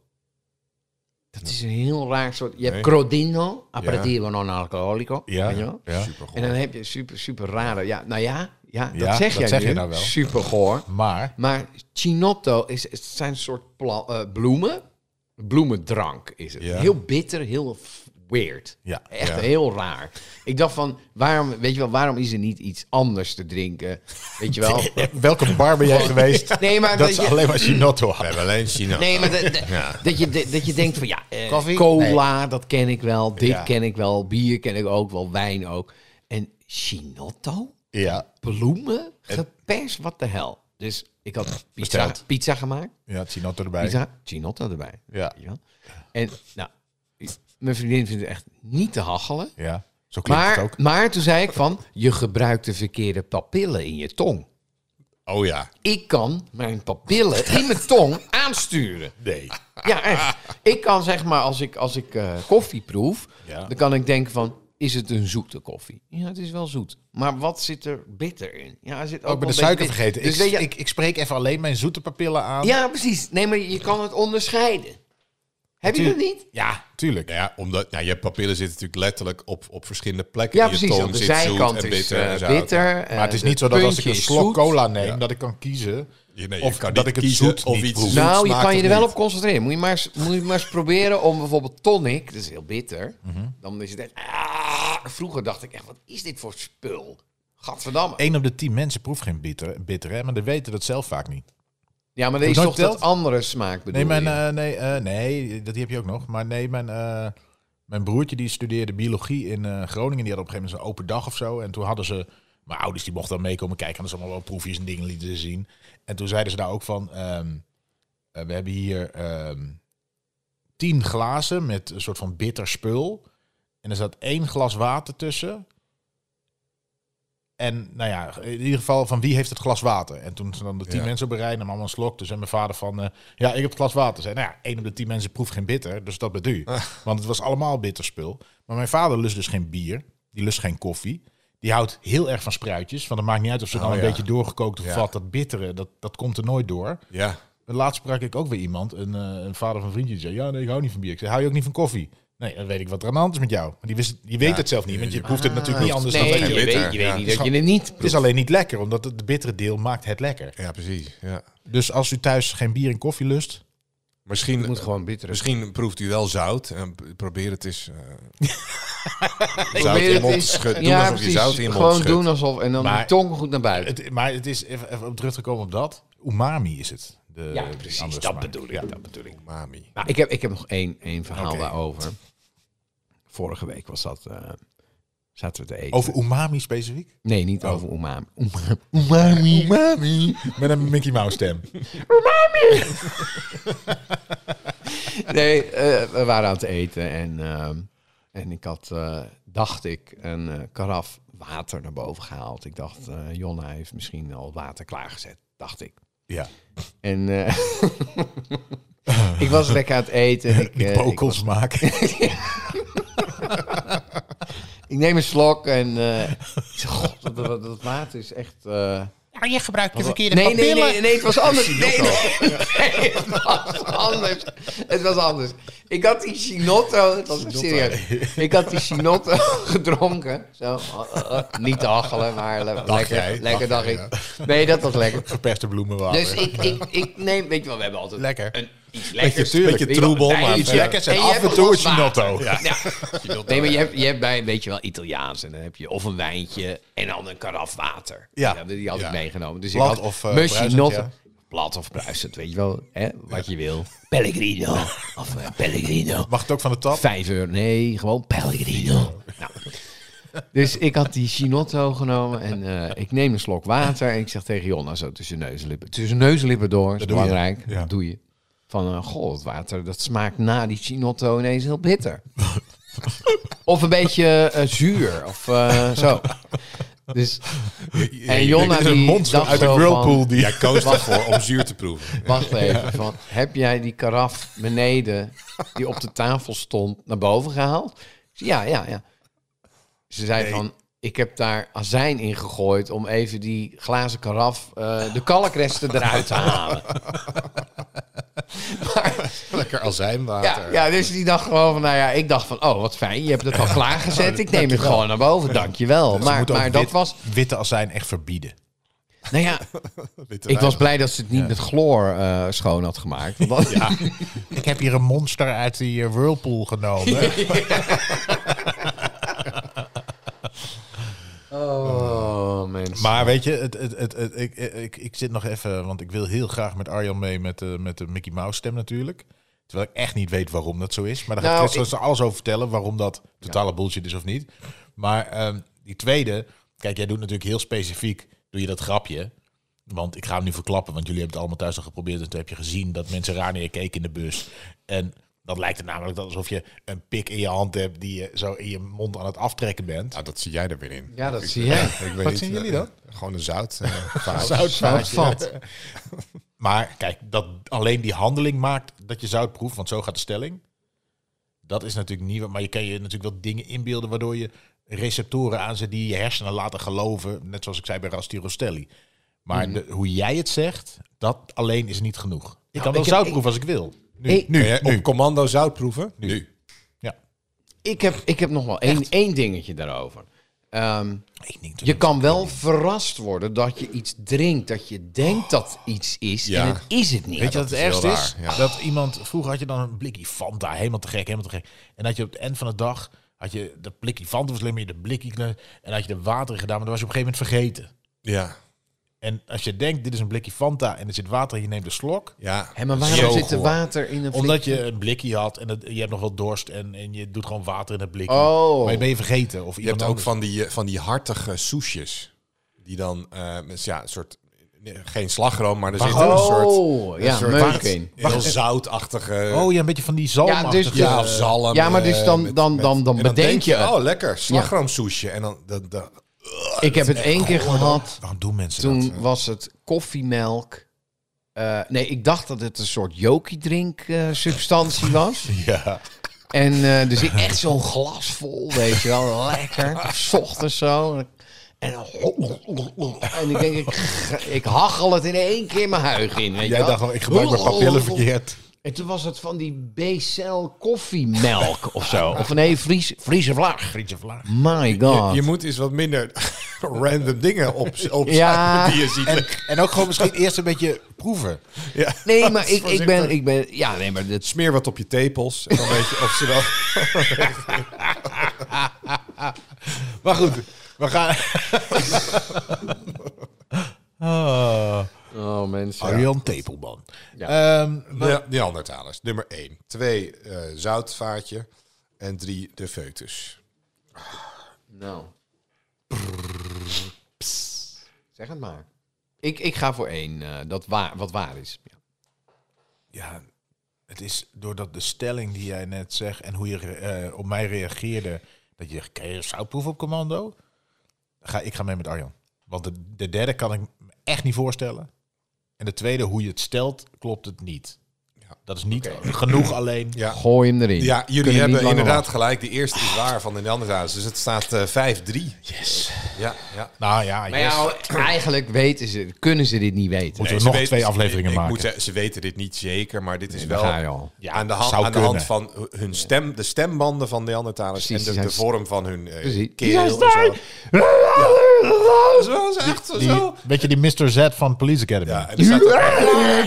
[SPEAKER 4] Dat is een heel raar soort. Je hebt
[SPEAKER 2] Nee.
[SPEAKER 4] Crodino, aperitivo non alcoholico.
[SPEAKER 3] Ja,
[SPEAKER 4] weet je wel?
[SPEAKER 3] ja.
[SPEAKER 2] Super
[SPEAKER 4] En dan heb je super, super rare. Ja, nou ja, ja dat
[SPEAKER 3] Ja,
[SPEAKER 4] zeg
[SPEAKER 3] dat
[SPEAKER 4] jij
[SPEAKER 3] zeg
[SPEAKER 4] nu.
[SPEAKER 3] je nou wel.
[SPEAKER 4] Super goor.
[SPEAKER 3] Maar
[SPEAKER 4] Maar Chinotto is, het zijn een soort pla- eh, bloemen. Bloemendrank is het.
[SPEAKER 2] Ja.
[SPEAKER 4] Heel bitter, heel f- weird.
[SPEAKER 3] Ja.
[SPEAKER 4] Echt
[SPEAKER 2] Ja.
[SPEAKER 4] heel raar. Ik dacht van, waarom, weet je wel, waarom is er niet iets anders te drinken? Weet je wel?
[SPEAKER 3] welke bar ben jij geweest?
[SPEAKER 4] Nee, maar
[SPEAKER 3] dat
[SPEAKER 4] dat
[SPEAKER 3] ze
[SPEAKER 4] je-
[SPEAKER 3] alleen maar Chinotto
[SPEAKER 2] We
[SPEAKER 3] hadden.
[SPEAKER 2] hebben alleen China.
[SPEAKER 4] Nee, maar dat- dat-
[SPEAKER 2] Ja.
[SPEAKER 4] dat, je, dat, dat je denkt van ja, eh,
[SPEAKER 3] Koffie?
[SPEAKER 4] cola, dat ken ik wel. Dit
[SPEAKER 3] Ja.
[SPEAKER 4] ken ik wel. Bier ken ik ook wel. Wijn ook. En Chinotto?
[SPEAKER 3] Ja.
[SPEAKER 4] Bloemen? Geperst? Wat de hel? Dus ik had pizza,
[SPEAKER 3] Besteld.
[SPEAKER 4] pizza gemaakt.
[SPEAKER 3] Ja, Chinotto erbij.
[SPEAKER 4] Pizza, Chinotto erbij.
[SPEAKER 3] Ja.
[SPEAKER 4] Weet je wel? En nou, mijn vriendin vindt het echt niet te hachelen.
[SPEAKER 3] Ja. Zo klinkt het
[SPEAKER 4] Maar,
[SPEAKER 3] ook.
[SPEAKER 4] maar toen zei ik van, je gebruikt de verkeerde papillen in je tong. eh,
[SPEAKER 2] Oh ja.
[SPEAKER 4] Ik kan mijn papillen in mijn tong aansturen.
[SPEAKER 3] Nee.
[SPEAKER 4] Ja, echt. Ik kan zeg maar, als ik, als ik eh, koffie proef,
[SPEAKER 3] Ja.
[SPEAKER 4] dan kan ik denken van... is het een zoete koffie? Ja, het is wel zoet. Maar wat zit er bitter in? Ja, er zit ook
[SPEAKER 3] Ook bij de
[SPEAKER 4] wel een beetje
[SPEAKER 3] suiker
[SPEAKER 4] bit-
[SPEAKER 3] vergeten.
[SPEAKER 4] Dus
[SPEAKER 3] ik,
[SPEAKER 4] weet je,
[SPEAKER 3] ik, ik spreek even alleen mijn zoete papillen aan.
[SPEAKER 4] Ja, precies. Nee, maar je kan het onderscheiden. Heb je dat
[SPEAKER 3] Natuurlijk.
[SPEAKER 4] niet?
[SPEAKER 3] Ja, tuurlijk.
[SPEAKER 2] Nou ja, omdat nou, je papillen zitten natuurlijk letterlijk op, op verschillende plekken.
[SPEAKER 4] Ja,
[SPEAKER 2] in je
[SPEAKER 4] precies.
[SPEAKER 2] tong
[SPEAKER 4] Aan de
[SPEAKER 2] zit zoet
[SPEAKER 4] zijkant
[SPEAKER 2] en
[SPEAKER 4] is
[SPEAKER 2] bitter.
[SPEAKER 4] bitter.
[SPEAKER 2] en zout.
[SPEAKER 4] bitter eh,
[SPEAKER 3] Maar het is
[SPEAKER 4] de
[SPEAKER 3] niet zo dat als ik
[SPEAKER 4] puntje
[SPEAKER 3] een
[SPEAKER 4] is
[SPEAKER 3] slok
[SPEAKER 4] zoet.
[SPEAKER 3] cola neem,
[SPEAKER 2] Ja.
[SPEAKER 3] dat ik kan kiezen.
[SPEAKER 2] Je- nee, je
[SPEAKER 3] Of
[SPEAKER 2] kan
[SPEAKER 3] dat
[SPEAKER 2] niet
[SPEAKER 3] ik het zoet
[SPEAKER 2] of
[SPEAKER 3] niet
[SPEAKER 2] iets
[SPEAKER 3] proef.
[SPEAKER 2] zoets
[SPEAKER 4] Nou, je
[SPEAKER 2] smaakt
[SPEAKER 4] kan je
[SPEAKER 2] of
[SPEAKER 4] er wel
[SPEAKER 2] niet.
[SPEAKER 4] op concentreren. Moet je maar eens, moet je maar eens proberen om bijvoorbeeld tonic, dat is heel bitter, dan is het echt... ah, vroeger dacht ik echt, wat is dit voor spul? Gadverdamme.
[SPEAKER 3] 1 op de 10 mensen proeft geen bitter, bitter hè? maar die weten dat zelf vaak niet.
[SPEAKER 4] ja, maar er is
[SPEAKER 3] nooit
[SPEAKER 4] toch dat
[SPEAKER 3] verteld?
[SPEAKER 4] andere smaak bedoel
[SPEAKER 3] Nee, mijn,
[SPEAKER 4] je?
[SPEAKER 3] eh, nee, eh, nee, dat die heb je ook nog. Maar nee, mijn, eh, mijn broertje die studeerde biologie in eh, Groningen. Die had op een gegeven moment een open dag of zo. En toen hadden ze... Mijn ouders die mochten dan meekomen kijken. Hadden ze allemaal wel proefjes en dingen lieten ze zien. En toen zeiden ze daar ook van... ehm, eh, we hebben hier ehm tien glazen met een soort van bitter spul. En er zat één glas water tussen. En nou ja, in ieder geval van wie heeft het glas water? En toen ze dan de tien
[SPEAKER 2] Ja.
[SPEAKER 3] mensen op een rij namen allemaal een slok. Dus en mijn vader van, eh, ja, ik heb het glas water. Zei, nou ja, één op de tien mensen proeft geen bitter, dus dat bent u.
[SPEAKER 2] Ah.
[SPEAKER 3] Want het was allemaal bitterspul. Maar mijn vader lust dus geen bier, die lust geen koffie. Die houdt heel erg van spruitjes, want het maakt niet uit of ze
[SPEAKER 2] Oh,
[SPEAKER 3] dan een
[SPEAKER 2] ja.
[SPEAKER 3] beetje doorgekookt of
[SPEAKER 2] Ja.
[SPEAKER 3] wat. Dat bittere, dat, dat komt er nooit door.
[SPEAKER 2] Ja,
[SPEAKER 3] Laatst sprak ik ook weer iemand, een, eh, een vader van een vriendje, die zei, ja, nee, ik hou niet van bier. Ik zei, hou je ook niet van koffie? Nee, dan weet ik wat er aan de hand is met jou. Maar die wist, je weet
[SPEAKER 2] Ja,
[SPEAKER 3] het zelf niet, want je
[SPEAKER 2] je-
[SPEAKER 3] proeft het natuurlijk niet anders
[SPEAKER 4] nee,
[SPEAKER 3] dan dat
[SPEAKER 4] je
[SPEAKER 3] je...
[SPEAKER 2] bitter.
[SPEAKER 4] weet, je weet
[SPEAKER 2] Ja.
[SPEAKER 4] niet dat je het niet
[SPEAKER 3] Het is alleen niet lekker, omdat het, het bittere deel maakt het lekker.
[SPEAKER 2] ja, precies. Ja.
[SPEAKER 3] Dus als u thuis geen bier en koffie lust,
[SPEAKER 2] Misschien,
[SPEAKER 4] moet gewoon bitter.
[SPEAKER 2] misschien proeft u wel zout. En p- probeer het eens. eh, zout
[SPEAKER 4] Probeer
[SPEAKER 2] in
[SPEAKER 4] het
[SPEAKER 2] mond
[SPEAKER 4] eens-
[SPEAKER 2] te schudden. Doen
[SPEAKER 4] Ja,
[SPEAKER 2] alsof
[SPEAKER 4] precies.
[SPEAKER 2] je zout in je mond
[SPEAKER 4] Gewoon
[SPEAKER 2] schudt.
[SPEAKER 4] doen alsof... En dan
[SPEAKER 3] Maar-
[SPEAKER 4] die tong goed naar buiten.
[SPEAKER 3] Het, maar het is, even, even op terug te komen op dat, umami is het. De,
[SPEAKER 4] ja,
[SPEAKER 3] die
[SPEAKER 4] eh, precies.
[SPEAKER 3] andere
[SPEAKER 4] Dat
[SPEAKER 3] smaak.
[SPEAKER 4] bedoel ik.
[SPEAKER 3] Ja.
[SPEAKER 4] Dat bedoel ik.
[SPEAKER 2] Umami.
[SPEAKER 4] Nou, ik, heb, ik heb nog één, één verhaal
[SPEAKER 3] Oké.
[SPEAKER 4] daarover. Vorige week was dat... eh, zaten we te eten.
[SPEAKER 3] Over umami specifiek?
[SPEAKER 4] Nee, niet over umami. Umami.
[SPEAKER 3] Umami. umami. Met een Mickey Mouse stem.
[SPEAKER 4] Nee, eh, we waren aan het eten en, ehm, en ik had, eh, dacht ik, een eh, karaf water naar boven gehaald. Ik dacht, eh, Jonna heeft misschien al water klaargezet, dacht ik.
[SPEAKER 3] Ja.
[SPEAKER 4] En eh, ik was lekker aan het eten. Ik, eh,
[SPEAKER 3] Die
[SPEAKER 4] ik
[SPEAKER 3] pokels maken.
[SPEAKER 4] Ik neem een slok en eh, ik zeg, god, dat, dat, dat water is echt... eh,
[SPEAKER 5] Nou, je gebruikt de verkeerde
[SPEAKER 4] nee, nee,
[SPEAKER 5] papillen.
[SPEAKER 4] nee, nee, het was anders. Nee, nee, nee, het was anders. Het was anders. Ik had die chinotto, het was serieus. Ik had die chinotto gedronken. Zo, eh, eh, eh, niet te hachelen, maar le- lekker,
[SPEAKER 3] jij,
[SPEAKER 4] lekker
[SPEAKER 3] dacht
[SPEAKER 4] dacht ik. Nee, dat was lekker.
[SPEAKER 3] Geperste bloemenwater.
[SPEAKER 4] Dus ik, ik, ik neem, weet je wel, we hebben altijd
[SPEAKER 3] Lekker.
[SPEAKER 4] een iets lekkers.
[SPEAKER 3] tuurlijk.
[SPEAKER 4] Weet je wel,
[SPEAKER 2] troebel,
[SPEAKER 4] nee,
[SPEAKER 2] maar
[SPEAKER 4] iets
[SPEAKER 2] verder.
[SPEAKER 4] lekkers. En je hebt een glas water. Ja. Nee, maar je hebt, je hebt bij, weet je wel, Italiaans. En dan heb je of een wijntje en dan een karaf water.
[SPEAKER 3] Ja.
[SPEAKER 4] Die hadden- Die had ik
[SPEAKER 2] Ja.
[SPEAKER 4] meegenomen. Dus
[SPEAKER 3] Plat
[SPEAKER 4] ik had
[SPEAKER 3] of, eh,
[SPEAKER 4] mushy
[SPEAKER 3] bruisend,
[SPEAKER 4] notten.
[SPEAKER 3] ja.
[SPEAKER 4] Plat of bruisend, weet je wel. Hè? Wat je wil. Pellegrino. Of eh, Pellegrino.
[SPEAKER 3] Mag het ook van de tap?
[SPEAKER 4] Vijf euro. Nee, gewoon Pellegrino. Nou. Dus ik had die chinotto genomen en eh, ik neem een slok water en ik zeg tegen Jonna zo tussen neus en lippen. Tussen neus en lippen door, is
[SPEAKER 3] doe je.
[SPEAKER 4] belangrijk,
[SPEAKER 3] Ja.
[SPEAKER 4] dat doe je. Van, eh goh, het water, dat smaakt na die chinotto ineens heel bitter. of een beetje eh, zuur, of eh, zo. Dus, en Jonna
[SPEAKER 3] Dit is een
[SPEAKER 4] die
[SPEAKER 3] monster
[SPEAKER 4] dacht
[SPEAKER 3] uit de
[SPEAKER 4] zo
[SPEAKER 3] whirlpool
[SPEAKER 4] van,
[SPEAKER 3] die...
[SPEAKER 2] Jij koos daarvoor om zuur te proeven.
[SPEAKER 4] Wacht even, van, heb jij die karaf beneden die op de tafel stond naar boven gehaald? Ik zei, Ja, ja, ja. Ze zei van, ik heb daar azijn in gegooid om even die glazen karaf eh, de kalkresten eruit te halen.
[SPEAKER 2] Lekker azijnwater.
[SPEAKER 4] Ja, ja, dus die dacht gewoon van, nou ja, ik dacht van, oh wat fijn, je hebt het al klaargezet, ik neem het gewoon naar boven, dankjewel.
[SPEAKER 3] Ze
[SPEAKER 4] Maar,
[SPEAKER 3] moeten ook
[SPEAKER 4] maar dat
[SPEAKER 3] wit-
[SPEAKER 4] was,
[SPEAKER 3] Witte azijn echt verbieden.
[SPEAKER 4] nou ja,
[SPEAKER 2] Witte
[SPEAKER 4] ik
[SPEAKER 2] wijn.
[SPEAKER 4] was blij dat ze het niet met chloor eh, schoon had gemaakt. Want dat-
[SPEAKER 3] Ik heb hier een monster uit die eh, whirlpool genomen.
[SPEAKER 4] Oh, mensen.
[SPEAKER 3] maar weet je, het, het, het, het- ik, ik, ik zit nog even... Want ik wil heel graag met Arjan mee met, de met de Mickey Mouse stem natuurlijk. Terwijl ik echt niet weet waarom dat zo is. Maar daar
[SPEAKER 4] Nou,
[SPEAKER 3] gaat Chris straks alles over vertellen. Waarom dat totale bullshit is of niet. Maar ehm, die tweede... Kijk, jij doet natuurlijk heel specifiek... Doe je dat grapje... Want ik ga hem nu verklappen, want jullie hebben het allemaal thuis al geprobeerd. En toen heb je gezien dat mensen raar naar je keken in de bus. En dat lijkt er namelijk alsof je een pik in je hand hebt die je zo in je mond aan het aftrekken bent.
[SPEAKER 2] Nou, dat zie jij er weer in.
[SPEAKER 4] Ja, dat
[SPEAKER 2] Ik-
[SPEAKER 4] zie jij.
[SPEAKER 2] Ik weet
[SPEAKER 3] Wat
[SPEAKER 2] niet,
[SPEAKER 3] zien
[SPEAKER 2] eh,
[SPEAKER 3] jullie dan?
[SPEAKER 2] Gewoon een zout. eh, verhaal.
[SPEAKER 4] Zout valt.
[SPEAKER 3] Maar kijk, dat alleen die handeling maakt dat je zout proeft, want zo gaat de stelling. Dat is natuurlijk niet... wat- Maar je kan je natuurlijk wel dingen inbeelden waardoor je receptoren aanzet die je hersenen laten geloven. Net zoals ik zei bij Rasti Rostelli. Maar de- hoe jij het zegt, dat alleen is niet genoeg. Nou, Ik kan wel
[SPEAKER 4] ik-
[SPEAKER 3] zout proeven als ik wil. Nu,
[SPEAKER 4] Ik-
[SPEAKER 3] nu,
[SPEAKER 2] Kun jij
[SPEAKER 3] nu.
[SPEAKER 2] op commando zout proeven?
[SPEAKER 3] Nu. Ja.
[SPEAKER 4] Ik heb, ik heb nog wel één, één dingetje daarover. Ehm,
[SPEAKER 3] Ik denk
[SPEAKER 4] je kan wel verrast worden dat je iets drinkt, dat je denkt dat iets is
[SPEAKER 2] Ja.
[SPEAKER 4] en het is het niet.
[SPEAKER 3] Weet je
[SPEAKER 2] Ja,
[SPEAKER 3] wat het
[SPEAKER 2] dat is
[SPEAKER 3] ergste
[SPEAKER 2] heel
[SPEAKER 3] is?
[SPEAKER 2] raar, ja.
[SPEAKER 3] Dat iemand... Vroeger had je dan een blikje Fanta. Helemaal te gek, helemaal te gek. En dat je op het eind van de dag... Had je dat blikje Fanta was alleen maar je de blikje... kle- En had je er water in gedaan, maar dat was je op een gegeven moment vergeten.
[SPEAKER 2] Ja.
[SPEAKER 3] En als je denkt, dit is een blikje Fanta en er zit water in, je neemt een slok.
[SPEAKER 2] Ja.
[SPEAKER 4] Hé, maar waarom
[SPEAKER 2] Zo
[SPEAKER 4] zit er
[SPEAKER 2] goor.
[SPEAKER 4] water in een
[SPEAKER 3] Omdat je een blikje had en het- je hebt nog wel dorst en, en je doet gewoon water in het blikje.
[SPEAKER 4] Oh.
[SPEAKER 3] Maar je ben je vergeten. Of
[SPEAKER 2] Je
[SPEAKER 3] iemand
[SPEAKER 2] hebt ook
[SPEAKER 3] anders.
[SPEAKER 2] van die, eh, van die hartige soesjes. Die dan, eh, met, ja, een soort... nee, Geen slagroom, maar er zit een soort...
[SPEAKER 4] Oh, ja,
[SPEAKER 2] soort-
[SPEAKER 4] meuk in.
[SPEAKER 2] Heel zoutachtige...
[SPEAKER 3] Oh ja, een beetje van die zalm.
[SPEAKER 4] Ja, dus-
[SPEAKER 2] Ja, of zalm.
[SPEAKER 4] Ja, maar dus
[SPEAKER 2] eh,
[SPEAKER 4] dan-
[SPEAKER 2] met-
[SPEAKER 4] dan-
[SPEAKER 2] met-
[SPEAKER 4] dan- dan
[SPEAKER 2] en
[SPEAKER 4] bedenk
[SPEAKER 2] denk
[SPEAKER 4] je het.
[SPEAKER 2] Oh, lekker. Slagroomsoesje. En dan... dan, dan
[SPEAKER 4] Ik heb het één keer gehad.
[SPEAKER 3] Waarom doen mensen dat?
[SPEAKER 4] Toen was het koffiemelk. Eh, nee, ik dacht dat het een soort jokiedrink eh, substantie was.
[SPEAKER 3] Ja.
[SPEAKER 4] En eh, dus ik echt zo'n glas vol, weet je wel, lekker. 's Ochtends zo. En, dan- en ik denk, ik, ik hachel het in één keer mijn huig in. Weet je
[SPEAKER 3] Jij
[SPEAKER 4] wel.
[SPEAKER 3] dacht wel, ik gebruik mijn papillen verkeerd.
[SPEAKER 4] En toen was het van die B-cel koffiemelk of zo. Of nee, Fries, Friese vlag.
[SPEAKER 3] Frietje vlaag.
[SPEAKER 4] My
[SPEAKER 2] je,
[SPEAKER 4] god.
[SPEAKER 2] je moet eens wat minder random dingen op, op
[SPEAKER 4] Ja.
[SPEAKER 2] die je ziet.
[SPEAKER 3] En, en ook gewoon misschien eerst een beetje proeven.
[SPEAKER 2] ja.
[SPEAKER 4] nee, maar ik, ik,
[SPEAKER 2] voorzichtig.
[SPEAKER 4] ben, ik ben... Ja, nee, maar dit,
[SPEAKER 2] Smeer wat op je tepels. En dan weet je of ze wel...
[SPEAKER 3] Maar goed, we gaan... oh,
[SPEAKER 4] Oh, mensen.
[SPEAKER 3] Arjan Tepelman. Ehm,
[SPEAKER 2] Ja, Neandertalers. Nummer 1. 2 eh zoutvaatje. En 3 de foetus.
[SPEAKER 4] Nou. Zeg het maar. Ik, ik ga voor één, eh, dat waar, wat waar is. Ja.
[SPEAKER 3] Ja, het is doordat de stelling die jij net zegt en hoe je eh, op mij reageerde, dat je kan je zoutproef op commando? Ga, ik ga mee met Arjan. Want de, de derde kan ik me echt niet voorstellen. En de tweede, hoe je het stelt, klopt het niet.
[SPEAKER 2] Ja.
[SPEAKER 3] Dat is niet genoeg alleen.
[SPEAKER 2] Ja.
[SPEAKER 4] Gooi hem erin.
[SPEAKER 2] Ja, jullie
[SPEAKER 4] Kunnen niet
[SPEAKER 2] hebben
[SPEAKER 4] langer
[SPEAKER 2] inderdaad
[SPEAKER 4] wachten.
[SPEAKER 2] gelijk. De eerste is waar van de Neandertalers. Dus het staat eh, 5-3.
[SPEAKER 3] Yes.
[SPEAKER 2] Ja, ja.
[SPEAKER 3] Nou ja,
[SPEAKER 4] Maar
[SPEAKER 3] yes.
[SPEAKER 4] ja, eigenlijk weten ze, kunnen ze dit niet weten.
[SPEAKER 3] Moeten
[SPEAKER 2] Nee,
[SPEAKER 3] we
[SPEAKER 2] ze
[SPEAKER 3] nog
[SPEAKER 2] weten-
[SPEAKER 3] twee
[SPEAKER 2] ze-
[SPEAKER 3] afleveringen
[SPEAKER 2] ik
[SPEAKER 3] maken?
[SPEAKER 2] moet zeggen, ze weten dit niet zeker, maar dit is
[SPEAKER 4] Daar
[SPEAKER 2] wel
[SPEAKER 4] ga je al.
[SPEAKER 3] Ja,
[SPEAKER 2] aan, de hand,
[SPEAKER 3] zou
[SPEAKER 2] aan de hand
[SPEAKER 3] kunnen.
[SPEAKER 2] van hun stem, de stembanden van Neandertalers
[SPEAKER 4] Precies,
[SPEAKER 2] en de,
[SPEAKER 4] die
[SPEAKER 2] de
[SPEAKER 4] zijn-
[SPEAKER 2] vorm van hun eh,
[SPEAKER 4] Precies. Die
[SPEAKER 2] keel.
[SPEAKER 4] zijn
[SPEAKER 2] en zo.
[SPEAKER 4] sterk.
[SPEAKER 2] Dat is wel eens echt
[SPEAKER 3] Die,
[SPEAKER 2] zo.
[SPEAKER 3] weet je, die Mr. Z van Police Academy.
[SPEAKER 2] Ja, en er staat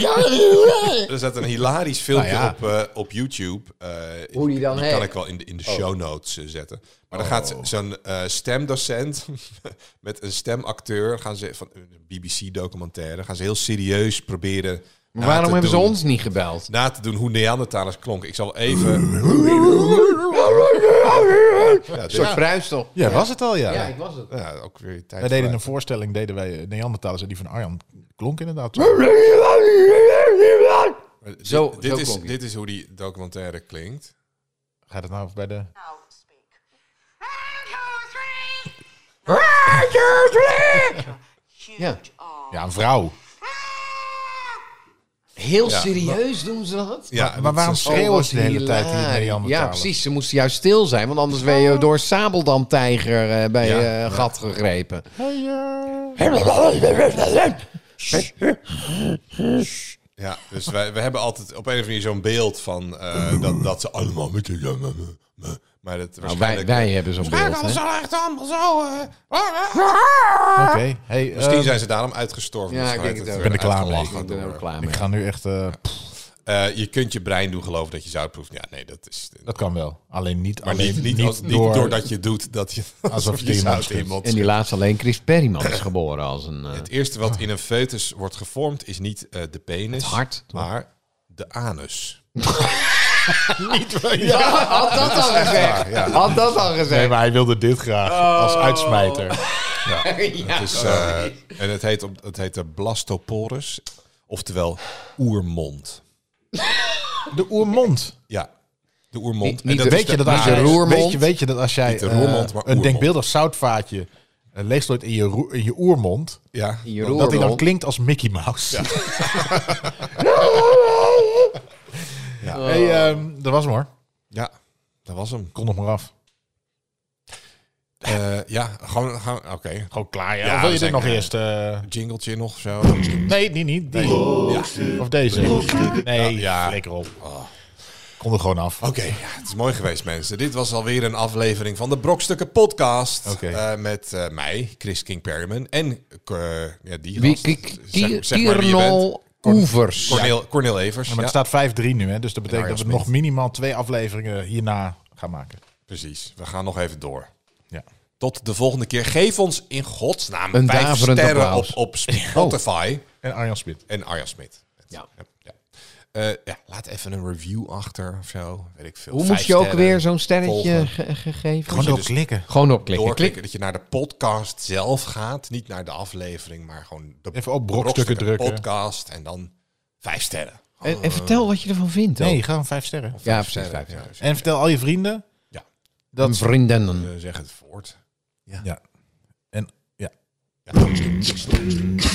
[SPEAKER 2] een- er staat een hilarisch filmpje
[SPEAKER 3] Nou ja.
[SPEAKER 2] op, eh, op YouTube. eh,
[SPEAKER 4] Hoe die dan heet. Oh.
[SPEAKER 2] kan ik wel in de, in de show notes eh, zetten. Maar dan gaat ze- zo'n eh, stemdocent met een stemacteur... gaan ze van een BBC-documentaire... gaan ze heel serieus proberen... na
[SPEAKER 4] Maar waarom
[SPEAKER 2] te
[SPEAKER 4] hebben ze
[SPEAKER 2] doen-
[SPEAKER 4] ons niet gebeld?
[SPEAKER 2] Na te doen hoe Neandertalers klonken. Ik zal even... Ja,
[SPEAKER 4] Een soort
[SPEAKER 2] dit-
[SPEAKER 4] bruisel.
[SPEAKER 3] Ja, was het al,
[SPEAKER 4] Ja, ik was het.
[SPEAKER 2] ja, ook weer tijd
[SPEAKER 3] Wij deden
[SPEAKER 2] voorbij.
[SPEAKER 3] een voorstelling, deden wij eh, Neandertalers en die van Arjan klonk inderdaad. zo.
[SPEAKER 2] Maar dit-
[SPEAKER 4] Zo-
[SPEAKER 2] dit,
[SPEAKER 4] zo
[SPEAKER 2] is,
[SPEAKER 4] klonk hij.
[SPEAKER 2] dit is hoe die documentaire klinkt.
[SPEAKER 3] Gaat het nou bij de...
[SPEAKER 5] Now speak. One, two, three. Huge
[SPEAKER 4] Ja.
[SPEAKER 5] arm. Ah!
[SPEAKER 3] Ja, een vrouw.
[SPEAKER 4] Heel
[SPEAKER 2] Ja,
[SPEAKER 4] serieus doen ze dat?
[SPEAKER 2] Ja,
[SPEAKER 3] maar waarom
[SPEAKER 2] dat is-
[SPEAKER 3] schreeuwen
[SPEAKER 4] wat
[SPEAKER 3] ze de hele tijd
[SPEAKER 4] hilarisch.
[SPEAKER 3] hier Neandertalers?
[SPEAKER 4] Ja, precies. Ze moesten juist stil zijn, want anders ben je door Sabeldam-tijger eh, bij
[SPEAKER 2] Ja,
[SPEAKER 4] je
[SPEAKER 2] ja.
[SPEAKER 4] gat gegrepen.
[SPEAKER 2] Ja, dus wij, we hebben altijd op een of andere manier zo'n beeld van eh, dat, dat ze allemaal met je. Maar dat
[SPEAKER 4] Nou,
[SPEAKER 2] waarschijnlijk.
[SPEAKER 4] wij, wij hebben zo'n beeld. hè.
[SPEAKER 2] echt allemaal zo.
[SPEAKER 3] Oké, hey,
[SPEAKER 2] Misschien
[SPEAKER 3] eh,
[SPEAKER 2] zijn ze daarom uitgestorven.
[SPEAKER 4] Ja,
[SPEAKER 2] Dus
[SPEAKER 4] ik
[SPEAKER 2] vanuit
[SPEAKER 4] denk
[SPEAKER 2] het
[SPEAKER 4] het
[SPEAKER 3] ook.
[SPEAKER 2] werd
[SPEAKER 3] Ik ben er klaar mee.
[SPEAKER 2] uitgelachen
[SPEAKER 4] Ik ben er
[SPEAKER 2] door-
[SPEAKER 4] ook klaar mee.
[SPEAKER 3] ik ga nu echt... eh, pff,
[SPEAKER 2] Eh, je kunt je brein doen geloven dat je zout proeft. Ja, nee, dat is.
[SPEAKER 3] dat kan wel. Alleen niet,
[SPEAKER 2] maar
[SPEAKER 3] alleen,
[SPEAKER 2] niet, niet, als- niet
[SPEAKER 3] door...
[SPEAKER 2] doordat je het doet dat je.
[SPEAKER 3] Alsof je
[SPEAKER 2] je
[SPEAKER 3] in
[SPEAKER 2] zout
[SPEAKER 3] mond schudt.
[SPEAKER 2] in je mond
[SPEAKER 4] En die laatste alleen Chris Perryman is geboren als een eh,
[SPEAKER 2] Het eerste
[SPEAKER 3] Ah.
[SPEAKER 2] wat in een foetus wordt gevormd is niet eh, de penis,
[SPEAKER 4] hart.
[SPEAKER 2] maar de anus.
[SPEAKER 4] Ja, had dat al gezegd.
[SPEAKER 2] ja.
[SPEAKER 4] Had dat al
[SPEAKER 3] Nee,
[SPEAKER 4] gezegd.
[SPEAKER 3] maar hij wilde dit graag als uitsmijter.
[SPEAKER 4] Ja.
[SPEAKER 2] Dus, eh, en het heet, op- het heet de blastoporus, oftewel oermond.
[SPEAKER 3] De oermond.
[SPEAKER 2] Ja, de oermond.
[SPEAKER 4] Niet- niet
[SPEAKER 2] en is
[SPEAKER 4] de-
[SPEAKER 3] Weet je dat
[SPEAKER 2] maar
[SPEAKER 3] als
[SPEAKER 4] de
[SPEAKER 3] jij,
[SPEAKER 4] roermond.
[SPEAKER 3] weet, je, weet je dat als jij
[SPEAKER 2] Niet de
[SPEAKER 3] eh,
[SPEAKER 2] roermond, maar
[SPEAKER 3] een
[SPEAKER 2] oermond.
[SPEAKER 3] denkbeeldig zoutvaatje uh, leeglooit in je, roer- in je oermond,
[SPEAKER 2] Ja,
[SPEAKER 4] In je
[SPEAKER 2] want-
[SPEAKER 3] dat hij dan
[SPEAKER 4] Oermond.
[SPEAKER 3] klinkt als Mickey Mouse.
[SPEAKER 2] Oh.
[SPEAKER 3] hey, ehm, dat was hem hoor.
[SPEAKER 2] ja. Dat was hem.
[SPEAKER 3] Kon nog maar af.
[SPEAKER 2] Eh, ja, gewoon... gewoon Oké.
[SPEAKER 3] Gewoon klaar, ja.
[SPEAKER 2] Ja,
[SPEAKER 3] of wil je dit
[SPEAKER 2] zeker,
[SPEAKER 3] nog
[SPEAKER 2] ja.
[SPEAKER 3] eerst... eh,
[SPEAKER 2] Jingletje nog of zo.
[SPEAKER 3] Nee, die niet. Die. Of deze. Nee,
[SPEAKER 2] Ja. Oh.
[SPEAKER 3] lekker op. Kon er gewoon af.
[SPEAKER 2] Oké, ja, het is mooi geweest mensen. Dit was alweer een aflevering van de Brokstukken podcast.
[SPEAKER 3] Oké.
[SPEAKER 2] Eh, met eh, mij, Chris King Perryman. En eh, ja, die
[SPEAKER 4] Wie,
[SPEAKER 2] gast.
[SPEAKER 4] kijk,
[SPEAKER 2] Zeg-
[SPEAKER 4] Tier-
[SPEAKER 2] zeg maar wie je bent.
[SPEAKER 4] Tierno Oevers.
[SPEAKER 2] Cornel, Cornel Evers.
[SPEAKER 3] Ja, maar
[SPEAKER 2] ja.
[SPEAKER 3] het staat 5-3 nu, hè? dus dat betekent
[SPEAKER 2] Arjan
[SPEAKER 3] dat we nog
[SPEAKER 2] Smit.
[SPEAKER 3] minimaal twee afleveringen hierna gaan maken.
[SPEAKER 2] Precies. We gaan nog even door.
[SPEAKER 3] Ja.
[SPEAKER 2] Tot de volgende keer. Geef ons in godsnaam
[SPEAKER 4] Een
[SPEAKER 2] vijf
[SPEAKER 4] daverend
[SPEAKER 2] sterren op,
[SPEAKER 4] applaus.
[SPEAKER 2] op Spotify.
[SPEAKER 3] En Arjan Smit.
[SPEAKER 2] En Arja Smit.
[SPEAKER 4] Ja.
[SPEAKER 2] Ja. Eh, ja, laat even een review achter of zo. Weet ik veel.
[SPEAKER 4] Hoe
[SPEAKER 2] Vijf
[SPEAKER 4] moest je ook
[SPEAKER 2] sterren.
[SPEAKER 4] weer zo'n sterretje
[SPEAKER 2] volgen.
[SPEAKER 4] ge- gegeven?
[SPEAKER 2] Gewoon
[SPEAKER 3] Gewoon
[SPEAKER 2] door
[SPEAKER 3] door klikken.
[SPEAKER 4] Gewoon opklikken. Klik.
[SPEAKER 2] Doorklikken dat je naar de podcast zelf gaat. Niet naar de aflevering, maar gewoon de
[SPEAKER 3] Even op brokstukken drukken.
[SPEAKER 2] podcast. En dan vijf sterren.
[SPEAKER 4] En, en vertel wat je ervan vindt.
[SPEAKER 3] Nee,
[SPEAKER 4] ook.
[SPEAKER 3] gewoon vijf sterren.
[SPEAKER 4] Ja,
[SPEAKER 2] Vijf
[SPEAKER 4] precies. Vijf.
[SPEAKER 2] sterren, ja,
[SPEAKER 3] En vertel al je vrienden.
[SPEAKER 2] Ja.
[SPEAKER 3] Dat,
[SPEAKER 4] Vrienden.
[SPEAKER 2] dus, eh, zeg het voort.
[SPEAKER 3] ja. En ja.
[SPEAKER 2] Ja.